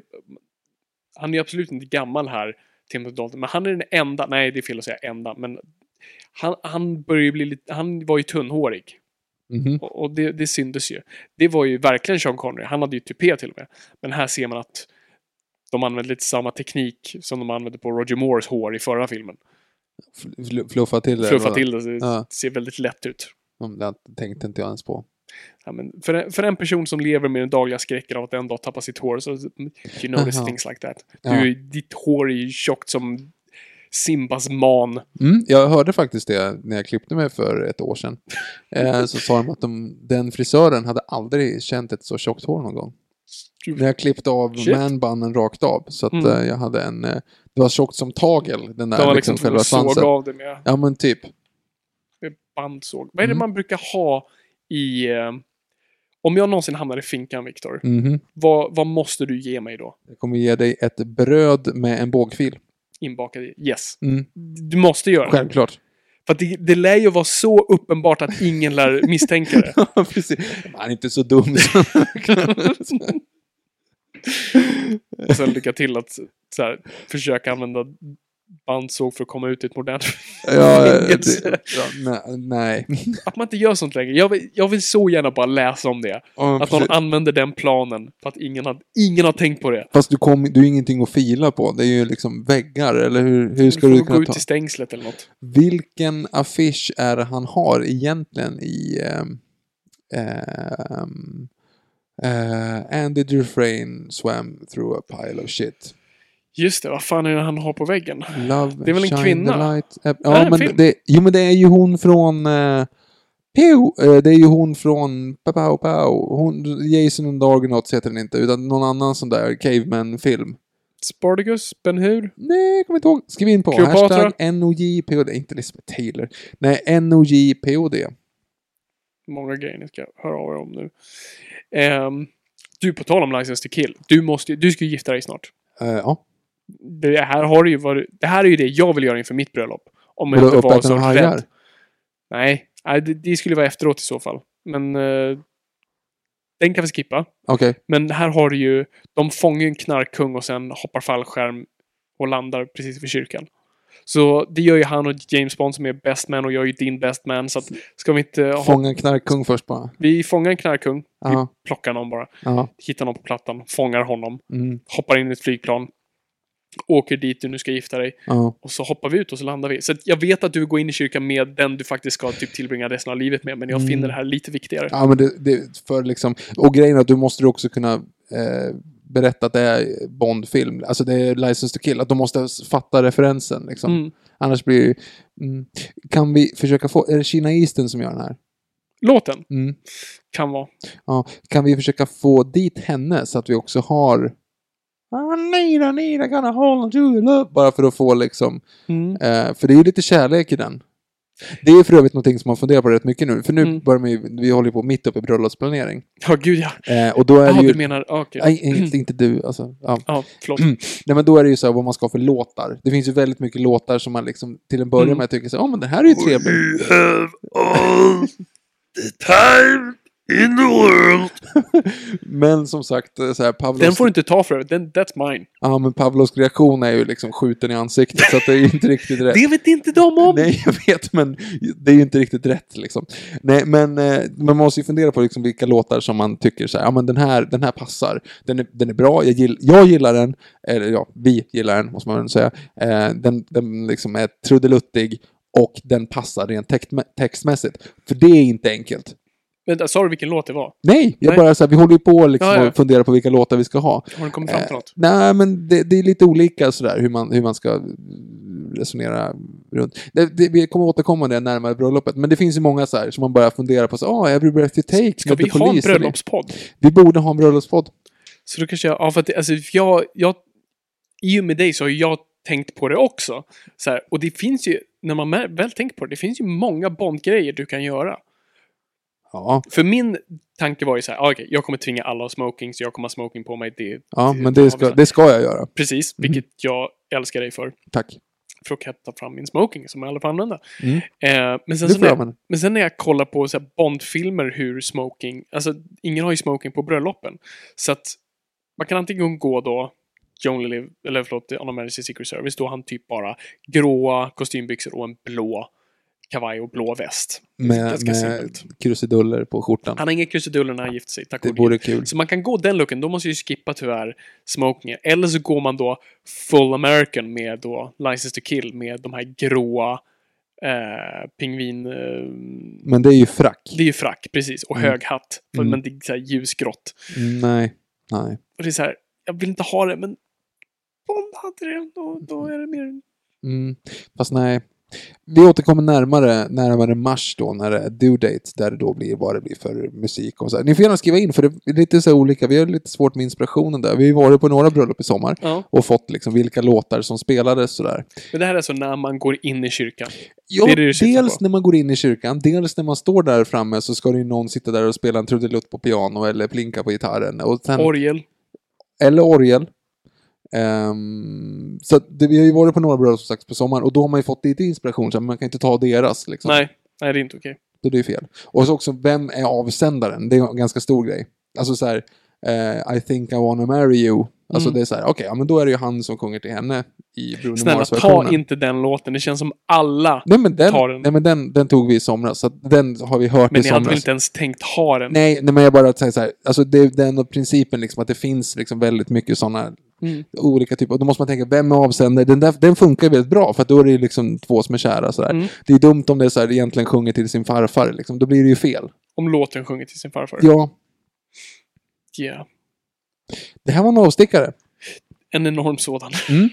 C: han är ju absolut inte gammal här, Timothy Dalton, men han är den enda, nej det är fel att säga enda, men han, han börjar ju bli lite, han var ju tunnhårig.
B: Mhm.
C: Och, och det, det syndes ju. Det var ju verkligen Sean Connery, han hade ju tupé till och med. Men här ser man att de använder lite samma teknik som de använde på Roger Moores hår i förra filmen.
B: Fl- fl- Fluffa till det.
C: Fluffa till det, så det
B: Ja.
C: ser väldigt lätt ut.
B: Mm, Det tänkte inte jag ens på.
C: Ja, men för, en, för en person som lever med den dagliga skräcken av att en dag tappa sitt hår så you notice
B: Aha.
C: things like that.
B: Ja.
C: Du, ditt hår är ju tjockt som Simbas man.
B: Mm, jag hörde faktiskt det när jag klippte mig för ett år sedan. Eh, så sa de att de, den frisören hade aldrig känt ett så tjockt hår någon gång.
C: Gud.
B: När jag klippte av
C: Shit.
B: manbunnen rakt av. Så att
C: Mm.
B: eh, jag hade en... Eh, det var tjockt som tagel, den
C: De
B: där
C: har
B: liksom,
C: liksom,
B: själva
C: såg
B: svansen.
C: av det med
B: Ja men typ.
C: med bandsåg. Vad är det
B: Mm.
C: man brukar ha i... Eh, om jag någonsin hamnar i finkan, Viktor,
B: Mhm.
C: vad, vad måste du ge mig då?
B: Jag kommer ge dig ett bröd med en bågfil.
C: Inbakad i? Yes.
B: Mm.
C: Du måste göra det.
B: Självklart.
C: För att det, det lär ju vara så uppenbart att ingen lär misstänka det.
B: Precis. Man är inte så dum som...
C: Och sen lycka till att så här, försöka använda bandsåg för att komma ut i ett modernt
B: ja, eh,
C: fängelse.
B: det, ja, nej. nej.
C: Att man inte gör sånt längre. Jag vill, jag vill så gärna bara läsa om det.
B: Ja,
C: Att någon
B: precis.
C: använder den planen för att ingen har, ingen har tänkt på det.
B: Fast du, kom, du har ingenting att fila på. Det är ju liksom väggar, eller hur, hur
C: Du
B: ska
C: får
B: du,
C: gå
B: kunna
C: ut
B: ta...
C: till stängslet eller något.
B: Vilken affisch är det han har egentligen i... ehm, ehm, eh, Andy Dufresne swam through a pile of shit.
C: Just det, vad fan är det han har på väggen?
B: Love
C: Det är väl en
B: shine
C: kvinna?
B: the light. Eh,
C: det
B: Ja,
C: en film?
B: men det, jo, men det är ju hon från... eh, Pew, eh, det är ju hon från Pow Pow Pow. Hon, Jason and the Argonauts heter den inte, utan någon annan sån där Caveman-film.
C: Spartacus, Ben Hur?
B: Nej, jag kommer inte ihåg. Skriv in på
C: Cleopatra.
B: hashtag NOJPOD. Inte Lisbeth Taylor. Nej, NOJPOD.
C: Många grejer ni ska höra av er om nu. Ehm, du, på tal om License to kill. Du, måste, ju- du ska ju gifta dig snart.
B: Eh, ja.
C: Det här, har du ju varit, det här är ju det jag vill göra inför mitt bröllop. Om jag
B: Vadå,
C: inte var
B: uppätna
C: så
B: hajar?
C: rädd. Nej, nej det, det skulle vara efteråt i så fall. Men eh, den kan vi skippa.
B: Okej.
C: Men här har du ju, de fångar ju en knarkkung och sen hoppar fallskärm och landar precis vid kyrkan. Så det gör ju han och James Bond som är best man och jag är ju din best man. Så att, ska vi inte ha...
B: Fånga en knarkkung först bara.
C: Vi fångar en knarkkung.
B: Ja.
C: Vi plockar någon bara.
B: Ja.
C: Hittar någon på plattan. Fångar honom.
B: Mm.
C: Hoppar in i ett flygplan. Åker dit du nu ska gifta dig.
B: Ja.
C: Och så hoppar vi ut och så landar vi. Så att jag vet att du går in i kyrkan med den du faktiskt ska typ tillbringa resten av livet med. Men jag finner det här lite viktigare.
B: Mm. ja, men det, det för liksom... Och grejen är att du måste ju också kunna eh, berätta att det är Bond-film. Alltså det är License to kill. Att de måste s- fatta referensen liksom.
C: Mm.
B: Annars blir det ju... Mm. Kan vi försöka få... Är det Kina Easton som gör den här?
C: Låten
B: Mm.
C: kan vara.
B: Ja, kan vi försöka få dit henne så att vi också har "Ah, Nira, Nira, gonna hold to your love. Bara för att få liksom,
C: Mm.
B: eh, för det är ju lite kärlek i den. Det är ju för övrigt någonting som man funderar på rätt mycket nu, för nu
C: Mm.
B: börjar man ju, vi håller ju på mitt uppe i bröllopsplanering.
C: Ja, gud ja.
B: Eh, och då är
C: Jaha,
B: det ju...
C: du menar... ah, Okej.
B: Nej, inte, inte du alltså. Ja.
C: Ja, förlåt.
B: Nej men då är det ju så här vad man ska ha för låtar. Det finns ju väldigt mycket låtar som man liksom till en början
C: Mm.
B: med tycker så här, "Åh, men det här är ju trevligt.
F: have all the time in the world.
B: Men som sagt, eh, så här, Pavlos...
C: Den får du inte ta för övrigt. Den- That's mine.
B: Ja, men Pavlos reaktion är ju liksom skjuten i ansiktet, så att det är ju inte riktigt rätt.
C: Det vet inte de om!
B: Nej, jag vet, men det är ju inte riktigt rätt liksom. Nej, men eh, man måste ju fundera på liksom vilka låtar som man tycker så här, ja men den här, den här passar. Den är, den är bra, jag, gill, jag gillar den, eller ja, vi gillar den, måste man väl säga. Eh, den, den liksom är trudeluttig och den passar rent text- textmässigt. För det är inte enkelt.
C: Vänta, sa du vilken låt det var?
B: Nej, jag
C: Nej.
B: bara så här, vi håller ju på liksom
C: Ja, ja.
B: och funderar på vilka låtar vi ska ha.
C: Har den kommit fram till
B: Eh,
C: något?
B: Nej, men det, det är lite olika sådär hur man, hur man ska resonera runt. Det, det, vi kommer återkomma det närmare bröllopet, men det finns ju många så här som man börjar fundera på. Så, ah, every breath you take.
C: Ska
B: med
C: vi
B: The
C: ha en
B: Police", eller-
C: bröllopspodd?
B: Vi borde ha en bröllopspodd.
C: Så då kanske jag... Ja, för att det, alltså, för jag, jag... I och med dig så har ju jag tänkt på det också. Så här, och det finns ju, när man mär- väl tänker på det, det finns ju många Bondgrejer du kan göra.
B: Ja,
C: För min tanke var ju så här, ah, okej, jag kommer tvinga alla att smoking, så jag kommer ha smoking på mig. Det,
B: ja men det ska, det ska jag göra.
C: Precis, vilket jag älskar dig för.
B: Tack.
C: För att kunna ta fram min smoking som jag aldrig får använda.
B: Mm.
C: Eh, men, sen
B: Det får
C: så när
B: jag
C: jag,
B: använda.
C: men sen när jag kollar på så här Bondfilmer hur smoking, alltså ingen har ju smoking på bröllopen. Så att man kan antingen gå då You only live, eller förlåt, On Emergency Secret Service, då har han typ bara gråa kostymbyxor och en blå kavaj och blå väst.
B: Med,
C: Ganska
B: med
C: simpelt.
B: krusiduller på skjortan.
C: Han har inga krusiduller när han gifte sig, tack
B: Det
C: och
B: vore
C: lov.
B: kul.
C: Så man kan gå den looken, då måste jag ju skippa tyvärr smokingen. Eller så går man då full American med då License to kill med de här gråa eh, pingvin... Eh,
B: Men det är ju frack.
C: det är ju frack, precis. Och
B: Mm.
C: hög hatt. För-
B: Mm.
C: Men det är så här ljusgrått.
B: Nej. Nej.
C: Och det är så här, jag vill inte ha det, men Bond hade det. Då, då är det mer
B: Mm. Fast nej. Vi återkommer närmare, närmare mars då, när det är due date, där det då blir vad det blir för musik och så. här. Ni får gärna skriva in, för det är lite så här olika. Vi har lite svårt med inspirationen där. Vi har ju varit på några bröllop i sommar
C: Ja.
B: och fått liksom vilka låtar som spelades sådär.
C: Men det här är alltså när man går in i kyrkan.
B: Ja,
C: Det är det du syftar
B: dels
C: på.
B: när man går in i kyrkan, dels när man står där framme så ska det ju någon sitta där och spela en trudelutt på piano eller plinka på gitarren. Och sen,
C: Orgel.
B: eller orgel. Ehm, så att det, vi har ju varit på några bröllop som sagt på sommaren och då har man ju fått lite inspiration, så här, men man kan inte ta deras liksom.
C: Nej, nej det är inte okej.
B: Då är det ju fel. Och så också, vem är avsändaren? Det är en ganska stor grej. Alltså så här, eh, I think I wanna marry you. Alltså
C: Mm.
B: det är så här, okej, ja men då är det ju han som sjunger till henne i Bruno
C: Snälla, ta
B: Mars-versionen.
C: inte den låten. Det känns som alla.
B: alltså Nej men, den,
C: ta den.
B: Nej, men den, den tog vi i somras, så att den har vi hört
C: Men
B: i
C: ni hade väl
B: somras.
C: inte ens tänkt ha den?
B: Nej, nej, men jag bara säger så här, alltså det är den och principen liksom att det finns liksom väldigt mycket sådana
C: Mm.
B: olika typer, och då måste man tänka, vem är avsändare? Den, där, den funkar ju väldigt bra, för att då är det ju liksom två som är kära sådär.
C: Mm.
B: Det är dumt om det är så här, egentligen sjunger till sin farfar, liksom. då blir det ju fel.
C: Om låten sjunger till sin farfar.
B: Ja,
C: Yeah.
B: det här var en avstickare.
C: En enorm sådan.
B: Mm.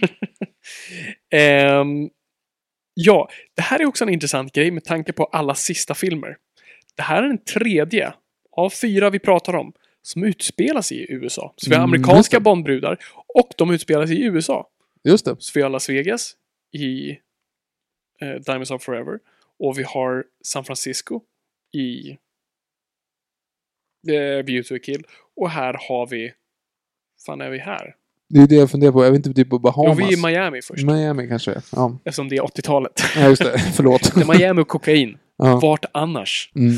C: Ehm, ja, det här är också en intressant grej med tanke på alla sista filmer. Det här är den tredje av fyra vi pratar om som utspelar sig i USA. Så vi har
B: Mm, just
C: amerikanska
B: det.
C: Bondbrudar och de utspelar sig i USA.
B: Just det.
C: Så vi har Las Vegas i eh, Diamonds of Forever och vi har San Francisco i eh, Beauty och Kill och här har vi... fan är vi här?
B: Det är det jag funderar på, är vi inte typ på Bahamas?
C: Jo, vi är i Miami först.
B: Miami kanske, ja.
C: Eftersom det är 80-talet.
B: ja just det, förlåt.
C: Det är Miami och kokain.
B: Ja.
C: Vart annars?
B: Mm.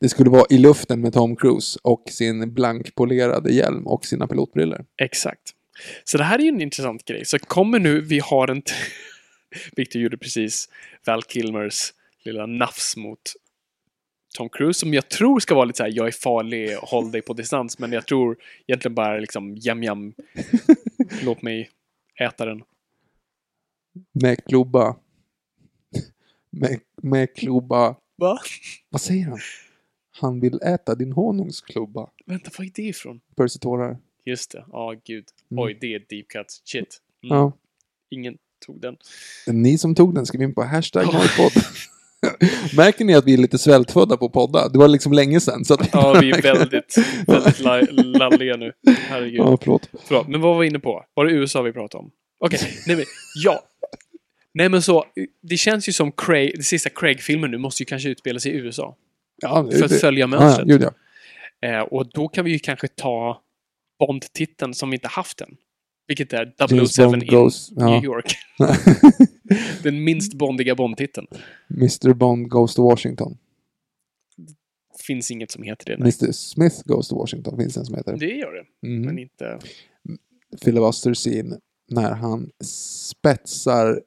B: Det skulle vara i luften med Tom Cruise och sin blankpolerade hjälm och sina pilotbriller.
C: Exakt. Så det här är ju en intressant grej. Så kommer nu, vi har en... t- Victor gjorde precis Val Kilmers lilla nafs mot Tom Cruise som jag tror ska vara lite så här: jag är farlig, håll dig på distans. Men jag tror egentligen bara liksom, jam jam, låt mig äta den.
B: Med klubba. Med, med klubba.
C: Va?
B: Vad säger han? Han vill äta din honungsklubba.
C: Vänta, vad är det ifrån?
B: Percy tårar.
C: Just det, ja gud.
B: Mm.
C: Oj, det är deep cuts. Shit. Mm.
B: Ja.
C: Ingen tog den.
B: Det är Ni som tog den, skriv in på hashtag
C: Ja.
B: hojpodd. Märker ni att vi är lite svältfödda på att podda? Det var liksom länge sedan. Så att...
C: Ja, vi är väldigt, väldigt la- lalliga nu. Herregud.
B: Ja, förlåt.
C: Förlåt, men vad var vi inne på? Var det USA vi pratade om? Okej, nej men, ja. Nej men så, det känns ju som Craig, den sista Craig-filmen nu måste ju kanske utspela sig i USA.
B: Ja, det-
C: För att
B: det-
C: följa
B: Ja,
C: mönstret.
B: ja, gud, ja.
C: Eh, och då kan vi ju kanske ta Bond-titeln som vi inte haft än. Vilket är
B: James
C: 007
B: Bond
C: in
B: goes- ja.
C: New York. den minst bondiga Bond-titeln.
B: Mr Bond goes to Washington.
C: Finns inget som heter det. Nej.
B: Mr Smith goes to Washington finns en som heter.
C: Det gör det,
B: Mm.
C: men inte...
B: filibuster scene när han spetsar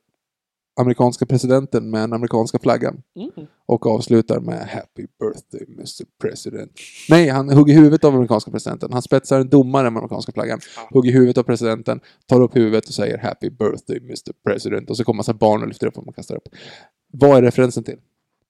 B: amerikanska presidenten med den amerikanska flaggan.
C: Mm.
B: Och avslutar med Happy birthday Mr President. Nej, han hugger huvudet av amerikanska presidenten. Han spetsar en domare med amerikanska flaggan. Hugger huvudet av presidenten, tar upp huvudet och säger Happy birthday Mr President. Och så kommer massa barn och lyfter upp honom och kastar upp. Vad är referensen till?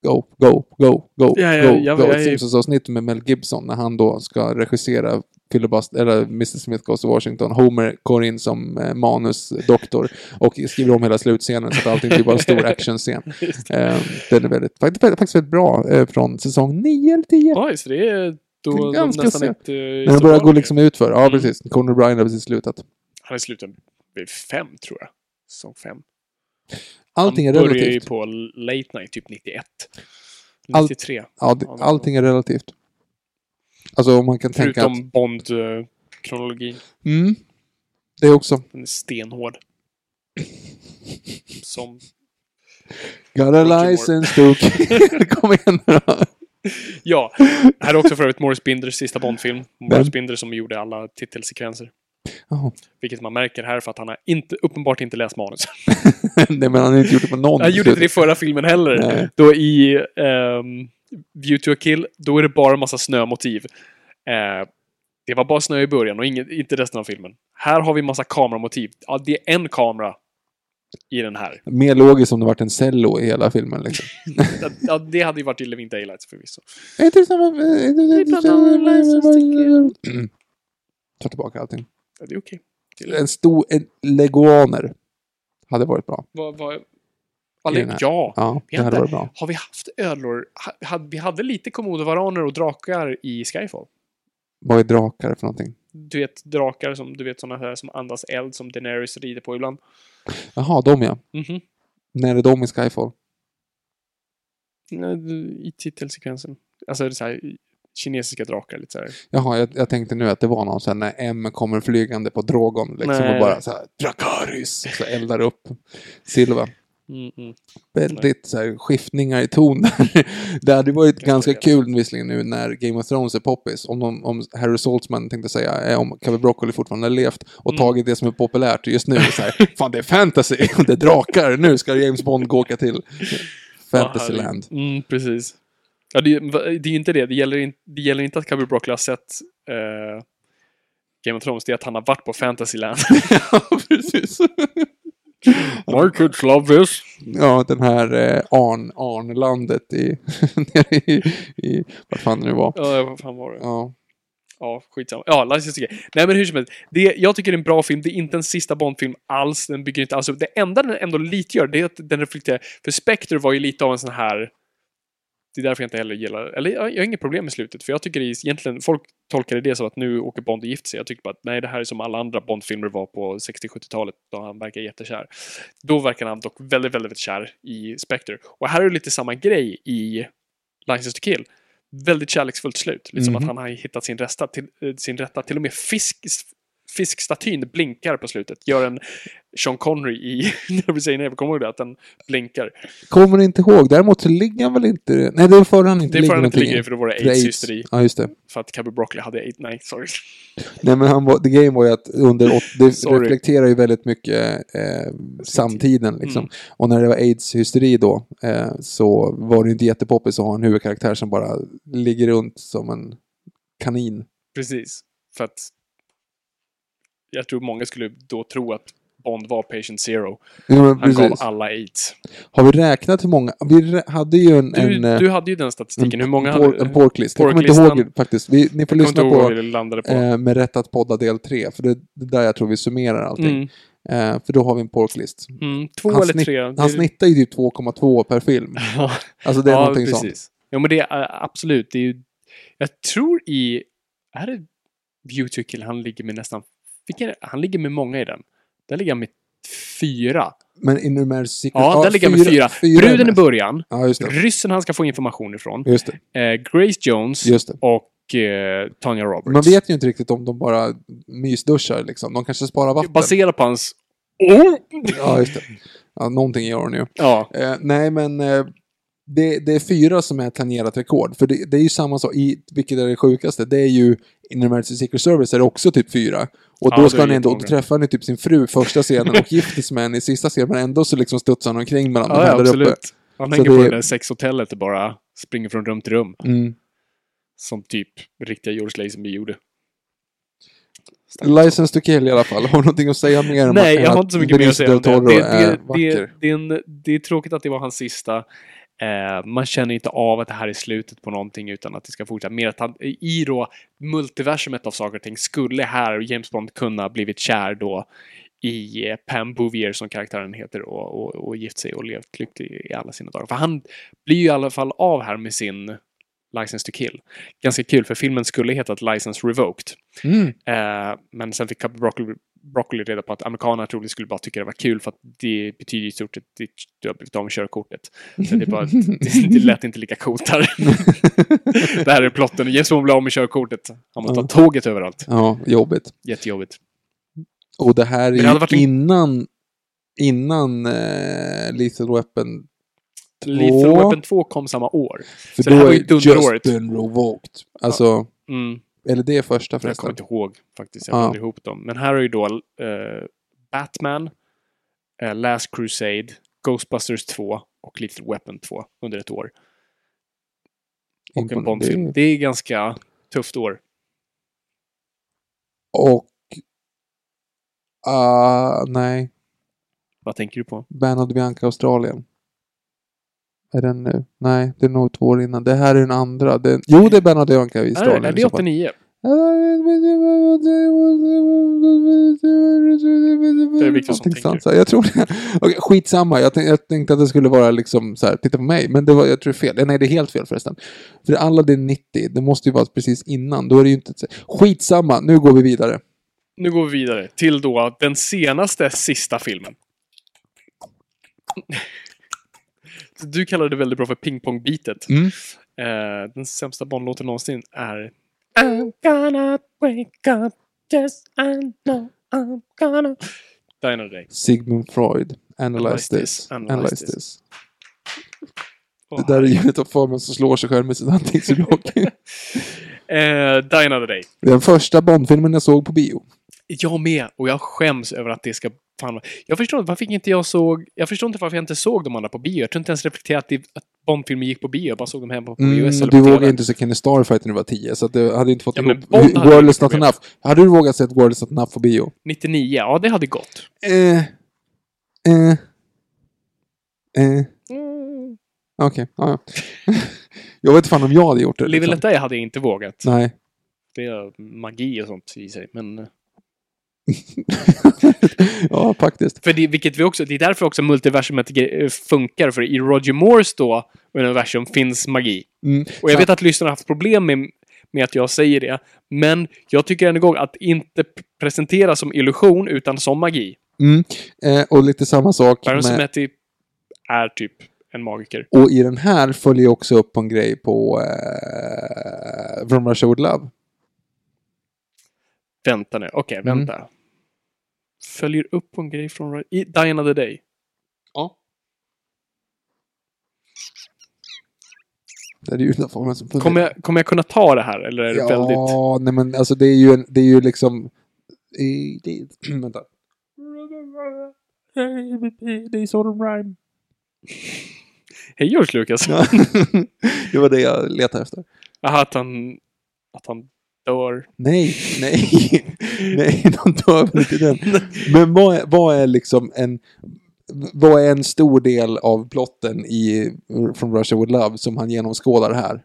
B: Go, go, go, go,
C: Ja, ja,
B: go,
C: jag-
B: go.
C: jag-
B: Ett Simpsons-avsnitt med Mel Gibson när han då ska regissera Filibust, eller Mr Smith Goes to Washington. Homer går in som eh, manusdoktor och skriver om hela slutscenen så att allting blir bara en stor actionscen. Eh, den är väldigt, fakt- faktiskt väldigt bra eh, från säsong 9 eller 10.
C: Oj, så det är då
B: Det är
C: de
B: ganska
C: nästan eh,
B: så-
C: inte...
B: När det börjar gå liksom ut för.
C: Mm.
B: Ja, precis. Conor Bryan har precis slutat.
C: Han är sluten vid fem, tror jag. Säsong fem.
B: Allting är
C: han började ju
B: relativt.
C: på Late Night, typ 91.
B: Allt-
C: 93.
B: Ja, det, allting är relativt. Alltså om man kan tänka att...
C: Förutom Bond-kronologin.
B: Mm, det är också.
C: Den är stenhård. Som...
B: Got a
C: Roger
B: license to kill. Kom igen nu då.
C: Ja, här är också för övrigt Morris Binders sista Bond-film. Morris Binder som gjorde alla titelsekvenser.
B: Jaha.
C: Vilket man märker här för att han har inte, uppenbart inte läst manus.
B: Nej men han har inte gjort det på någon.
C: Han gjorde inte det i förra filmen heller.
B: Nej.
C: Då i ehm, Beauty och Kill, då är det bara en massa snömotiv. Eh, det var bara snö i början och ingen, inte resten av filmen. Här har vi massa kameramotiv. Ja, det är en kamera i den här.
B: Mer logiskt om det varit en cello i hela filmen liksom.
C: Ja, det hade ju varit i Living Daylights förvisso.
B: Är inte det samma... är inte det-
C: pratar om en license to
B: Mm. Ta tillbaka allting.
C: Ja, det är okej.
B: En stor... En leguaner. Hade varit bra.
C: Vad, vad,
B: I den
C: Eller,
B: här-
C: ja.
B: Ja,
C: vi
B: det hade
C: inte-
B: varit bra.
C: Har vi haft ödlor? Ha- hade- Vi hade lite komodovaraner och drakar i Skyfall.
B: Vad är drakar för någonting?
C: Du vet drakar som, du vet sådana här som andas eld som Daenerys rider på ibland.
B: Jaha, de ja.
C: Mhm.
B: När är de i Skyfall?
C: I titelsekvensen. Alltså det är så här, kinesiska drakar lite så här.
B: Jaha, jag, jag tänkte nu att det var någon sen när M kommer flygande på Drogon liksom
C: Nej.
B: och bara så här Dracarys! Och så eldar upp Silva.
C: Mm, mm.
B: Väldigt så här, skiftningar i ton där. Det hade varit ganska
C: det.
B: kul visserligen nu när Game of Thrones är poppis. Om, de, om Harry Saltzman tänkte säga, eh, om Kevin Broccoli fortfarande har levt
C: Mm.
B: och tagit det som är populärt just nu. Så här, Fan, det är fantasy! och Det är drakar! Nu ska James Bond gå åka till Ah, Fantasyland.
C: Mm, precis. Ja, det, är- det är ju inte det. Det gäller, in, det gäller inte att Cabby Broccoli har sett eh, Game of Thrones. Det är att han har varit på Fantasyland.
B: ja, precis.
C: My kids love this.
B: Ja, den här eh, Arn, Arnlandet i, nere i, i... Vad fan det nu var.
C: Ja, vad fan var det?
B: Ja.
C: Ja, skitsamma. Ja, License to Gay. Nej, men hur som helst. Det, jag tycker det är en bra film. Det är inte en sista Bond-film alls. Den bygger inte alls upp. Det enda den ändå lite gör, det är att den reflekterar. För Spectre var ju lite av en sån här... Det är därför jag inte heller gillar... Eller jag, jag har inget problem med slutet. För jag tycker det är, egentligen... Folk tolkade det som att nu åker Bond och gifter sig. Jag tycker bara att nej, det här är som alla andra Bond-filmer var på 60-70-talet. Då han verkar jättekär. Då verkar han dock väldigt, väldigt kär i Spectre. Och här är det lite samma grej i License to Kill väldigt kärleksfullt slut. Liksom
B: Mhm.
C: att han har hittat sin, resta, till, eh, sin rätta. Till och med fisk, fiskstatyn blinkar på slutet. Gör en Sean Connery i Never Say Never. Kommer du ihåg det? Att den blinkar.
B: Kommer inte ihåg. Däremot så ligger han väl inte... Nej, det är före han inte
C: Det är för att den inte
B: någonting
C: ligger i, för då var det aids-hysteri.
B: Ja, just det.
C: För att Cabby Broccoli hade aids. Nej, sorry.
B: Nej men han var, the game var ju att under, åt- det
C: Sorry.
B: reflekterar ju väldigt mycket eh, samtiden liksom.
C: Mm.
B: Och när det var aids-hysteri då eh, så var det ju inte jättepoppis att ha en huvudkaraktär som bara ligger runt som en kanin.
C: Precis. För att jag tror många skulle då tro att Bond var patient zero.
B: Ja, men
C: Han gav
B: precis.
C: alla aids.
B: Har vi räknat hur många? Vi rä- hade ju en...
C: Du,
B: en eh,
C: du hade ju den statistiken. Hur många
B: en por-
C: hade...
B: En porklist. Jag kommer inte
C: porklistan.
B: ihåg faktiskt. Vi, ni får
C: Jag kommer
B: lyssna
C: inte ihåg
B: på
C: vad vi landade på.
B: eh, med rätt att podda del 3. För det det är där jag tror vi summerar allting.
C: Mm,
B: Eh, för då har vi en porklist.
C: mm, två
B: Han,
C: eller
B: snitt,
C: tre.
B: han
C: Det-
B: snittar ju typ 2,2 per film. Alltså det är någonting sånt.
C: Ja, men det är eh, absolut. Det är ju, jag tror i... Är det Beauty Kill han ligger med nästan... Vilken, är- han ligger med många i den. Där ligger han med fyra.
B: Men i numer secret...
C: Ja, där ligger han med fyra. Bruden i
B: mest.
C: början.
B: Ja, just det.
C: Ryssen han ska få information ifrån.
B: Just det.
C: Eh, Grace Jones
B: Just det.
C: och eh, Tanya Roberts.
B: Man vet ju inte riktigt om de bara mysduschar liksom. De kanske sparar vatten.
C: Baserat på hans... Oh!
B: Ja, just det. Ja, någonting gör de ju.
C: Ja.
B: Eh, nej, men eh, det, det är fyra som är tangerat rekord. För det, det är ju samma sak, i, vilket är det sjukaste, det är ju inom Emergency Secret Service är det också typ fyra. Och
C: Ja,
B: då
C: det
B: ska
C: är
B: han ändå,
C: jättemånga.
B: då träffar han ju typ sin fru första scenen och gifter sig med henne i sista scenen, men ändå så liksom studsar han omkring mellan de
C: Ja,
B: här
C: ja,
B: där uppe.
C: absolut. Han
B: Så
C: hänger på
B: det-
C: det där sexhotellet och bara springer från rum till rum.
B: Mm.
C: Som typ riktiga George Lazenby gjorde.
B: License to kill i alla fall. Har du någonting att säga mer om
C: Nej,
B: än
C: jag har inte så mycket mer att säga om det.
B: Benicio del
C: Det,
B: Toro är
C: det, det,
B: vacker.
C: det, är en, det är tråkigt att det var hans sista. Eh, man känner inte av att det här är slutet på någonting utan att det ska fortsätta. Mer att han, i då multiversumet av saker och ting skulle här James Bond kunna blivit kär då i eh, Pam Bouvier som karaktären heter och, och, och gift sig och levt lycklig i alla sina dagar. För han blir ju i alla fall av här med sin License to kill. Ganska kul för filmen skulle hetat License Revoked.
B: Mm.
C: Eh, men sen fick Copper Broccoli, Broccoli reda på att amerikanerna troligtvis skulle bara tycka det var kul för att det betyder i stort sett att du har blivit av med körkortet. Så det, är bara, det, det lät inte lika coolt här. det här är plotten. James Bond blir av med körkortet. Han måste ta tåget överallt.
B: Ja, jobbigt.
C: Jättejobbigt.
B: Och det här är
C: det hade varit
B: ju
C: en-
B: innan, innan eh, Lethal Weapon.
C: Lethal Weapon 2 kom samma år.
B: För
C: Så det här var ju
B: Just
C: dunderåret.
B: been revoked. Alltså,
C: Mm,
B: eller det är första
C: jag kommer
B: förresten.
C: inte ihåg faktiskt. Jag
B: Ja.
C: blandade ihop dem. Men här är ju då eh, Batman, eh, Last Crusade, Ghostbusters 2 och Lethal Weapon 2 under ett år. Och en
B: Impon-
C: Bondfilm. Det är ganska tufft år.
B: Och... ah nej.
C: Vad tänker du på?
B: Band of Bianca Australien. Är den nu? Nej, det är nog två år innan. Det här är den andra. Den... Jo, det är Band of Bianca i
C: Är det,
B: Australien.
C: är
B: i
C: det
B: så fall.
C: 89?
G: är Viktor som
B: Någonting sånt.
G: tänker.
B: Jag tror det. Okej, skitsamma, jag, tänk, jag tänkte att det skulle vara liksom så här, titta på mig, men det var, jag tror det är fel. Eh, Nej, det är helt fel förresten. För Aladdin 90, det måste ju vara precis innan. Då är det ju inte... Skitsamma, nu går vi vidare.
G: Nu går vi vidare till då den senaste sista filmen. Du kallade det väldigt bra för pingpongbitet.
B: Mm.
G: Eh, den sämsta barnlåten någonsin är... I'm gonna wake up, yes I know I'm gonna... Dine Day.
B: Sigmund Freud, analyze
G: Analyze
B: this,
G: this,
B: analyze
G: analyze
B: this. Det där är ljudet av formen som slår sig själv med sin anteckningsblock.
G: Eh, Die Another Day.
B: Den första Bondfilmen jag såg på bio.
G: Jag med, och jag skäms över att det ska... Fan, vad- jag förstår inte varför inte jag såg... Jag förstår inte varför jag inte såg de andra på bio. Jag tror inte ens reflekterat att, det, att Bondfilmer gick på bio. Jag bara såg dem hemma på, på US
B: Mm,
G: eller
B: du
G: på TV.
B: vågade inte se Kenny Starfighter när du var 10, så att du hade inte fått
G: Ja,
B: ihop
G: men Bond hade
B: World is
G: inget
B: not
G: problem.
B: enough. Hade du vågat se World is not enough på bio?
G: 99, ja det hade gått.
B: Eh, eh, eh. Okej, ja, ja. Jag vet inte fan om jag hade gjort det.
G: Live
B: liksom.
G: Let Die hade jag inte vågat.
B: Nej.
G: Det är magi och sånt i sig. Men, eh.
B: ja, faktiskt.
G: för det, vilket vi också, det är därför också multiversumet gre- eh, funkar. För i Roger Moores då universum finns magi.
B: Mm.
G: Och jag vet att lyssnarna har haft problem med, med att jag säger det. Men jag tycker än en gång att inte p- presentera som illusion utan som magi.
B: Mm. Eh, och lite samma sak
G: Baron
B: med...
G: Sammetti är typ en magiker.
B: Och i den här följer jag också upp på en grej på eh, From Russia With Love.
G: Vänta nu, okej
B: Mm.
G: vänta. Följer upp på en grej från i Die Another Day.
B: Ja. Det är ju utanför men som funkar.
G: Kommer jag, kommer jag kunna ta det här eller är det
B: ja,
G: väldigt...
B: nej men alltså det är ju, en, det är ju liksom... i- det, vänta.
G: Det är så de rhyme. Hej George Lucas.
B: Ja. det var det jag letade efter.
G: Jaha, att han... Att han dör.
B: Nej, nej, nej, de dör väl inte den. Men vad är, vad är liksom en... Vad är en stor del av plotten i From Russia With Love som han genomskådar här?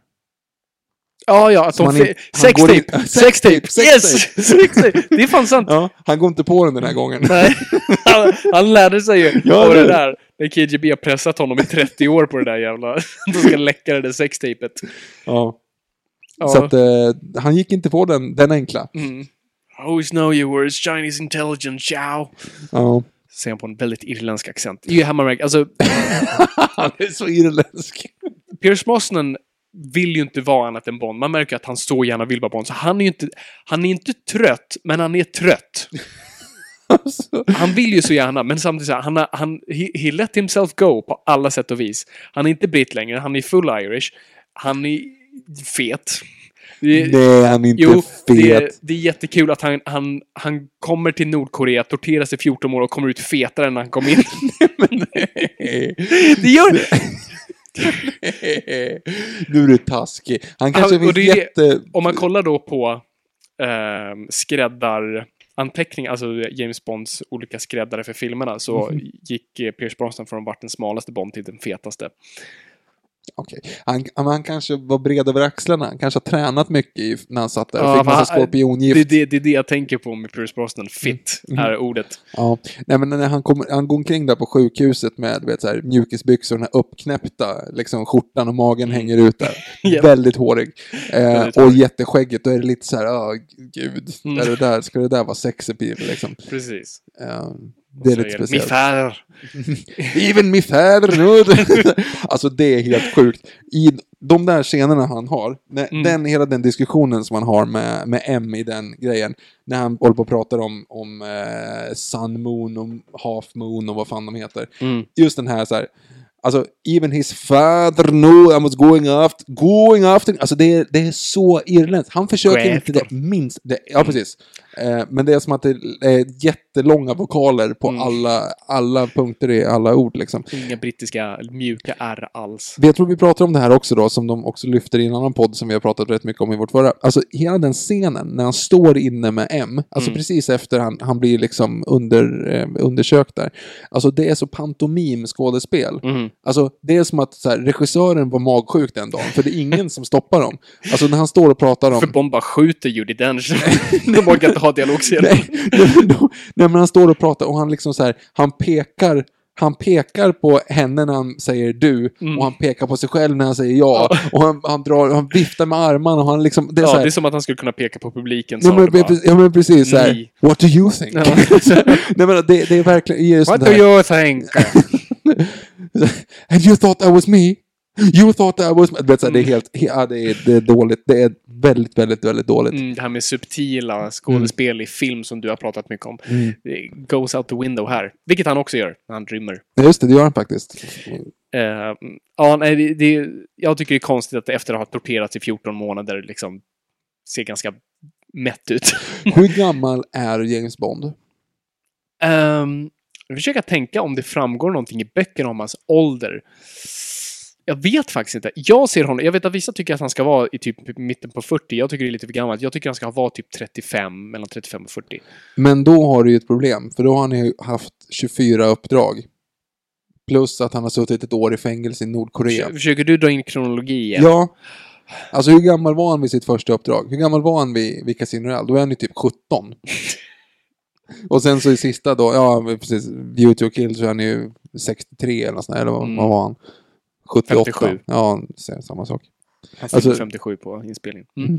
G: Ja, ja, att
B: Så
G: de...
B: han är-
G: fe-
B: han går in-
G: Sextape! Sextape!
B: Sextape,
G: Yes! Sextape! Det är fan sant!
B: Ja, han går inte på den den här gången.
G: Mm. Nej. Han, han lärde sig ju
B: Ja,
G: av
B: eller
G: det
B: hur?
G: där. När KGB har pressat honom i 30 år på det där jävla... De ska läcka det där sextapet.
B: Ja.
G: Ja.
B: Så att eh, han gick inte på den, den enkla.
G: Mm. I always know you were a Chinese intelligence, ciao!
B: Ja.
G: Säger han på en väldigt irländsk accent. Det är ju Hammarmark, alltså
B: han är så irländsk.
G: Pierce Brosnan vill ju inte vara annat än Bond. Man märker att han så gärna vill vara Bond. Så han är ju inte, han är inte trött, men han är trött.
B: Alltså.
G: Han vill ju så gärna, men samtidigt så här, han, har- han he, he let himself go på alla sätt och vis. Han är inte britt längre, han är full irish. Han är fet. Det är-
B: Nej, han är inte
G: Jo,
B: fet.
G: det är, det är jättekul att han, han, han kommer till Nordkorea, torteras i 14 år och kommer ut fetare än när han kom in. det gör,
B: nu är du taskig. Han kanske
G: Han- och
B: finns
G: det är-
B: jätte...
G: Om man kollar då på eh, skräddaranteckningar, alltså James Bonds olika skräddare för filmerna,
B: Mm.
G: så gick eh, Pierce Brosnan från att vara den smalaste Bond till den fetaste.
B: Okej. Han, han, han kanske var bred över axlarna. Han kanske har tränat mycket i, när han satt där och
G: Ja,
B: fick massa
G: va-
B: skorpiongift.
G: Det är det, det är det jag tänker på med Pierce
B: Mm.
G: Brosnan. Fit är ordet.
B: Ja. Nej, men när han, kommer han går omkring där på sjukhuset med du vet, så här, mjukisbyxor, den här uppknäppta liksom, skjortan och magen hänger ut där.
G: Ja.
B: Väldigt hårig. Eh,
G: Väldigt
B: och
G: hårig.
B: jätteskägget, då är det lite så här, oh, gud,
G: Mm.
B: är det där, ska det där vara sex appeal liksom?
G: Precis.
B: Eh, det är
G: Så
B: lite
G: det,
B: speciellt.
G: Mifär.
B: Even me father no. Alltså det är helt sjukt. I de där scenerna han har, när,
G: Mm.
B: den, hela den diskussionen som han har med, med M i den grejen, när han håller på och pratar om, om eh, Sun Moon och Half Moon och vad fan de heter.
G: Mm.
B: Just den här så här, alltså even his father no, I was going after, going after, alltså det är, det är så irländskt. Han försöker
G: Gå
B: inte det minst, det, ja precis. Eh, men det är som att det är jättelånga vokaler på alla, alla punkter i alla ord liksom.
C: Inga brittiska mjuka R alls.
B: Jag tror vi pratar om det här också då, som de också lyfter i en annan podd som vi har pratat rätt mycket om i vårt förra. Alltså hela den scenen när han står inne med M, alltså precis efter han, han blir liksom under, eh, undersökt där. Alltså det är så pantomim skådespel. Alltså det är som att så här, regissören var magsjuk den dagen, för det är ingen som stoppar dem. Alltså när han står och pratar om...
C: För de bara skjuter Judi Dench. de orkar inte ha dialogscener.
B: Nej, nej, men då- nej, men han står och pratar och han liksom så här, han pekar han pekar på henne när han säger du
C: Mm.
B: och han pekar på sig själv när han säger ja. Och han, han, drar, han viftar med armarna och han liksom... Det är så
C: Ja,
B: här,
C: det är som att han skulle kunna peka på publiken.
B: ja,
C: sa
B: men,
C: det bara.
B: precis- ja, men precis så här,
C: Nej.
B: What do you think?
C: Ja.
B: nej, men det, det är verkligen just
C: What
B: det
C: do
B: här.
C: you think?
B: And you thought I was me? You thought I was me? Du Vet, så här, det, är
C: Mm.
B: helt, he- ja, det, är, det är dåligt. Det är väldigt, väldigt, väldigt dåligt.
C: Mm, det här med subtila skådespel i film som du har pratat mycket om. Det goes out the window här. Vilket han också gör när han rymmer.
B: Ja, Just det, det gör han faktiskt.
C: Eh, ja, nej, det, det, jag tycker det är konstigt att efter att ha torterats i 14 månader liksom ser ganska mätt ut.
B: Hur gammal är James Bond?
C: Ehm, jag försöker tänka om det framgår någonting i böckerna om hans ålder. Jag vet faktiskt inte. Jag ser honom, jag vet att vissa tycker att han ska vara i typ mitten på 40. Jag tycker det är lite för gammalt. Jag tycker han ska vara typ 35, mellan 35 och 40.
B: Men då har du ju ett problem, för då har han ju haft 24 uppdrag. Plus att han har suttit ett år i fängelse i Nordkorea.
C: Försö- Försöker du dra in kronologi igen?
B: Ja. Alltså hur gammal var han vid sitt första uppdrag? Hur gammal var han vid, vid Casino Royale? Då var han ju typ 17. Och sen så i sista då, ja men precis, Beauty och Kill så är han ju 63 eller nåt sånt där, eller vad,
C: Mm.
B: vad var han? 78.
C: 57.
B: Ja, så- samma sak.
C: Han fyllde
B: Alltså-
C: 57 på inspelningen. Mm.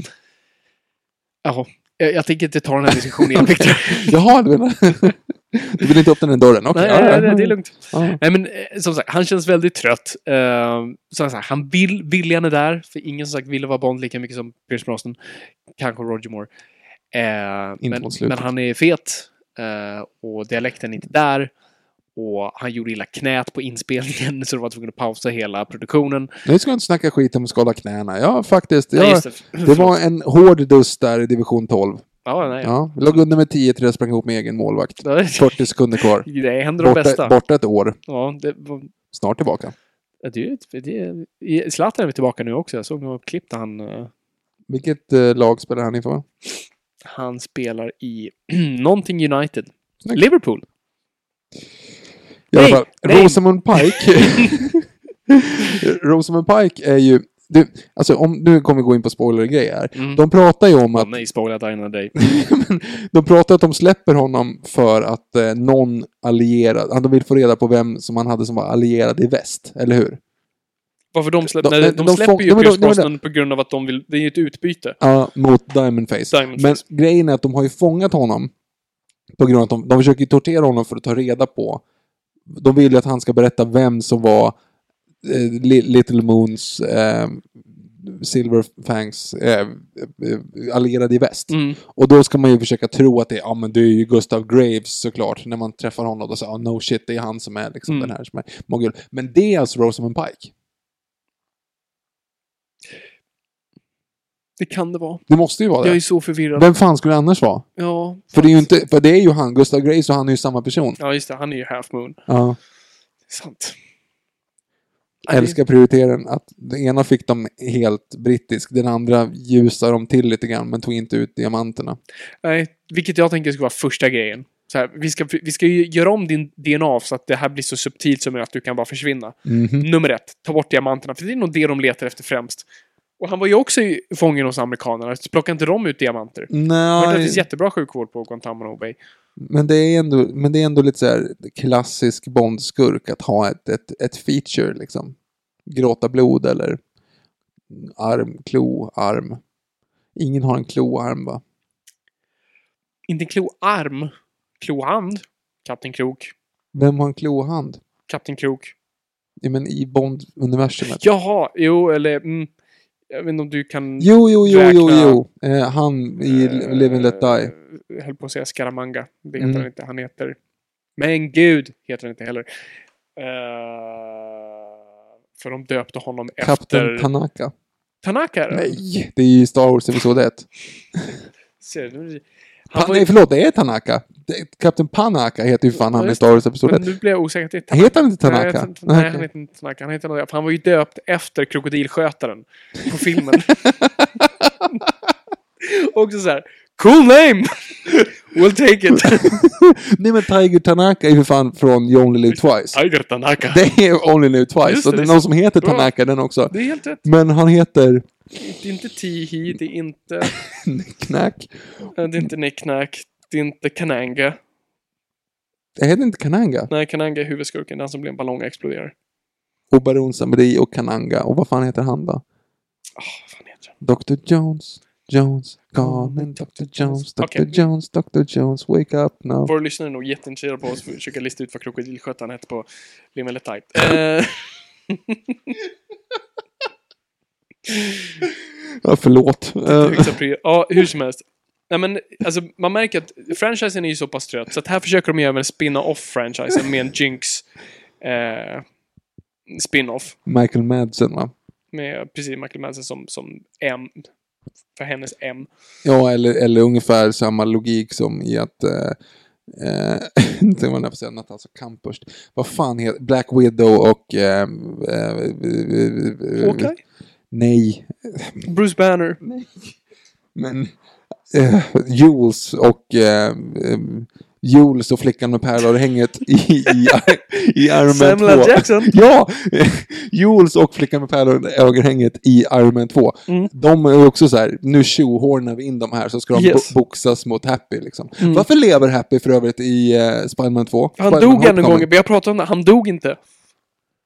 C: Jaha. Jag, jag tänker inte ta den här diskussionen igen, Victor.
B: Jaha, du menar... du vill inte öppna den dörren? Okej.
C: nej,
B: ja, ja.
C: nej, nej, det är lugnt.
B: Ja.
C: Nej, men eh, som sagt, han känns väldigt trött. Eh, som sagt, han vill, viljan är där, för ingen som sagt ville vara Bond lika mycket som Pierce Brosnan. Kanske Roger Moore. Eh,
B: Inte
C: men,
B: mot slutet.
C: men han är fet eh, och dialekten är inte där. Och han gjorde illa knät på inspelningen så de var tvungna att pausa hela produktionen.
B: Nu ska jag inte snacka skit om att skada knäna. Ja, faktiskt.
C: Nej,
B: Ja,
C: just det.
B: det var en hård dust där i division 12.
C: Ja, nej, ja.
B: Ja, vi låg under med 10 till jag sprang ihop med egen målvakt.
C: Nej.
B: 40 sekunder kvar.
C: Det händer de
B: Borta,
C: bästa.
B: borta ett år.
C: Ja, det var,
B: Snart tillbaka.
C: Ja, Det är, ju ett- det är, i- Zlatan är väl tillbaka nu också. Jag såg några klipp där han, eh,
B: Vilket eh, lag spelar han inför?
C: han spelar i någonting United.
B: Snyggt.
C: Liverpool.
B: I alla
C: Nej,
B: fall,
C: nej.
B: Rosamund Pike. Rosamund Pike är ju... Du, alltså om, nu kommer vi gå in på spoilergrejer här.
C: Mm.
B: De pratar ju om att...
C: Åh nej, spoilat Aina dig.
B: Men de pratar att de släpper honom för att eh, någon allierad... att De vill få reda på vem som han hade som var allierad i väst, eller hur?
C: Varför de, släpp,
B: De-
C: nej, de,
B: de
C: släpper
B: fång-
C: ju
B: nej, men de-
C: Pierce
B: nej, men de-
C: Brosnan på grund av att de vill... Det är ju ett utbyte.
B: Ja, mot Diamond Face.
C: Diamond
B: Men
C: Face.
B: grejen är att de har ju fångat honom. På grund av att de, de försöker ju tortera honom för att ta reda på... De vill ju att han ska berätta vem som var eh, Li- Little Moons eh, Silver Fangs eh, eh, allierade i väst.
C: Mm.
B: Och då ska man ju försöka tro att det är, ja men det är ju Gustav Graves såklart. När man träffar honom och säger, ja no shit, det är han som är liksom
C: Mm.
B: den här som är mogul. Men det är alltså Rosamund Pike.
C: Det kan det vara.
B: Det måste ju vara
C: Jag är
B: det.
C: så förvirrad.
B: Vem fan skulle det annars vara?
C: Ja.
B: För det är ju inte, för det är ju han, Gustav Grace och han är ju samma person.
C: Ja, just det. Han är ju Half Moon.
B: Ja.
C: Sant.
B: Älskar prioriteringen att den ena fick dem helt brittisk, den andra ljusade dem till lite grann men tog inte ut diamanterna.
C: Nej, vilket jag tänker ska vara första grejen. Så här, vi, ska, vi ska ju göra om din DNA så att det här blir så subtilt som möjligt att du kan bara försvinna. Nummer ett, ta bort diamanterna, för det är nog det de letar efter främst. Och han var ju också i- fången hos amerikanerna, så plockade inte de ut diamanter? Jag vet att det
B: Nej,
C: finns jättebra sjukvård på Guantanamo Bay.
B: men det är ändå, men det är ändå lite så här klassisk Bond-skurk att ha ett, ett, ett feature liksom. Gråta blod eller arm, klo, arm. Ingen har en kloarm va?
C: Inte kloarm, klohand, Kapten Krok,
B: Vem har en klohand?
C: Kapten Krok.
B: Ja, men i Bond-universumet.
C: Jaha, jo, eller... Mm, jag vet inte om du kan...
B: Jo, jo, jo, jo,
C: Räkna-
B: jo. Eh, han i Live and Let Die.
C: Jag höll på att säga Scaramanga. Det heter
B: Mm.
C: han inte. Han heter... Men gud heter han inte heller. Eh, för de döpte honom
B: Kapten
C: efter...
B: Tanaka.
C: Tanaka? är det?
B: Nej, det är ju Star Wars Episod 1.
C: Ser du?
B: Pa- Ah, nej, förlåt, det är Tanaka. Det- Kapten Panaka heter ju fan han i
C: just
B: Star
C: Men
B: Wars-episoden.
C: nu blir jag osäker. att det är Tanaka.
B: Heter han inte
C: Nej, jag
B: Tanaka?
C: vet inte. nej, han
B: Okej.
C: heter inte Tanaka. Han heter något, för han var ju döpt efter krokodilskötaren på filmen. Också så här. Cool name! We'll take it!
B: Nej men Tiger Tanaka är ju för fan från You Only Live Twice.
C: Tiger Tanaka. Det,
B: Det är Only Live
C: Just
B: Twice,
C: det,
B: och det är
C: det är
B: någon
C: så-
B: som heter
C: bra.
B: Tanaka den också.
C: är helt rätt.
B: Men han heter
C: Det är inte Tihi, det är inte... eh,
B: Knack.
C: Det är inte Nicknack. Det är inte Kananga.
B: Det heter inte Kananga.
C: Nej, Kananga är huvudskurken. Den som blir en ballong och exploderar.
B: Och Baron Samri och Kananga. Och vad fan heter han då?
C: Ah, vad fan heter den?
B: Dr Jones, Jones, calling Dr Jones, Dr
C: Okej.
B: Jones, Dr Jones, wake up now.
C: Våra lyssnare är nog jätteintresserade på att försöka lista ut vad krokodilskötaren hette på Lim eller Tight. Eh,
B: Ja, förlåt. Eh,
C: högsta prio- ja, hur som helst. Nej, men, alltså, man märker att franchisen är ju så pass trött, så att här försöker de göra en spin-off franchisen med en Jinx eh, spin-off.
B: Michael Madsen va?
C: Med precis Michael Madsen som, som M. För hennes M.
B: Ja, eller, eller ungefär samma logik som i att... Eh, eh, nu tänkte jag nära på att säga Natasha Kampusch. Vad fan heter... Black Widow och... Eh, eh, Mm.
C: Hawkeye?
B: Nej.
C: Bruce Banner?
B: Men... Eh, Jules och... Eh, eh, Jules och flickan med pärlörhänget i, i, i Iron Man 2.
C: Samuel L. Jackson?
B: Ja! Jules och flickan med pärlörhänget i Iron Man 2.
C: Mm.
B: De är ju också så här, nu tjohornar vi in de här så ska de
C: Yes. Mm.
B: bo- boxas mot Happy liksom. Varför lever Happy för övrigt i eh, Spiderman 2?
C: Han
B: Spider-Man
C: dog en gång,
B: Homecoming.
C: vi har pratat om det. Han dog inte.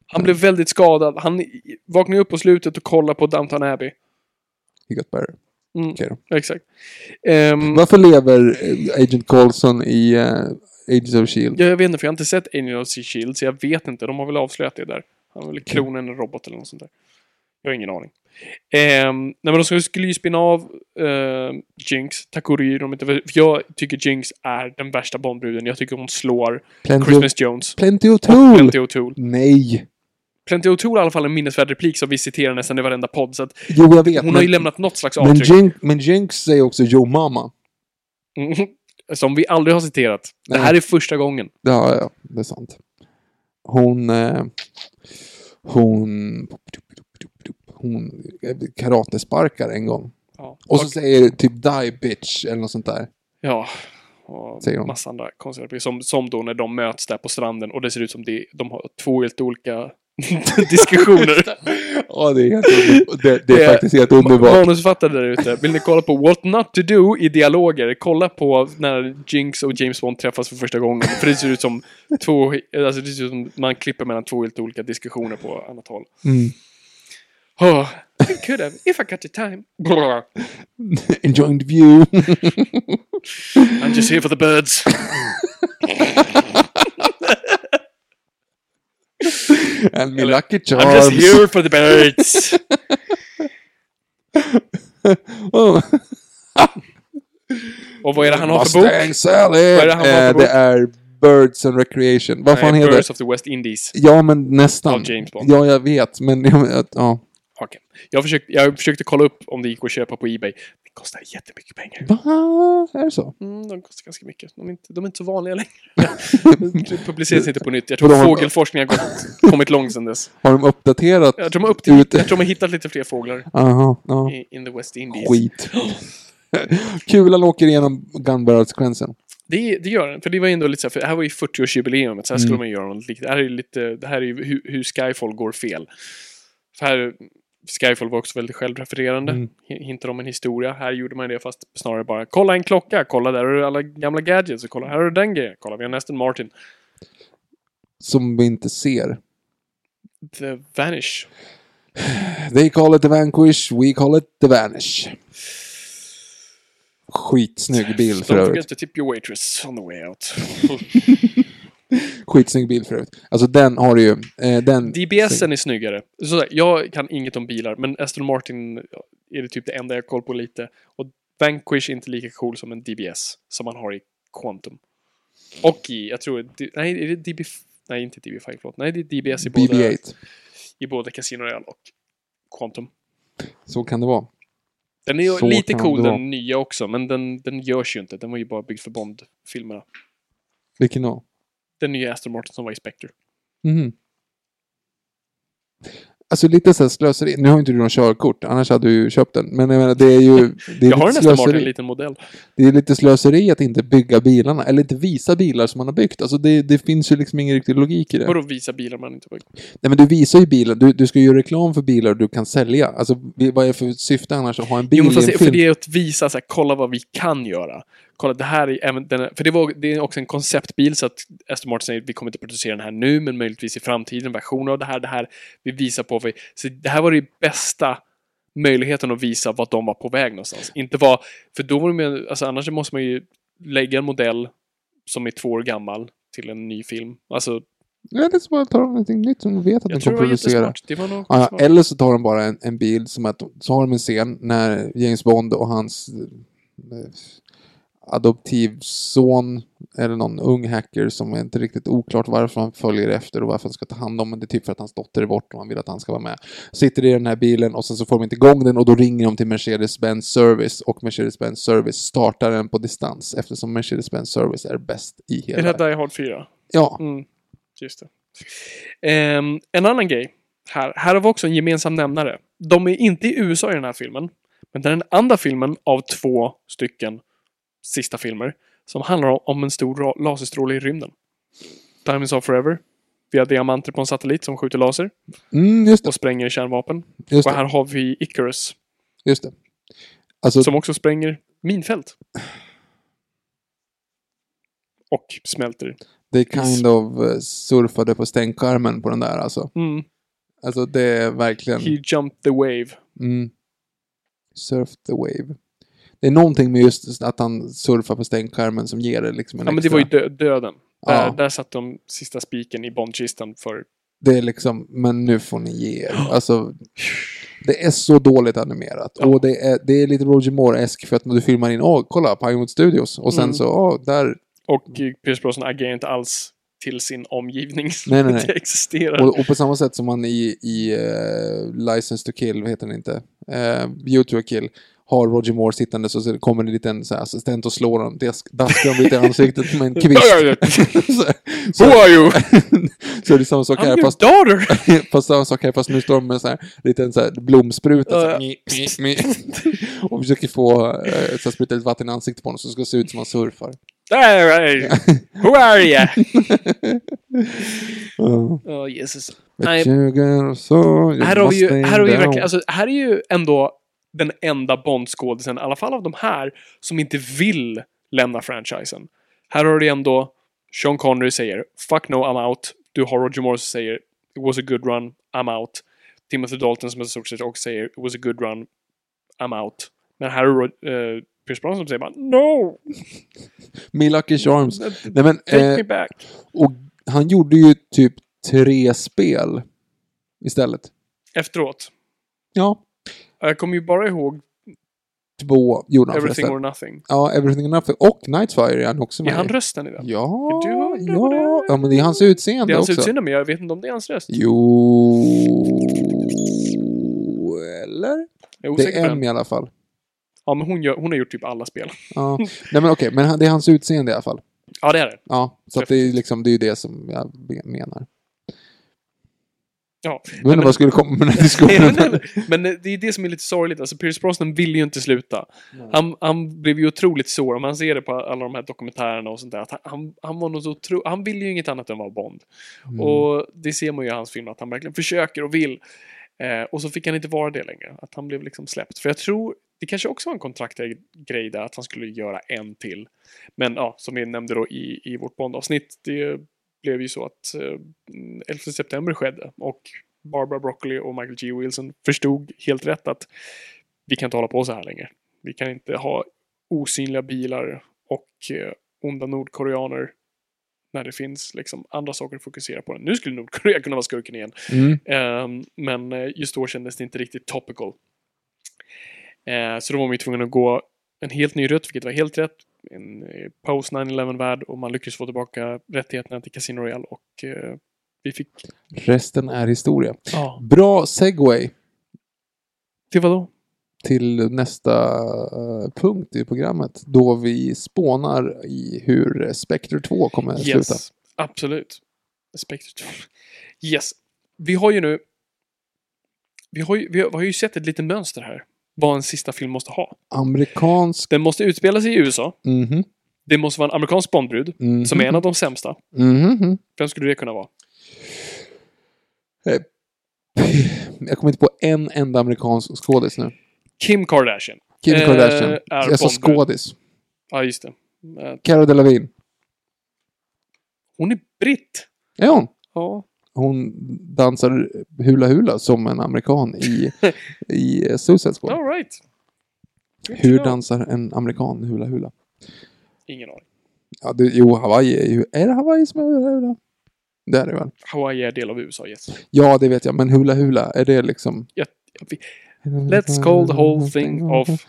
C: Han blev väldigt skadad. Han vaknade upp på slutet och kollade på Downton Abbey.
B: He got better. Okej då.
C: Exakt. Ehm,
B: Varför lever eh, Agent Coulson i eh, Agents of Shield?
C: Ja, jag vet inte, för jag har inte sett Angel of the Shield, så jag vet inte. De har väl avslöjat det där. Han
B: Mm.
C: var väl klonen en robot eller något sånt där. Jag har ingen aning. Ehm, nej, men de skulle- skulle ju spinna av ehm, Jinx. Tack och lov gjorde de inte. För jag tycker Jinx är den värsta Bondbruden. Jag tycker hon slår
B: Plenty, o-
C: Christmas Jones.
B: Plenty O'Toole!
C: Plenty O'Toole.
B: Nej!
C: Plenty O'Toole har i alla fall en minnesvärd replik som vi citerar nästan i varenda podd. Så att
B: Jo, jag vet.
C: hon har ju lämnat något slags
B: men,
C: avtryck.
B: Jinx, men Jinx säger också Yo Mama.
C: Mm, som vi aldrig har citerat.
B: Nej.
C: Det här är första gången.
B: Ja, ja, det är sant. Hon... Eh, hon... Hon eh, karatesparkar en gång.
C: Ja.
B: Och så säger typ die bitch eller något sånt där.
C: Ja. Och
B: Säger hon.
C: massa andra konstiga repliker. Som, som då när de möts där på stranden och det ser ut som de, de har två helt olika diskussioner.
B: Ja, det är, helt under- det, det
C: Det
B: är
C: är-
B: faktiskt helt underbart.
C: Manusförfattare där ute, vill ni kolla på What Not To Do i dialoger? Kolla på när Jinx och James Bond träffas för första gången. För det ser ut som två, alltså det ser ut som man klipper mellan två helt olika diskussioner på annat håll.
B: Mm.
C: Oh, I could have, if I got the time. Brr.
B: Enjoying the view.
C: I'm just here for the birds.
B: And me lucky
C: I'm just
B: charms.
C: here for the birds.
B: Oh,
C: Och vad är det han har för bok?
B: Mustang Sally!
C: är det han har för
B: Eh,
C: bok?
B: Det är Birds and Recreation. Vad fan
C: Nej,
B: heter
C: Birds
B: det?
C: of the West Indies.
B: Ja, men nästan.
C: Av James Bond.
B: Ja, jag vet. Men ja, ja.
C: Okej. Jag, försökte, jag försökte kolla upp om det gick att köpa på Ebay. Det kostar jättemycket pengar.
B: Va? Ah, Är det så?
C: Mm, de kostar ganska mycket. De är inte, de är inte så vanliga längre. De publiceras inte på nytt. Jag tror
B: Vadå?
C: fågelforskningen har gått, kommit långt sedan dess.
B: Har de uppdaterat?
C: Jag tror de har upp
B: Ut-
C: jag tror de har hittat lite fler fåglar
B: Aha, ja.
C: i, in the West Indies.
B: Skit. Kulan åker igenom gun barrel-sekvensen.
C: Det, det gör den. För det var ju ändå lite så här, för det här var ju 40-årsjubileumet. Så
B: Mm.
C: här skulle man ju göra något liknande. Det här är ju lite, det här är ju hur, hur Skyfall går fel. För här, Skyfall var också väldigt självrefererande.
B: Mm.
C: Hi- Hintar om en historia. Här gjorde man det fast snarare bara kolla en klocka, kolla där har du alla gamla gadgets och kolla här har du den grejen. Kolla vi har nästan Martin.
B: Som vi inte ser.
C: The Vanish.
B: They call it the vanquish, we call it the vanish. Skitsnygg bild för
C: Don't
B: övrigt.
C: forget to tip your waitress on the way out.
B: Skitsnygg bild för övrigt. Alltså den har du ju. Eh, den...
C: DBSen är snyggare. Så där, jag kan inget om bilar, men Aston Martin är det typ det enda jag har koll på lite. Och Vanquish är inte lika cool som en DBS som man har i Quantum. Och i, jag tror, D- nej, är det DB... Nej, inte DB5, förlåt. Nej, det är DBS i både,
B: BB-8.
C: i både Casino Royale och Quantum.
B: Så kan det vara.
C: Den är ju
B: Så
C: lite
B: kan det
C: cool
B: vara.
C: den nya också, men den, den görs ju inte. Den var ju bara byggd för Bond-filmerna.
B: Vilken då?
C: Den nya Aston Martin som var i Spectre.
B: Mhm. Alltså lite så här slöseri. Nu har ju inte du någon körkort, annars hade du ju köpt den. Men jag menar, det är ju... Det är
C: Jag har en
B: lite
C: Aston Martin, en
B: slöseri.
C: liten modell.
B: Det är lite slöseri att inte bygga bilarna, eller inte visa bilar som man har byggt. Alltså det, det finns ju liksom ingen riktig logik i det.
C: Vadå visa bilar man inte byggt?
B: Nej men du visar ju bilar, du, du ska ju göra reklam för bilar du kan sälja. Alltså vi- vad är det för syfte annars att ha en bil
C: Jo, men
B: i en
C: fast,
B: film?
C: för det är att visa, så här, kolla vad vi kan göra. Kolla, det här är även den, För det, var, det är också en konceptbil, så att Aston Martin säger vi kommer inte producera den här nu, men möjligtvis i framtiden, en version av det här, det här. Vi visar på vad vi... Så det här var det bästa möjligheten att visa vad de var på väg någonstans. Inte vad... För då var de ju, alltså annars måste man ju lägga en modell som är två år gammal till en ny film. Alltså,
B: Ja, det är så bara att ta någonting nytt som de vet att
C: jag
B: de kan
C: tror det var
B: producera.
C: jättesmart. Det var nog
B: Ja,
C: smart.
B: eller så tar de bara en, en bild som att, så har de en scen när James Bond och hans eh, adoptivson eller någon ung hacker som är inte riktigt oklart varför han följer efter och varför han ska ta hand om men det är typ för att hans dotter är borta och han vill att han ska vara med. Sitter i den här bilen och sen så får de inte igång den och då ringer de till Mercedes-Benz Service och Mercedes-Benz Service startar den på distans eftersom Mercedes-Benz Service är bäst i
C: Är det
B: hela...
C: här Die Hard 4?
B: Ja.
C: Mm, just det. Ehm, en annan grej här. Här har vi också en gemensam nämnare. De är inte i USA i den här filmen. Men det är den andra filmen av två stycken sista filmer som handlar om- om en stor ra- laserstråle i rymden. Time is of forever. Vi har diamanter på en satellit som skjuter laser
B: Mm, just det.
C: och spränger kärnvapen.
B: Just
C: Och
B: det.
C: här har vi Icarus
B: Just det. Alltså,
C: som också spränger minfält. Och smälter.
B: They kind of eh, surfade på stänkskärmen på den där alltså.
C: Mm.
B: Alltså det är verkligen...
C: He jumped the wave.
B: Mm, surf the wave. Det är någonting med just att han surfar på stänkskärmen som ger det liksom en
C: Ja, men det
B: extra-
C: var ju dö- döden. Där,
B: Ja.
C: där satt de sista spiken i Bondkistan för...
B: Det är liksom, men nu får ni ge er. Alltså, det är så dåligt animerat.
C: Ja.
B: Och det är, det är lite Roger Moore-esk för att du filmar in, åh, kolla, Pinewood Studios. Och sen
C: Mm.
B: så, åh, där
C: Och eh, Pierce Brosnan agerar inte alls till sin omgivning.
B: Nej, nej, nej.
C: det existerar.
B: Och, och på samma sätt som man i, i eh, License to kill, vad heter den inte? Uh, you to a kill. Har Roger Moore sittandes och så kommer en liten så här, assistent och slår honom. Dask- Daskar honom lite i ansiktet med en kvist. så, så,
C: Who are you?
B: så är det samma sak
C: I'm
B: här.
C: your
B: Fast,
C: daughter!
B: fast samma sak här, fast nu står de med en sån här liten så här, blomspruta. Så här,
C: Ja,
B: mi, mi, mi. och försöker få uh, så här, sprita lite vatten i ansiktet på honom så det ska se ut som han surfar.
C: There I am. Who are you?
B: Uh,
C: Oh, Jesus. Nej,
B: Nej. So,
C: här har vi ju, här har vi ju verkligen, alltså, här är ju ändå den enda Bond-skådisen, i alla fall av de här, som inte vill lämna franchisen. Här har du ändå Sean Connery säger “Fuck no, I'm out”. Du har Roger Moore som säger “It was a good run, I'm out”. Timothy Dalton som är stort sett också säger “It was a good run, I'm out”. Men här är Ro- eh, Pierce Brosnan som säger bara “No,
B: Me Lucky Charms.
C: alltså,
B: Nej, men,
C: take
B: eh,
C: me back”.
B: Och han gjorde ju typ tre spel istället.
C: Efteråt.
B: Ja.
C: Jag kommer ju bara ihåg
B: Två gjorde han
C: “Everything
B: förresten.
C: or Nothing”.
B: Ja, Everything and Nothing. Och Nightfire är han också
C: Är
B: med
C: han
B: i.
C: rösten i den?
B: Ja,
C: Du undrar vad det
B: ja.
C: är.
B: ja, men det är hans
C: Det
B: utseende
C: är hans
B: också.
C: utseende, men jag vet inte om det är hans röst.
B: Jo... Eller?
C: Jag är
B: Det
C: osäker på
B: är
C: den.
B: M i alla fall.
C: Ja, men hon, gör, hon har gjort typ alla spel.
B: Ja. Nej men okej, men han- det är hans utseende i alla fall.
C: Ja, det är det.
B: Ja, så att det är ju liksom, det är ju det som jag menar.
C: Ja.
B: Jag undrar vad jag skulle komma med den här
C: Nej,
B: diskussionen.
C: men- Men det är det som är lite sorgligt. Alltså, Pierce Brosnan ville ju inte sluta. Han, han blev ju otroligt sår. Om man ser det på alla de här dokumentärerna och sånt där. Att han- han, han, var något otro... han ville ju inget annat än vara Bond.
B: Mm.
C: Och det ser man ju i hans film, att han verkligen försöker och vill. Eh, och så fick han inte vara det längre. Att han blev liksom släppt. För jag tror, det kanske också var en kontraktgrej där, att han skulle göra en till. Men ja, som vi nämnde då i, i vårt Bond-avsnitt, det blev ju så att eh, 11 september skedde. Och Barbara Broccoli och Michael G. Wilson förstod helt rätt att vi kan inte hålla på så här längre. Vi kan inte ha osynliga bilar och eh, onda nordkoreaner när det finns liksom andra saker att fokusera på. Nu skulle Nordkorea kunna vara skurken igen.
B: Mm.
C: Ehm, men eh, just då kändes det inte riktigt topical. Eh, så då var man ju tvungen att gå en helt ny rutt, vilket var helt rätt. En eh, post 9-11-värld och man lyckades få tillbaka rättigheterna till Casino Royale och eh, vi fick...
B: Resten är historia.
C: Ja.
B: Bra segway.
C: Till vadå?
B: till nästa eh, punkt i programmet. Då vi spånar i hur Spectre 2 kommer att sluta.
C: Yes, absolut. Spectre 2. Yes. Vi har ju nu... Vi har ju, vi har, vi har ju sett ett litet mönster här. Vad en sista film måste ha.
B: Amerikansk...
C: Den måste utspela sig i USA.
B: Mhm.
C: Det måste vara en amerikansk Bondbrud.
B: Mhm.
C: Som är en av de sämsta.
B: Mhm.
C: Vem skulle det kunna vara?
B: Jag kommer inte på en enda amerikansk skådis nu.
C: Kim Kardashian.
B: Kim
C: Eh,
B: Kardashian.
C: är
B: jag sa
C: Bondbrud.
B: skådis.
C: Ja, just det. Eh,
B: Cara Delevingne.
C: Hon är britt.
B: Är hon?
C: Ja.
B: Hon dansar hula hula som en amerikan i, i eh, Suicide Squad.
C: All right. Good to
B: Hur
C: know.
B: dansar en amerikan hula hula?
C: Ingen aning.
B: Ja, det, jo, Hawaii är ju... Är det Hawaii som är hula hula? Det är det väl?
C: Hawaii är del av USA, yes.
B: Ja, det vet jag. Men hula hula, är det liksom...
C: Jag- jag- Let's call the whole thing off.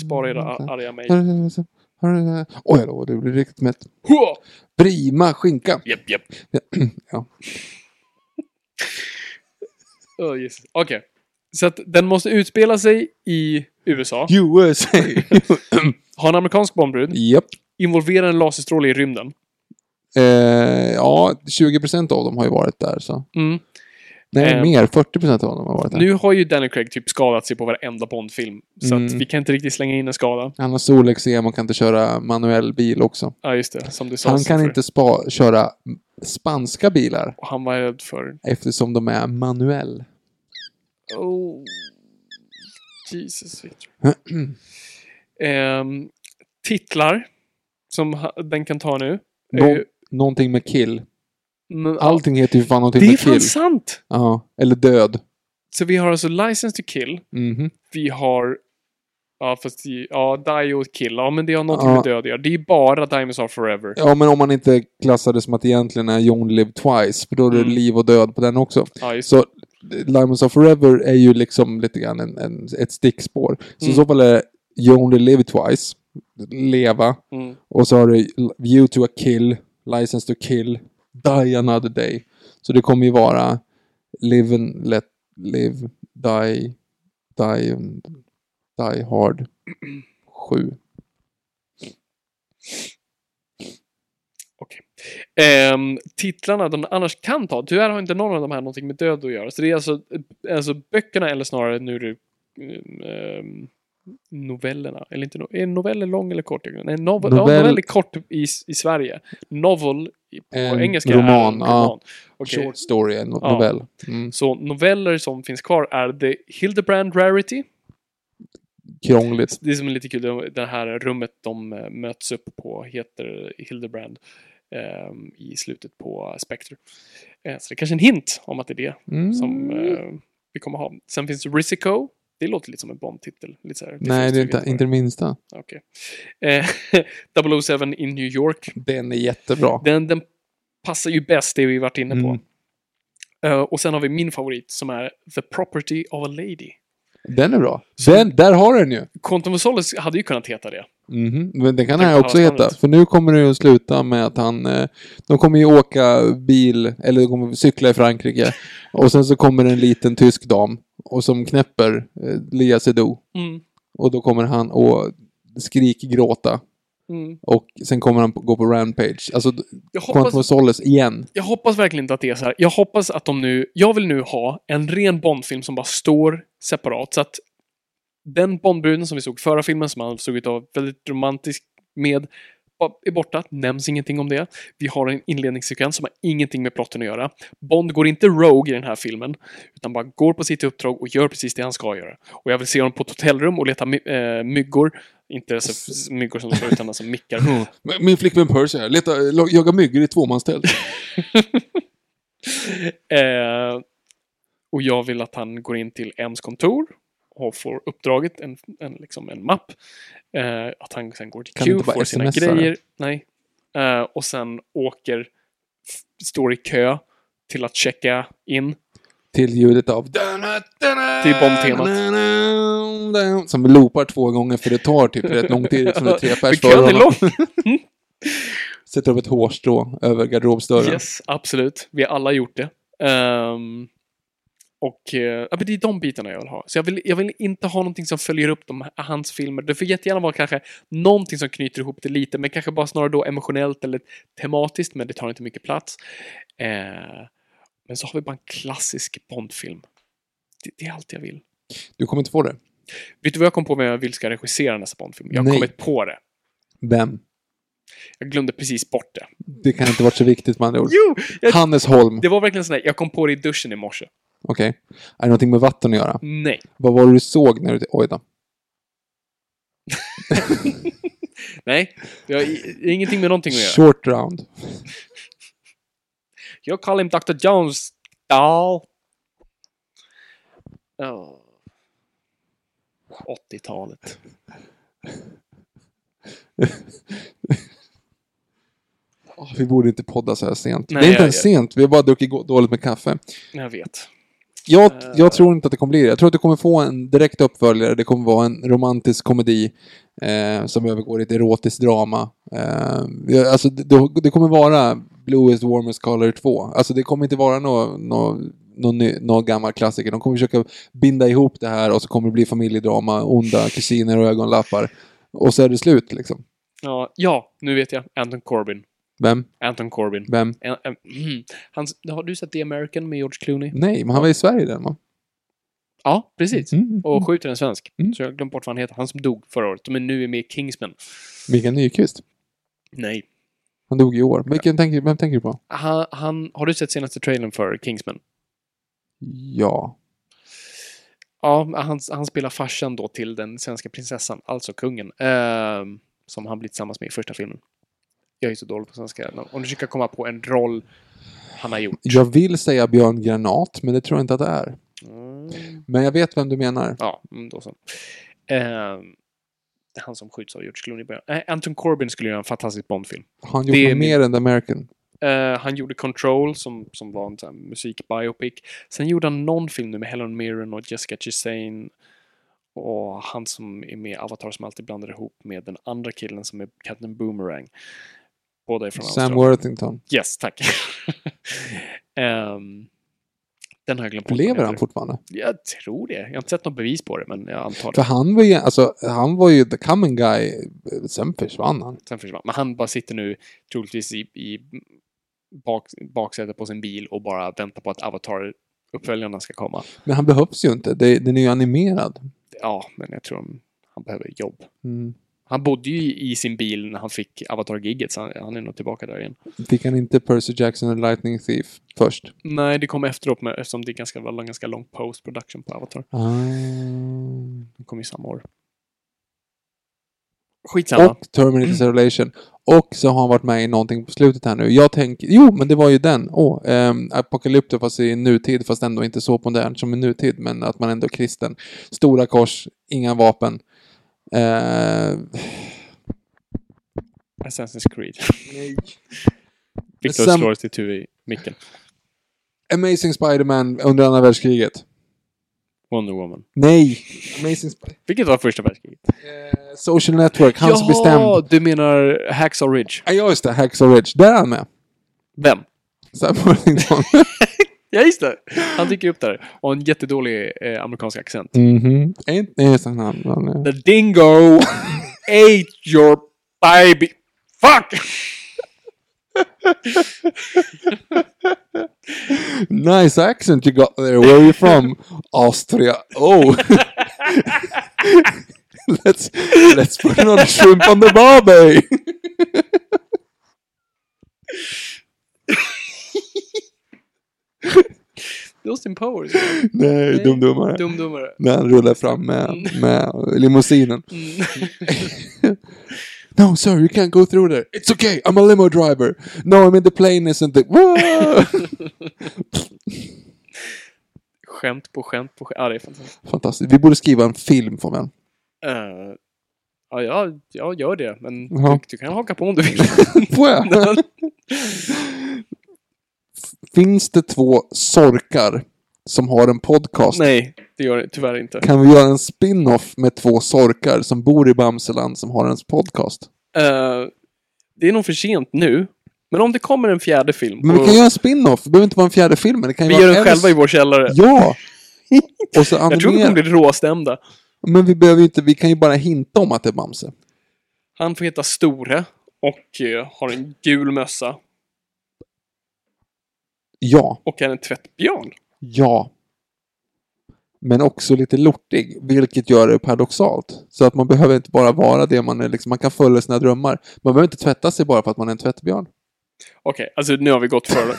C: Spara era a- arga mejl.
B: Oj då, du blir riktigt mätt.
C: Hua!
B: Prima skinka.
C: Japp, japp.
B: Ja.
C: Oh, yes. Okej. Så att den måste utspela sig i USA.
B: USA.
C: Ha en amerikansk bombbrud.
B: Japp.
C: Involvera en laserstråle i rymden.
B: Eh, ja, 20% av dem har ju varit där så.
C: Mm.
B: Nej,
C: Eh,
B: mer. 40% av dem har varit där.
C: Nu har ju Daniel Craig typ skadat sig på varenda Bondfilm. Så att
B: Mm.
C: vi kan inte riktigt slänga in en skada.
B: Han har solexem och kan inte köra manuell bil också.
C: Ja, just det. Som du sa.
B: Han kan
C: för-
B: inte spa- köra spanska bilar
C: Och han var rädd för...
B: eftersom de är manuell.
C: Oh. Jesus Victor. Ehm, titlar. Som ha- den kan ta nu. är
B: Nå-
C: ju-
B: någonting med kill.
C: men-
B: Allting heter ju fan någonting
C: Det är
B: med
C: fan
B: kill.
C: sant!
B: Ja, eller död.
C: Så vi har alltså License to Kill.
B: Mhm.
C: Vi har... Ja, fast i, ja, Die och Kill. Ja, men det har någonting
B: Ja.
C: med död att göra. Det är bara Diamonds Are Forever.
B: Ja, men om man inte klassar det som att det egentligen är John Live Twice, för då är det
C: Mm.
B: liv och död på den också.
C: Ja, just
B: Så Diamonds of Forever är ju liksom lite grann en, en, ett stickspår. Så i
C: Mm.
B: så fall är det You Only Live Twice, Leva,
C: Mm.
B: och så har du View to a Kill, License to Kill, Die Another Day. Så det kommer ju vara Live and Let Live, Die, Die, and- die Hard 7.
C: Okej. Ehm, titlarna de annars kan ta, tyvärr har inte någon av de här någonting med död att göra. Så det är alltså, eh, alltså böckerna, eller snarare nu är det ehm, novellerna. Eller inte no är noveller lång eller kort? Nej, novel, ja,
B: Novell-
C: novell är kort i, i Sverige. Novel i- på
B: En
C: engelska är
B: roman,
C: en
B: ja.
C: roman. Okej.
B: Short story, en no-
C: Ja.
B: novell. Mm.
C: Så noveller som finns kvar är The Hildebrand Rarity.
B: Krångligt.
C: Det som är lite kul, det här rummet de eh, möts upp på heter Hildebrand ehm, i slutet på Spectre. Eh, så det är kanske är en hint om att det är det
B: Mm.
C: som eh, vi kommer ha. Sen finns Risico. Det låter lite som en bombtitel. Lite så här,
B: Nej,
C: finns
B: det är
C: ju
B: inte,
C: lite
B: inte det minsta.
C: bara. Okej. Eh, 007 in New York.
B: Den är jättebra.
C: Den, den passar ju bäst, det vi varit inne på.
B: Mm.
C: Eh, och sen har vi min favorit som är The Property of a Lady.
B: Den är bra. Den, där har du den ju!
C: Quantum of Solace hade ju kunnat heta det.
B: Mhm, Men den kan
C: Tänk
B: han
C: på
B: också
C: avståndet.
B: heta. För nu kommer det ju att sluta med att han... eh, De kommer ju åka bil, eller de kommer cykla i Frankrike. Och sen så kommer en liten tysk dam. Och som knäpper eh, Lia Seydoux.
C: Mm.
B: Och då kommer han att skrikgråta.
C: Mm.
B: Och sen kommer han på- gå på rampage. Alltså,
C: Jag hoppas-
B: Quantum of Solace igen.
C: Jag hoppas verkligen inte att det är så här. Jag hoppas att de nu... Jag vill nu ha en ren Bondfilm som bara står separat. Så att den Bondbruden som vi såg förra filmen, som han såg ut att vara väldigt romantisk med, bara är borta. Nämns ingenting om det. Vi har en inledningssekvens som har ingenting med plotten att göra. Bond går inte Rogue i den här filmen, utan bara går på sitt uppdrag och gör precis det han ska göra. Och jag vill se honom på ett hotellrum och leta my- eh, myggor. Inte så f- myggor som de slår, utan alltså mickar.
B: Men Min flickvän Percy här. Leta, jaga myggor i tvåmanstält.
C: Eh, och jag vill att han går in till M's kontor och får uppdraget, en, en, liksom en mapp. Eh, att han sen går till
B: Kan
C: Q,
B: inte bara
C: får sina
B: smsa?
C: grejer. Nej. Eh, och sen åker, f- står i kö till att checka in.
B: Till ljudet av...
C: Till bombtemat.
B: Som loopar två gånger för det tar typ rätt lång tid eftersom det är tre
C: Men
B: pers
C: kön
B: före
C: är
B: honom.
C: lång!
B: Sätter upp ett hårstrå över garderobsdörren.
C: Yes, absolut. Vi har alla gjort det. Ehm, Och eh, ja, men det är de bitarna jag vill ha. Så jag vill, jag vill inte ha någonting som följer upp de, hans filmer. Det får jättegärna vara kanske någonting som knyter ihop det lite, men kanske bara snarare då emotionellt eller tematiskt, men det tar inte mycket plats. Eh, men så har vi bara en klassisk Bondfilm. Det, det är allt jag vill.
B: Du kommer inte få det.
C: Vet du vad jag kom på med jag vill ska regissera nästa Bondfilm? Jag har
B: Nej.
C: kommit på det.
B: Vem?
C: Jag glömde precis bort det.
B: Det kan inte varit så viktigt med andra ord.
C: Jo! Jag,
B: Hannes Holm.
C: det var verkligen sån där, jag kom på det i duschen i morse.
B: Okej. Är det någonting med vatten att göra?
C: Nej.
B: Vad var det du såg när du... Oj då.
C: Nej. Det har i- ingenting med någonting att göra.
B: Short round.
C: Jag kallar him Dr. Jones. Ja. Ja. 80-talet.
B: Åh, vi borde inte podda så här sent.
C: Nej,
B: det är inte
C: jag-
B: ens sent. Vi har bara druckit gå- dåligt med kaffe.
C: Jag vet.
B: Jag, jag tror inte att det kommer bli det. Jag tror att du kommer få en direkt uppföljare. Det kommer vara en romantisk komedi eh, som övergår i ett erotiskt drama. Eh, jag- alltså, det, det kommer vara Blue is the warmest color 2. Alltså det kommer inte vara någon nå, nå, ny- nå gammal klassiker. De kommer försöka binda ihop det här och så kommer det bli familjedrama, onda kusiner och ögonlappar. Och så är det slut liksom.
C: Ja, ja, nu vet jag. Anton Corbin.
B: Vem?
C: Anton Corbin.
B: Vem?
C: En- en- mhm. Hans, har du sett The American med George Clooney?
B: Nej, men han var i Sverige den va?
C: Ja, precis.
B: Mm.
C: Och skjuter en svensk.
B: Mm.
C: Så jag har glömt bort vad han heter. Han som dog förra året. Men nu är med i Kingsman.
B: Mikael Nyqvist.
C: Nej.
B: Han dog i år. Vilken tänker, vem tänker du på?
C: Han, han, har du sett senaste trailern för Kingsman?
B: Ja.
C: Ja, han, han spelar farsan då till den svenska prinsessan, alltså kungen, ehm, som han blir tillsammans med i första filmen. Jag är så dålig på svenska. Om du försöker komma på en roll han har gjort.
B: Jag vill säga Björn Granat, men det tror jag inte att det är.
C: Mm.
B: Men jag vet vem du menar.
C: Ja, mm, då så. Ehm, han som skjuts av George Clooney i början. Nej, Anton Corbin skulle göra en fantastisk Bondfilm.
B: Han gjorde
C: Det är
B: mer än The American.
C: Eh, han gjorde Control, som, som var en sån här musikbiopic. Sen gjorde han någon film nu med Helen Mirren och Jessica Chastain. Och han som är med i Avatar som alltid blandar ihop med den andra killen som är Captain Boomerang. Båda är från
B: Sam
C: Australien.
B: Worthington.
C: Yes, tack. Ehm, den har jag glömt bort vad
B: Lever han
C: heter.
B: fortfarande?
C: Jag tror det. Jag har inte sett något bevis på det, men jag antar
B: För
C: det.
B: han var ju, alltså, han var ju the common guy. Sen försvann han.
C: Sen försvann. Men han bara sitter nu troligtvis i, i bak, baksätet på sin bil och bara väntar på att Avatar-uppföljarna ska komma.
B: Men han behövs ju inte. Det, den är ju animerad.
C: Ja, men jag tror han- han behöver jobb.
B: Mm.
C: Han bodde ju i sin bil när han fick Avatar-gigget, så han, han är nog tillbaka där igen.
B: Fick han inte Percy Jackson och Lightning Thief först?
C: Nej, det kom efteråt med, eftersom det är ganska, var en ganska lång post-production på Avatar.
B: Ah.
C: Det kom ju samma år. Skitsamma.
B: Och Terminator Salvation. Och så har han varit med i någonting på slutet här nu. Jag tänker, jo men det var ju den. Åh, ehm, Apokalypto fast i nutid fast ändå inte så modernt som i nutid. Men att man ändå är kristen. Stora kors, inga vapen. Eh,
C: Assassin's Creed.
B: Nej.
C: Victor
B: Sam-
C: slår sitt huvud i micken.
B: Amazing Spider-Man under andra världskriget.
C: Wonder Woman.
B: Nej! Amazing Sp-
C: Vilket var första världskriget?
B: eh, Social Network, han som bestämde.
C: du menar Hacksaw Ridge.
B: Ja just det, Hacksaw Ridge. Där är han med.
C: Vem?
B: Sam Worthington.
C: Ja, just det! Han dyker upp där. Och en jättedålig eh, amerikansk accent.
B: Mhm. Eh, Nej, just det, han, han, han,
C: The dingo ate your baby. Fuck!
B: Nice accent you got there. Where are you from? Austria. Oh. let's let's put another shrimp on the barbie.
C: Austin Powers.
B: Nej, dumdummare.
C: Dumdummare.
B: När han rullar fram med, med limousinen. no sir, you can't go through there. It's okay, I'm a limo driver. No, I mean the plane isn't the... Whoa!
C: Skämt på skämt på skämt. Ja, det är fantastiskt.
B: Fantastiskt. Vi borde skriva en film för den.
C: Eh, ja, jag, jag gör det. Men
B: Jaha.
C: du, du kan haka på om du vill.
B: Får jag? Finns det två sorkar som har en podcast?
C: Nej, det gör det tyvärr inte.
B: Kan vi göra en spin-off med två sorkar som bor i Bamseland som har en podcast?
C: Eh, det är nog för sent nu. Men om det kommer en fjärde film.
B: Men vi
C: och
G: Mm.
B: kan göra en spin-off, det behöver inte vara en fjärde film. men Det kan ju
C: vi
B: vara
C: gör den
B: en-
C: själva i vår källare.
B: Ja! Och så
G: Jag tror de
B: animerar...
G: kommer bli råstämda.
B: Men vi behöver ju inte, vi kan ju bara hinta om att det är Bamse.
G: Han får heta Store och eh, har en gul mössa
B: Ja,
G: och är en tvättbjörn.
B: ja. Men också lite lortig, vilket gör det paradoxalt. Så att man behöver inte bara vara det man är, liksom, man kan följa sina drömmar. Man behöver inte tvätta sig bara för att man är en tvättbjörn.
G: Okej, alltså nu har vi gått för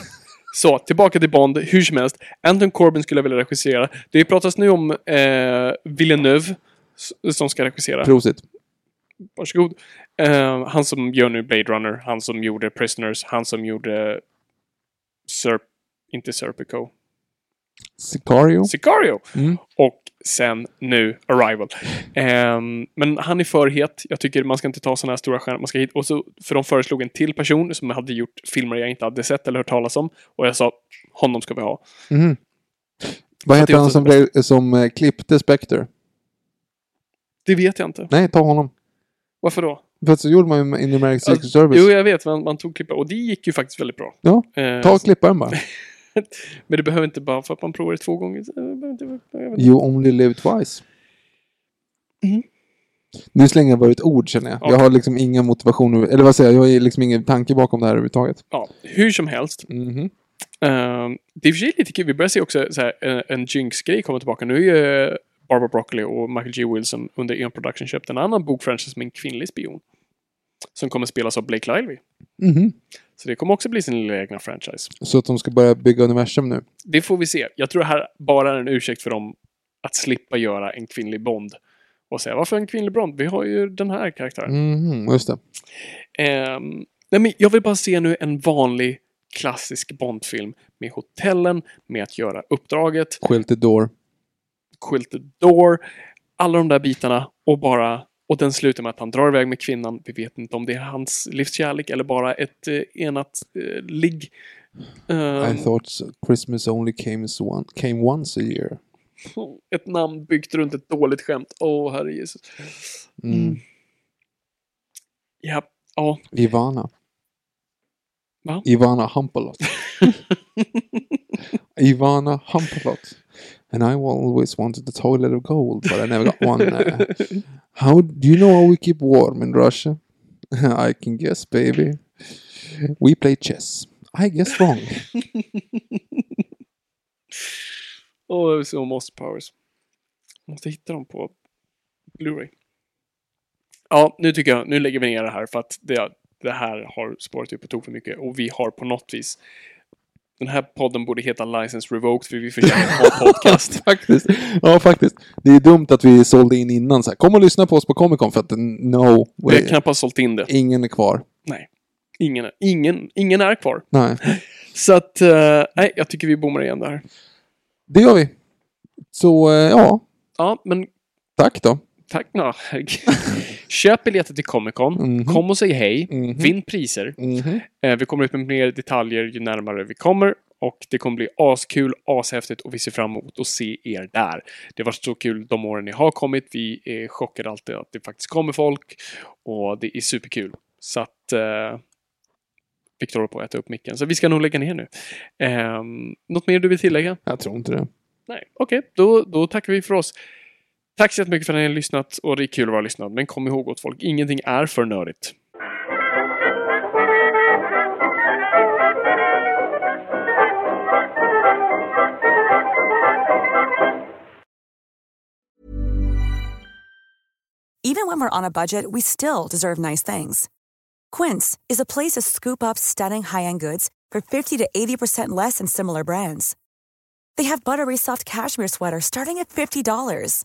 G: Så, tillbaka till Bond, hur som helst. Anton Corbin skulle jag vilja regissera. Det pratas nu om eh, Villeneuve s- som ska regissera.
B: Prosit.
G: Varsågod. Eh, han som gör nu Blade Runner, han som gjorde Prisoners, han som gjorde... Serp... Inte Serpico.
B: Sicario.
G: Sicario!
B: Mm.
G: Och sen nu Arrival. Ehm, men han är för het. Jag tycker man ska inte ta sådana här stora stjärnor. Man ska hit. Och så, för de föreslog en till person som hade gjort filmer jag inte hade sett eller hört talas om. Och jag sa, honom ska vi ha.
B: Mhm. Vad
G: Så det
B: heter
G: är
B: han
G: också
B: som,
G: det
B: blev, som eh, klippte Spectre?
G: Det vet jag inte.
B: Nej, ta honom.
G: Varför då?
B: För att så gjorde man ju med in the American Secret
G: Alltså,
B: Service.
G: Jo, jag vet. Man, man tog klippa. Och det gick ju faktiskt väldigt bra.
B: Ja,
G: Ehm,
B: ta klipparen bara.
G: men det behöver inte bara för att man provar det två gånger. så- jag behöver inte- jag vet inte.
B: You only live twice.
G: Mm.
B: Nu slänger jag bara ut ord känner jag.
G: Ja.
B: Jag har liksom ingen motivation, över- eller vad säger jag, jag har liksom ingen tanke bakom det här överhuvudtaget.
G: Ja, hur som helst.
B: Mhm.
G: Ehm, det är i och för sig lite kul. Vi börjar se också så här, en, en Jinx-grej komma tillbaka. Nu är ju eh, Barbara Broccoli och Michael G. Wilson under En Production köpt en annan bokfranchise med en kvinnlig spion. Som kommer spelas av Blake Lively.
B: Mhm.
G: Så det kommer också bli sin lilla egna franchise.
B: Så att de ska börja bygga universum nu.
G: Det får vi se. Jag tror det här bara är en ursäkt för dem att slippa göra en kvinnlig Bond. Och säga varför en kvinnlig Bond? Vi har ju den här karaktären.
B: Mhm, just det.
G: Ehm, nej men jag vill bara se nu en vanlig klassisk Bondfilm med hotellen, med att göra uppdraget,
B: Quilted Door.
G: Quilted Door, alla de där bitarna och bara och den slutar med att han drar iväg med kvinnan. Vi vet inte om det är hans livskärlek eller bara ett eh, enat eh, ligg. Ehm,
B: I thought so. Christmas only came, as one, came once a year.
G: ett namn byggt runt ett dåligt skämt. Åh, herre Jesus.
B: Mm.
G: Ja, ja.
B: Ivana.
G: Va?
B: Ivana Hampalot. Ivana Hampalot. And I always wanted the toilet of gold, but I never got one. Uh, how do you know how we keep warm in Russia? I can guess, baby. We play chess. I guess wrong.
G: Åh, så Most Powers. Måste hitta dem på Blu-ray. Ja, nu tycker jag, nu lägger vi ner det här för att det, det här har spårat ut på tok för mycket och vi har på något vis den här podden borde heta License Revoked för vi förtjänar en bra podcast.
B: faktiskt. Ja, faktiskt. Det är dumt att vi sålde in innan. Så här, kom och lyssna på oss på Comic Con för att no
G: Vi
B: way.
G: har knappast sålt in det.
B: Ingen är kvar.
G: Nej. Ingen, är- ingen, ingen är kvar.
B: Nej.
G: Så att, eh, nej, jag tycker vi bommar igen där.
B: Det gör vi. Så, eh, ja.
G: Ja, men
B: Tack då.
G: Tack, no. Köp biljetter till Comic Con. Kom och säg hej. Vinn priser. Eh, vi kommer ut med mer detaljer ju närmare vi kommer. Och det kommer bli askul, ashäftigt och vi ser fram emot att se er där. Det har varit så kul de åren ni har kommit. Vi är chockade alltid att det faktiskt kommer folk. Och det är superkul. Så att... Eh, Viktor håller på att äta upp micken. Så vi ska nog lägga ner nu. Eh, något mer du vill tillägga?
B: Jag tror inte det.
G: Nej, okej. Då, då tackar vi för oss. Tack så jättemycket för att ni har lyssnat och det är kul att vara lyssnad. Men kom ihåg åt folk, ingenting är för nördigt.
E: Even when we're on a budget, we still deserve nice things. Quince is a place to scoop up stunning high-end goods for 50 to 80% less than similar brands. They have buttery soft cashmere sweaters starting at $50,